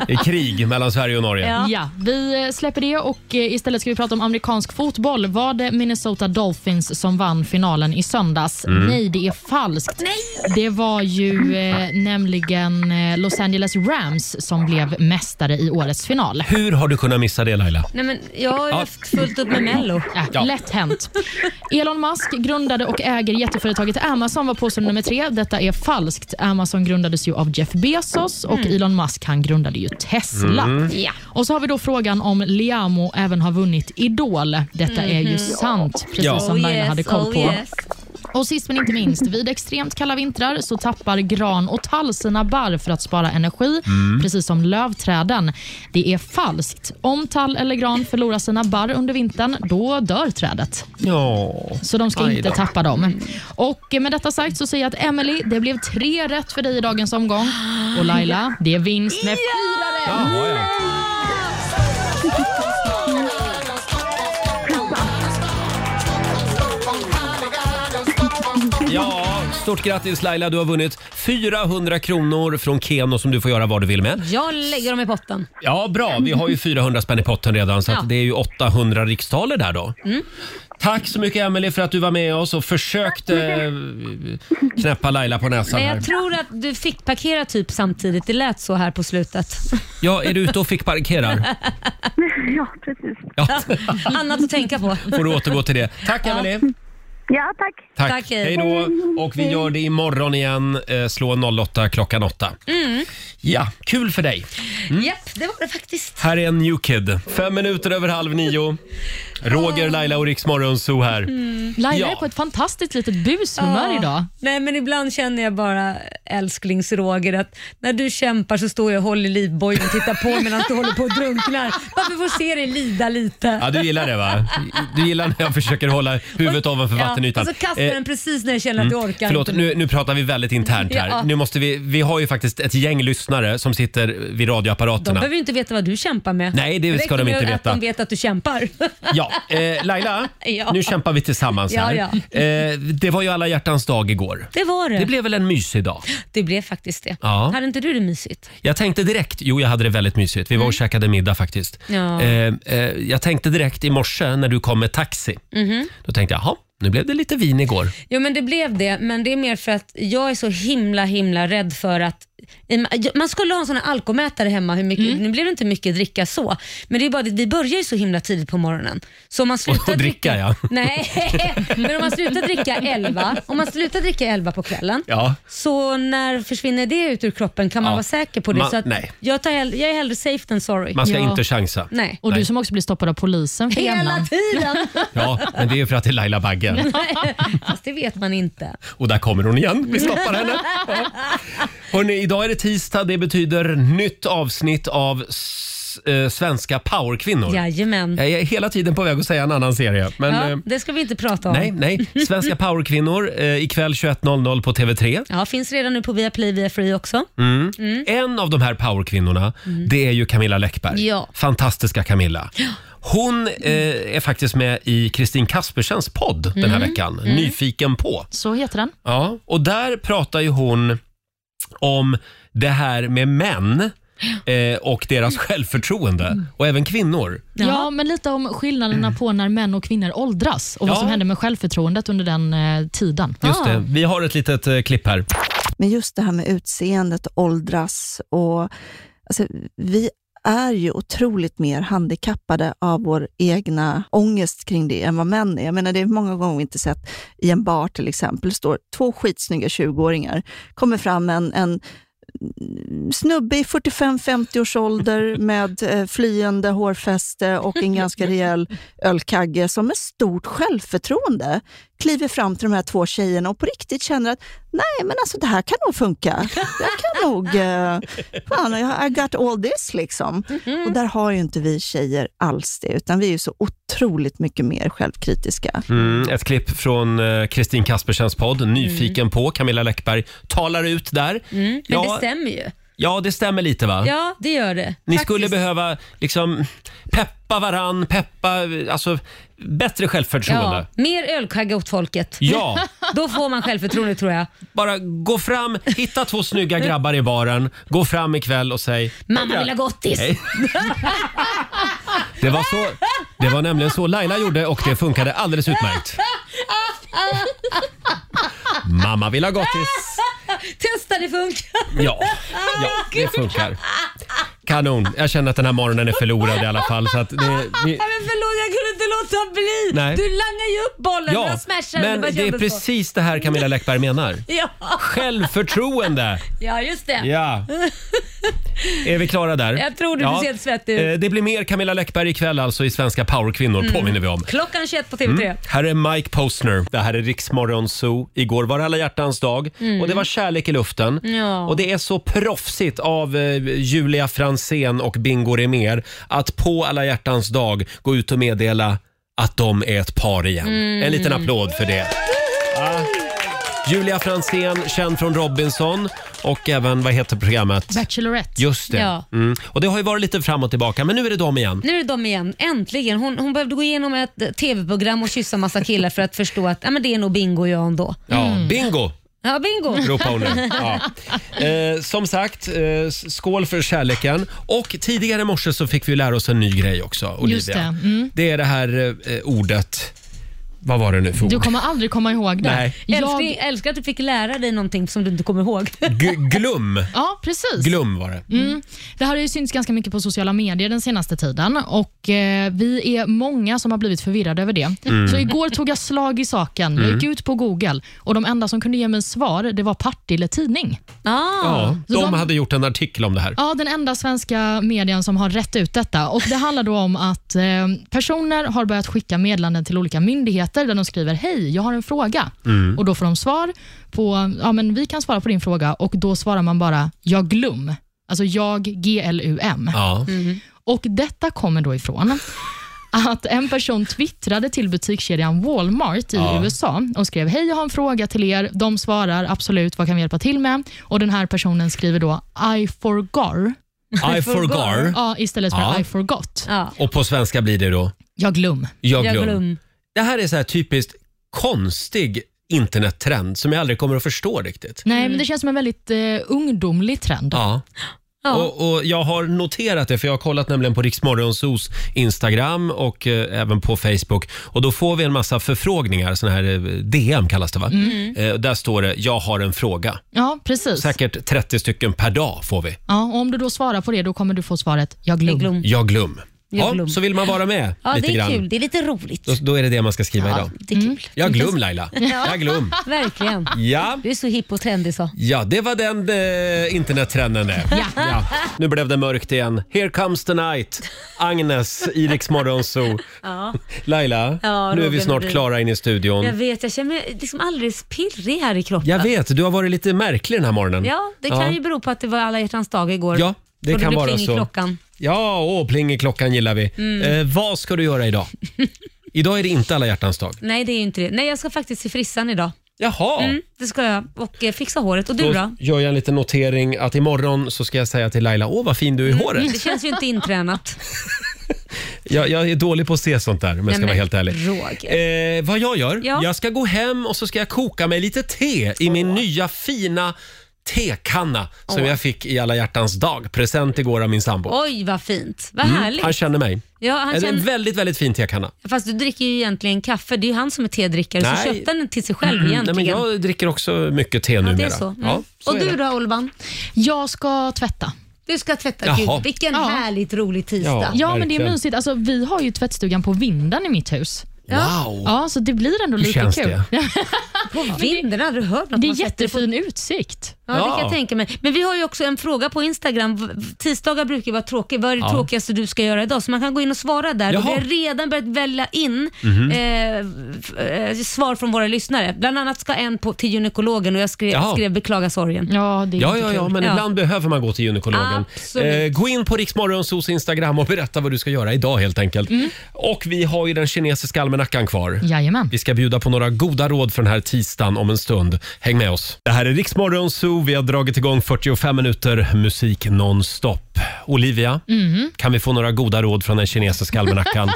Speaker 1: Det är krig mellan Sverige och Norge.
Speaker 3: Ja. vi eh, släpper det och eh, istället ska vi prata om amerikansk fotboll. Var det Minnesota Dolphins som vann finalen i söndags?
Speaker 11: Mm.
Speaker 3: Nej, det är falskt. Det var ju eh, nämligen eh, Los Angeles Rams som blev mästare i årets final.
Speaker 1: Hur har du kunnat missa det Laila?
Speaker 2: Nej, men jag har ju
Speaker 1: Ja.
Speaker 2: haft fullt upp med Mello.
Speaker 3: Äh, Lätt hänt. Elon Musk grundade och äger jätteföretaget Amazon var påstående nummer tre. Detta är falskt. Amazon grundades ju av Jeff Bezos och
Speaker 11: Mm.
Speaker 3: Elon Musk han grundade ju Tesla.
Speaker 11: Mm. Ja.
Speaker 3: Och så har vi då frågan om Liamo även har vunnit Idol. Detta är ju
Speaker 11: Mhm.
Speaker 3: sant, precis
Speaker 11: Ja.
Speaker 3: som
Speaker 11: Oh
Speaker 3: Laila
Speaker 11: yes,
Speaker 3: hade koll
Speaker 11: oh
Speaker 3: på.
Speaker 11: yes.
Speaker 3: Och sist men inte minst, vid extremt kalla vintrar så tappar gran och tall sina barr för att spara energi,
Speaker 11: Mm.
Speaker 3: precis som lövträden. Det är falskt. Om tall eller gran förlorar sina barr under vintern, då dör trädet.
Speaker 1: Ja.
Speaker 3: Så de ska
Speaker 11: Aj
Speaker 3: inte
Speaker 11: då.
Speaker 3: tappa dem. Och med detta sagt så säger jag att Emily, det blev tre rätt för dig i dagens omgång. Och Laila, det är vinst med fyra rätt.
Speaker 1: Ja, stort grattis Laila. Du har vunnit 400 kronor från Keno som du får göra vad du vill med.
Speaker 2: Jag lägger dem i potten.
Speaker 1: Ja, bra. Vi har ju 400 spänn i potten redan så
Speaker 2: Ja.
Speaker 1: att det är ju 800 riksdaler där då.
Speaker 2: Mm.
Speaker 1: Tack så mycket Emelie för att du var med oss och försökte eh, knäppa Laila på näsan
Speaker 2: Men
Speaker 1: här.
Speaker 2: jag tror att du fick parkera typ samtidigt. Det lät så här på slutet.
Speaker 1: Ja, är du ute och fick parkerar?
Speaker 2: ja, precis. Annat att tänka på.
Speaker 1: Får du återgå till det. Tack Emelie.
Speaker 2: Ja, tack.
Speaker 1: Tack. Hej då. Och vi gör det imorgon igen. Eh, Slå 08 klockan 8.
Speaker 2: Mm.
Speaker 1: Ja, kul för dig.
Speaker 2: Japp, det var det faktiskt.
Speaker 1: Här är en new kid. Fem minuter över halv nio. Roger, Laila och Riks Morgonzoo här.
Speaker 2: Mm.
Speaker 3: Laila
Speaker 1: Ja.
Speaker 3: är på ett fantastiskt litet bushumör
Speaker 2: Ja.
Speaker 3: idag.
Speaker 2: Nej, men ibland känner jag bara älsklingsroger att när du kämpar så står jag och håller i livbojen och tittar på medan du håller på och drunknar. Varför får se dig lida lite?
Speaker 1: Ja, du gillar det va? Du gillar när jag försöker hålla huvudet ovanför
Speaker 2: Ja,
Speaker 1: vattenytan.
Speaker 2: och så kastar
Speaker 1: Eh, mm.
Speaker 2: den precis när jag känner att jag orkar
Speaker 1: Förlåt,
Speaker 2: inte.
Speaker 1: nu, nu pratar vi väldigt internt här.
Speaker 2: Ja.
Speaker 1: Nu måste vi, vi har ju faktiskt ett gäng lyssnare som sitter vid
Speaker 2: De
Speaker 1: radioapparaterna.
Speaker 2: behöver ju inte veta vad du kämpar med.
Speaker 1: Nej, det ska
Speaker 2: räcker
Speaker 1: de
Speaker 2: med
Speaker 1: inte
Speaker 2: att
Speaker 1: veta.
Speaker 2: de vet att du kämpar.
Speaker 1: Ja, eh, Laila,
Speaker 2: Ja.
Speaker 1: nu kämpar vi tillsammans
Speaker 2: Ja,
Speaker 1: här.
Speaker 2: ja.
Speaker 1: Eh, det var ju alla hjärtans dag igår.
Speaker 2: Det var det.
Speaker 1: Det blev väl en mysig dag?
Speaker 2: Det blev faktiskt det.
Speaker 1: Ja.
Speaker 2: Hade inte du det mysigt?
Speaker 1: Jag tänkte direkt, jo jag hade det väldigt mysigt. Vi var och käkade middag faktiskt.
Speaker 2: Mm. Ja.
Speaker 1: Eh, eh, jag tänkte direkt i morse när du kom med taxi.
Speaker 2: Mhm.
Speaker 1: Då tänkte jag, jaha, nu blev det lite vin igår.
Speaker 2: Jo men det blev det, men det är mer för att jag är så himla himla rädd för att i- man skulle ha en sån här alkomätare hemma, hur
Speaker 1: Mm.
Speaker 2: mycket, nu blev det inte mycket dricka så, men det är bara det, vi börjar ju så himla tidigt på morgonen. Så om man slutar
Speaker 1: Och dricka, ja.
Speaker 2: Nej, men om man slutar dricka 11, om man slutar dricka 11 på kvällen,
Speaker 1: Ja.
Speaker 2: så när försvinner det ut ur kroppen kan man
Speaker 1: Ja.
Speaker 2: vara säker på det.
Speaker 1: Man-
Speaker 2: så att
Speaker 1: nej.
Speaker 2: jag, tar hell- jag är hellre safe than sorry.
Speaker 1: Man ska inte chansa.
Speaker 2: Nej.
Speaker 3: Och du som också blir stoppad av polisen för
Speaker 2: Hela
Speaker 3: hemma.
Speaker 2: tiden!
Speaker 1: Ja, men det är för att det är Laila Bagge.
Speaker 2: Nej, Fast det vet man inte.
Speaker 1: Och där kommer hon igen. Vi stoppar henne. Hörrni, idag är det tisdag. Det betyder nytt avsnitt av s- eh, Svenska powerkvinnor.
Speaker 2: Jajamän.
Speaker 1: Jag är hela tiden på väg att säga en annan serie. Men,
Speaker 2: ja,
Speaker 1: eh,
Speaker 2: det ska vi inte prata om.
Speaker 1: nej, nej. Svenska powerkvinnor eh, ikväll 21.00 på TV3.
Speaker 2: Ja, finns redan nu på Viaplay, via Free också.
Speaker 1: Mm.
Speaker 2: Mm.
Speaker 1: En av de här powerkvinnorna, det är ju Camilla Läckberg.
Speaker 2: Ja.
Speaker 1: Fantastiska Camilla. Hon eh, är faktiskt med i Kristin Kaspersens podd den här
Speaker 3: Mm.
Speaker 1: veckan,
Speaker 3: Mm.
Speaker 1: Nyfiken på.
Speaker 3: Så heter den.
Speaker 1: Ja, och där pratar ju hon om det här med män eh, och deras
Speaker 2: Mm.
Speaker 1: självförtroende och även kvinnor.
Speaker 3: Ja. men lite om skillnaderna på när män och kvinnor åldras och vad
Speaker 1: Ja.
Speaker 3: som händer med självförtroendet under den eh, tiden.
Speaker 2: Ah.
Speaker 1: Just det, vi har ett litet eh, klipp här.
Speaker 11: Men just det här med utseendet, åldras och... Alltså, vi är ju otroligt mer handikappade av vår egna ångest kring det än vad män är. Jag menar, det är många gånger vi inte sett i en bar till exempel, står två skitsnygga 20-åringar, kommer fram en, en snubbe i 45-50 års ålder med eh, flyende hårfäste och en ganska rejäl ölkagge som med stort självförtroende kliver fram till de här två tjejerna och på riktigt känner att nej, men alltså det här kan nog funka. Jag kan nog... Eh, fan, I- I got all this liksom. Och där har ju inte vi tjejer alls det, utan vi är ju så otroligt mycket mer självkritiska.
Speaker 1: Mm, ett klipp från eh, Kristin Kaspersens podd Nyfiken på. Camilla Läckberg talar ut där.
Speaker 2: Mm, men
Speaker 1: Ja.
Speaker 2: det stämmer ju.
Speaker 1: Ja, det stämmer lite va?
Speaker 2: Ja, det gör det.
Speaker 1: Ni
Speaker 2: Faktiskt.
Speaker 1: skulle behöva liksom peppa varann, peppa, alltså bättre självförtroende.
Speaker 2: Ja, mer ölkagge åt folket.
Speaker 1: Ja.
Speaker 2: Då får man självförtroende tror jag.
Speaker 1: Bara gå fram, hitta två snygga grabbar i baren, gå fram ikväll och säg
Speaker 2: Mamma vill ha gottis.
Speaker 1: Nej. Det var, så, det var nämligen så Laila gjorde och det funkade alldeles utmärkt. Mamma vill ha gottis.
Speaker 2: Testa det funkar.
Speaker 1: Ja, ja det funkar. Kanon. Jag känner att den här morgonen är förlorad i alla fall. Så att det,
Speaker 2: Nej,
Speaker 1: vi,
Speaker 2: men förlåt, jag kunde inte låta bli.
Speaker 1: Nej.
Speaker 2: Du langar ju upp bollen och jag smashade
Speaker 1: men
Speaker 2: vad jag
Speaker 1: det är
Speaker 2: kände på.
Speaker 1: precis det här Camilla Läckberg menar.
Speaker 2: Ja.
Speaker 1: Självförtroende!
Speaker 2: ja, just det.
Speaker 1: Ja. Är vi klara där?
Speaker 2: Jag tror det, du ser helt svettig ut.
Speaker 1: Eh, Det blir mer Camilla Läckberg ikväll alltså i Svenska powerkvinnor,
Speaker 2: Mm.
Speaker 1: påminner vi om.
Speaker 2: Klockan 21 på TV3.
Speaker 1: Mm. Här är Mike Postner. Det här är Riksmorgon Zoo. Igår var det alla hjärtans dag
Speaker 2: Mm.
Speaker 1: och det var kärlek i luften.
Speaker 2: Ja.
Speaker 1: Och det är så proffsigt av eh, Julia Fransén och Bingo Rimér att på alla hjärtans dag gå ut och meddela att de är ett par igen.
Speaker 7: Mm.
Speaker 1: En liten applåd för det. Ja. Julia Fransén, känd från Robinson och även, vad heter programmet?
Speaker 3: Bachelorette.
Speaker 1: Just det.
Speaker 2: Ja.
Speaker 1: Mm. Och det har ju varit lite fram och tillbaka, men nu är det de igen.
Speaker 2: Nu är det de igen, äntligen. Hon, hon behövde gå igenom ett eh, TV-program och kyssa massa killar för att förstå att ja, men det är nog bingo jag ändå.
Speaker 1: Ja, bingo!
Speaker 2: Ja, bingo.
Speaker 1: ropar hon nu. Ja. Eh, som sagt, eh, s- skål för kärleken. Och tidigare i morse så fick vi lära oss en ny grej också, Olivia.
Speaker 3: Just det. Mm.
Speaker 1: det är det här eh, ordet... Vad var det nu för ord?
Speaker 3: Du kommer aldrig komma ihåg det.
Speaker 1: Nej.
Speaker 3: Jag...
Speaker 2: Älskling, jag älskar att du fick lära dig någonting som du inte kommer ihåg.
Speaker 1: G- glum.
Speaker 3: Ja, precis.
Speaker 1: Glum var det.
Speaker 3: Mm. Det här har ju synts ganska mycket på sociala medier den senaste tiden och eh, vi är många som har blivit förvirrade över det.
Speaker 12: Mm.
Speaker 3: Så igår tog jag slag i saken. Jag gick
Speaker 12: Mm.
Speaker 3: ut på Google och de enda som kunde ge mig svar det var Partille Tidning.
Speaker 2: Ah.
Speaker 1: Ja,
Speaker 3: Så
Speaker 1: de hade gjort en artikel om det här.
Speaker 3: Ja, den enda svenska medien som har rätt ut detta. Och Det handlar då om att eh, personer har börjat skicka meddelanden till olika myndigheter där de skriver “Hej, jag har en fråga”
Speaker 12: Mm.
Speaker 3: och då får de svar på “Ja, men vi kan svara på din fråga” och då svarar man bara “Jag glum”. Alltså jag, G-L-U-M.
Speaker 1: Ja.
Speaker 3: Och detta kommer då ifrån att en person twittrade till butikskedjan Walmart i
Speaker 12: Ja.
Speaker 3: USA och skrev “Hej, jag har en fråga till er”. De svarar “Absolut, vad kan vi hjälpa till med?” och den här personen skriver då “I forgar”.
Speaker 1: I forgar.
Speaker 3: Ja, istället för
Speaker 1: Ja.
Speaker 3: I forgot.
Speaker 1: Och på svenska blir det då?
Speaker 3: Jag glum.
Speaker 1: Jag glum. Det här är så här typiskt konstig
Speaker 3: Mm.
Speaker 1: internettrend som jag aldrig kommer att förstå riktigt.
Speaker 2: Mm.
Speaker 3: Nej, men det känns som en väldigt eh, ungdomlig trend.
Speaker 1: Ja.
Speaker 2: Ja.
Speaker 1: Och, och jag har noterat det, för jag har kollat nämligen på Riksmorgonsos Instagram och eh, även på Facebook. Och då får vi en massa förfrågningar, såna här eh, DM kallas det va?
Speaker 3: Mm.
Speaker 1: Eh, där står det, jag har en fråga.
Speaker 3: Ja, precis.
Speaker 1: Säkert 30 stycken per dag får vi.
Speaker 3: Ja, och om du då svarar på det, då kommer du få svaret jag glöm.
Speaker 1: Jag glöm.
Speaker 3: Jag
Speaker 1: Ja,
Speaker 3: glöm.
Speaker 1: så vill man vara med
Speaker 2: Ja,
Speaker 1: lite
Speaker 2: det är
Speaker 1: grann.
Speaker 2: kul. Det är lite roligt.
Speaker 1: Då, då är det det man ska skriva idag.
Speaker 2: Det är kul.
Speaker 1: Jag glöm Laila. Jag glöm.
Speaker 2: Verkligen.
Speaker 1: Ja.
Speaker 2: Du är så hipp och trendig så.
Speaker 1: Ja, det var den eh, internettrenden det. Ja. Nu blev det mörkt igen. Here comes the night. Agnes i Rix Morgon Zoo.
Speaker 2: Ja.
Speaker 1: Laila,
Speaker 2: Ja,
Speaker 1: nu är vi
Speaker 2: Roger,
Speaker 1: snart
Speaker 2: du-
Speaker 1: klara in i studion.
Speaker 2: Jag vet, jag känner mig liksom alldeles pirrig här i kroppen.
Speaker 1: Jag vet, du har varit lite märklig den här morgonen.
Speaker 2: Ja, det kan ju bero på att det var alla hjärtans dag igår.
Speaker 1: Ja, det
Speaker 2: och
Speaker 1: kan
Speaker 2: blev
Speaker 1: vara
Speaker 2: pling i
Speaker 1: så.
Speaker 2: klockan.
Speaker 1: Ja, åh, pling i klockan gillar vi.
Speaker 2: Mm.
Speaker 1: Eh, vad ska du göra idag? idag är det inte alla hjärtans dag.
Speaker 2: Nej, det är ju inte det. Nej, jag ska faktiskt till frissan idag.
Speaker 1: Jaha.
Speaker 2: Mm, det ska jag. Och eh, fixa håret. Och du
Speaker 1: Då
Speaker 2: då?
Speaker 1: gör jag en liten notering att imorgon så ska jag säga till Laila, åh vad fin du är i håret.
Speaker 2: Det känns ju inte intränat.
Speaker 1: Jag, jag är dålig på att se sånt där om jag
Speaker 2: Nej,
Speaker 1: ska vara
Speaker 2: men
Speaker 1: helt ärlig.
Speaker 2: Roger.
Speaker 1: Eh, vad jag gör?
Speaker 2: Ja.
Speaker 1: Jag ska gå hem och så ska jag koka mig lite te i min nya fina tekanna som
Speaker 2: Åh.
Speaker 1: jag fick i alla hjärtans dag. Present igår av min sambo.
Speaker 2: Oj, vad fint. Vad
Speaker 1: Mm,
Speaker 2: härligt.
Speaker 1: Han känner mig.
Speaker 2: Ja, han
Speaker 1: en
Speaker 2: känner-
Speaker 1: väldigt, väldigt fin tekanna. Mm.
Speaker 2: Fast du dricker ju egentligen kaffe. Det är ju han som är tedrickare,
Speaker 1: Nej. Mm,
Speaker 2: så köpte han den till sig själv
Speaker 1: Nej,
Speaker 2: egentligen.
Speaker 1: men jag dricker också mycket te numera.
Speaker 2: det är så. Mm.
Speaker 1: Ja, så
Speaker 2: och
Speaker 1: är
Speaker 2: du
Speaker 1: det.
Speaker 2: då Olban?
Speaker 3: Jag ska tvätta.
Speaker 2: Du ska tvätta.
Speaker 1: Jaha.
Speaker 2: Gud, vilken
Speaker 3: Ja.
Speaker 2: härligt rolig tisdag.
Speaker 1: Ja,
Speaker 3: Ja, men det är
Speaker 1: verkligen.
Speaker 3: mysigt. Alltså, vi har ju tvättstugan på vinden i mitt hus.
Speaker 1: Wow.
Speaker 3: Ja, så det blir ändå
Speaker 1: Hur
Speaker 3: lite
Speaker 1: känns
Speaker 3: kul.
Speaker 2: På vinden, hade du hört något?
Speaker 3: Det
Speaker 2: man
Speaker 3: är
Speaker 2: sätter på-
Speaker 3: jättefin utsikt.
Speaker 2: Ja, det kan jag tänka mig. Men vi har ju också en fråga på Instagram. V- v- Tisdagar brukar ju vara tråkiga. Vad är det
Speaker 3: Ja.
Speaker 2: tråkigaste du ska göra idag? Så man kan gå in och svara där. Och vi
Speaker 3: Jaha.
Speaker 2: har redan börjat välja in
Speaker 3: Mhm.
Speaker 2: eh, f- eh, svar från våra lyssnare. Bland annat ska en på, till gynekologen och jag skrev,
Speaker 1: Jaha.
Speaker 2: skrev beklaga sorgen.
Speaker 3: Ja,
Speaker 1: Ja, ja, ja, men ibland behöver man gå till gynekologen. Eh,
Speaker 2: Absolut.
Speaker 1: gå in på Riksmorgonsos Instagram och berätta vad du ska göra idag helt enkelt.
Speaker 2: Mm.
Speaker 1: Och vi har ju den kinesiska almanackan kvar.
Speaker 3: Jajamän.
Speaker 1: Vi ska bjuda på några goda råd för den här tisdagen om en stund. Häng med oss. Det här är Riksmorgonso. Vi har dragit igång 45 minuter musik nonstop. Olivia,
Speaker 3: Mm.
Speaker 1: kan vi få några goda råd från den kinesiska almanackan?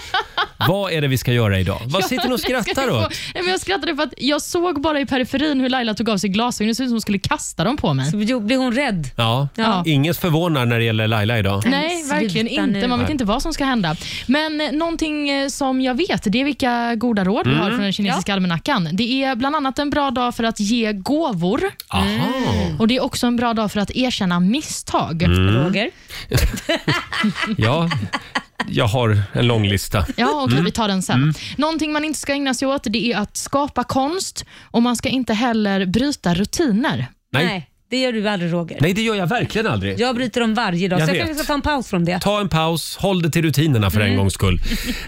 Speaker 1: vad är det vi ska göra idag? Vad
Speaker 3: Ja,
Speaker 1: sitter ni och
Speaker 3: det ska
Speaker 1: skrattar
Speaker 3: du få.
Speaker 1: åt?
Speaker 3: Nej, men jag skrattade för att jag såg bara i periferin hur Laila tog av sig glasögonen. Det såg ut som hon skulle kasta dem på mig.
Speaker 1: Mm.
Speaker 2: Så blev hon rädd?
Speaker 1: Ja,
Speaker 3: Ja.
Speaker 1: inget förvånar när det gäller Laila idag.
Speaker 3: Nej, verkligen
Speaker 2: sluta
Speaker 3: inte.
Speaker 2: nu.
Speaker 3: Man vet
Speaker 1: Nej.
Speaker 3: inte vad som ska hända. Men eh, någonting eh, som jag vet, det är vilka goda råd vi
Speaker 1: Mm.
Speaker 3: har från den kinesiska almanackan. Det är bland annat en bra dag för att ge gåvor. Mm.
Speaker 1: Aha.
Speaker 3: Och Det är också en bra dag för att erkänna misstag.
Speaker 1: Mm. Roger? Ja, jag har en lång lista.
Speaker 3: Ja, okej,
Speaker 1: Mm.
Speaker 3: vi tar den sen. Någonting man inte ska ägna sig åt det är att skapa konst och man ska inte heller bryta rutiner.
Speaker 1: Nej.
Speaker 2: det gör du aldrig Roger.
Speaker 1: Nej, det gör jag verkligen aldrig.
Speaker 2: Jag bryter dem varje dag,
Speaker 1: Jag
Speaker 2: så jag
Speaker 1: vet.
Speaker 2: kanske ska ta en paus från det.
Speaker 1: Ta en paus, håll det till rutinerna för en
Speaker 2: Mm.
Speaker 1: gångs skull.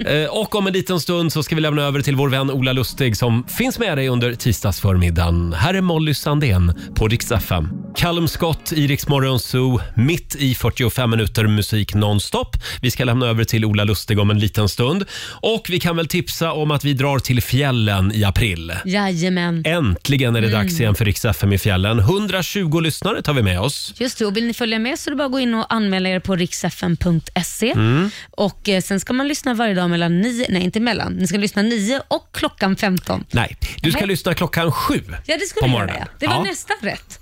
Speaker 1: Eh, och om en liten stund så ska vi lämna över till vår vän Ola Lustig som finns med dig under tisdagsförmiddagen. Här är Molly Sandén på Rix FM. Callum Scott i Rix Morgon Zoo, mitt i 45 minuter musik nonstop. Vi ska lämna över till Ola Lustig om en liten stund. Och vi kan väl tipsa om att vi drar till fjällen i april.
Speaker 2: Jajamän.
Speaker 1: Äntligen är det
Speaker 2: Mm.
Speaker 1: dags igen för Rix FM i fjällen. 120 lyssnare tar vi med oss.
Speaker 2: Just det, och vill ni följa med så är det bara att gå in och anmäla er på riksfn.se.
Speaker 1: Mm.
Speaker 2: Och eh, sen ska man lyssna varje dag mellan 9, nej inte mellan, ni ska lyssna 9 och klockan 15.
Speaker 1: Nej, du ska
Speaker 2: Nej.
Speaker 1: lyssna klockan sju
Speaker 2: Ja, det skulle
Speaker 1: på
Speaker 2: jag
Speaker 1: morgonen.
Speaker 2: göra. ja. Det var
Speaker 1: Ja.
Speaker 2: nästan rätt.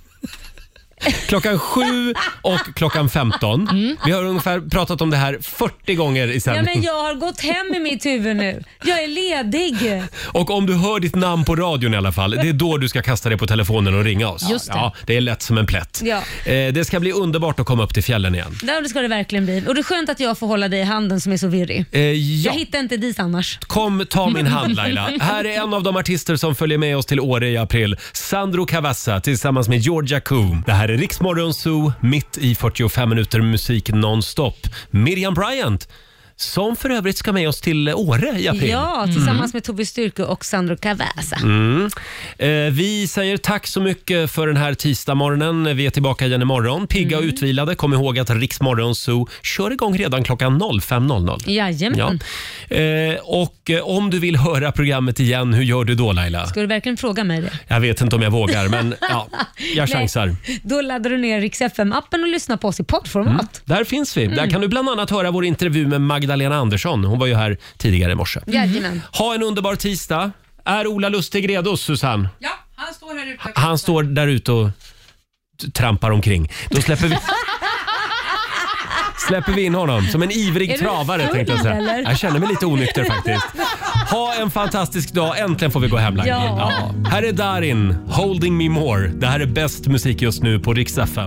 Speaker 1: Klockan sju och klockan 15. Vi har ungefär pratat om det här 40 gånger i
Speaker 2: Mm. Ja,
Speaker 1: sändning.
Speaker 2: men jag har gått hem i mitt huvud nu. Jag är ledig.
Speaker 1: Och om du hör ditt namn på radion i alla fall, det är då du ska kasta dig på telefonen och ringa oss.
Speaker 2: Just det.
Speaker 1: Ja, det är lätt som en plätt.
Speaker 2: Ja.
Speaker 1: Eh, det ska bli underbart att komma upp till fjällen igen.
Speaker 2: Ja, det ska det verkligen bli. Och det är skönt att jag får hålla dig i handen som är så virrig.
Speaker 1: Eh, ja.
Speaker 2: Jag hittar inte dit annars.
Speaker 1: Kom, ta min hand Laila. Här är en av de artister som följer med oss till Åre i april. Sandro Cavazza tillsammans med Georgia Coom. Det här är Riksmorgon Zoo, mitt i 45 minuter musik nonstop. Miriam Bryant, som för övrigt ska med oss till Åre i april.
Speaker 2: Ja, tillsammans med Tobbe Styrke och Sandro Cavazza.
Speaker 1: Mm. Eh, vi säger tack så mycket för den här tisdagsmorgonen. Vi är tillbaka igen imorgon, pigga och utvilade. Kom ihåg att Riksmorgon Zoo kör igång redan klockan 05.00.
Speaker 2: Jajamän.
Speaker 1: Ja.
Speaker 2: Mm.
Speaker 1: Eh, och eh, om du vill höra programmet igen, hur gör du då Laila?
Speaker 2: Ska du verkligen fråga mig det?
Speaker 1: Jag vet inte om jag vågar, men ja, jag chansar.
Speaker 2: Nej, då laddar du ner Rix FM-appen och lyssnar på oss i poddformat.
Speaker 1: Där finns vi. Där
Speaker 2: Mm.
Speaker 1: kan du bland annat höra vår intervju med Magdalena Andersson. Hon var ju här tidigare i morse.
Speaker 2: Jajamän.
Speaker 1: Ha en underbar tisdag. Är Ola Lustig redo, Susanne?
Speaker 6: Ja, han står här ute.
Speaker 1: Han står där ute och t- trampar omkring. Då släpper vi... släpper vi in honom som en
Speaker 12: Är
Speaker 1: ivrig
Speaker 12: du
Speaker 1: travare
Speaker 12: full,
Speaker 1: tänkte jag säga.
Speaker 12: eller?
Speaker 1: Jag känner mig lite onykter faktiskt. Ha en fantastisk dag. Äntligen får vi gå hem Laila.
Speaker 12: Ja.
Speaker 1: Här är Darin, Holding Me More. Det här är bäst musik just nu på Rix FM.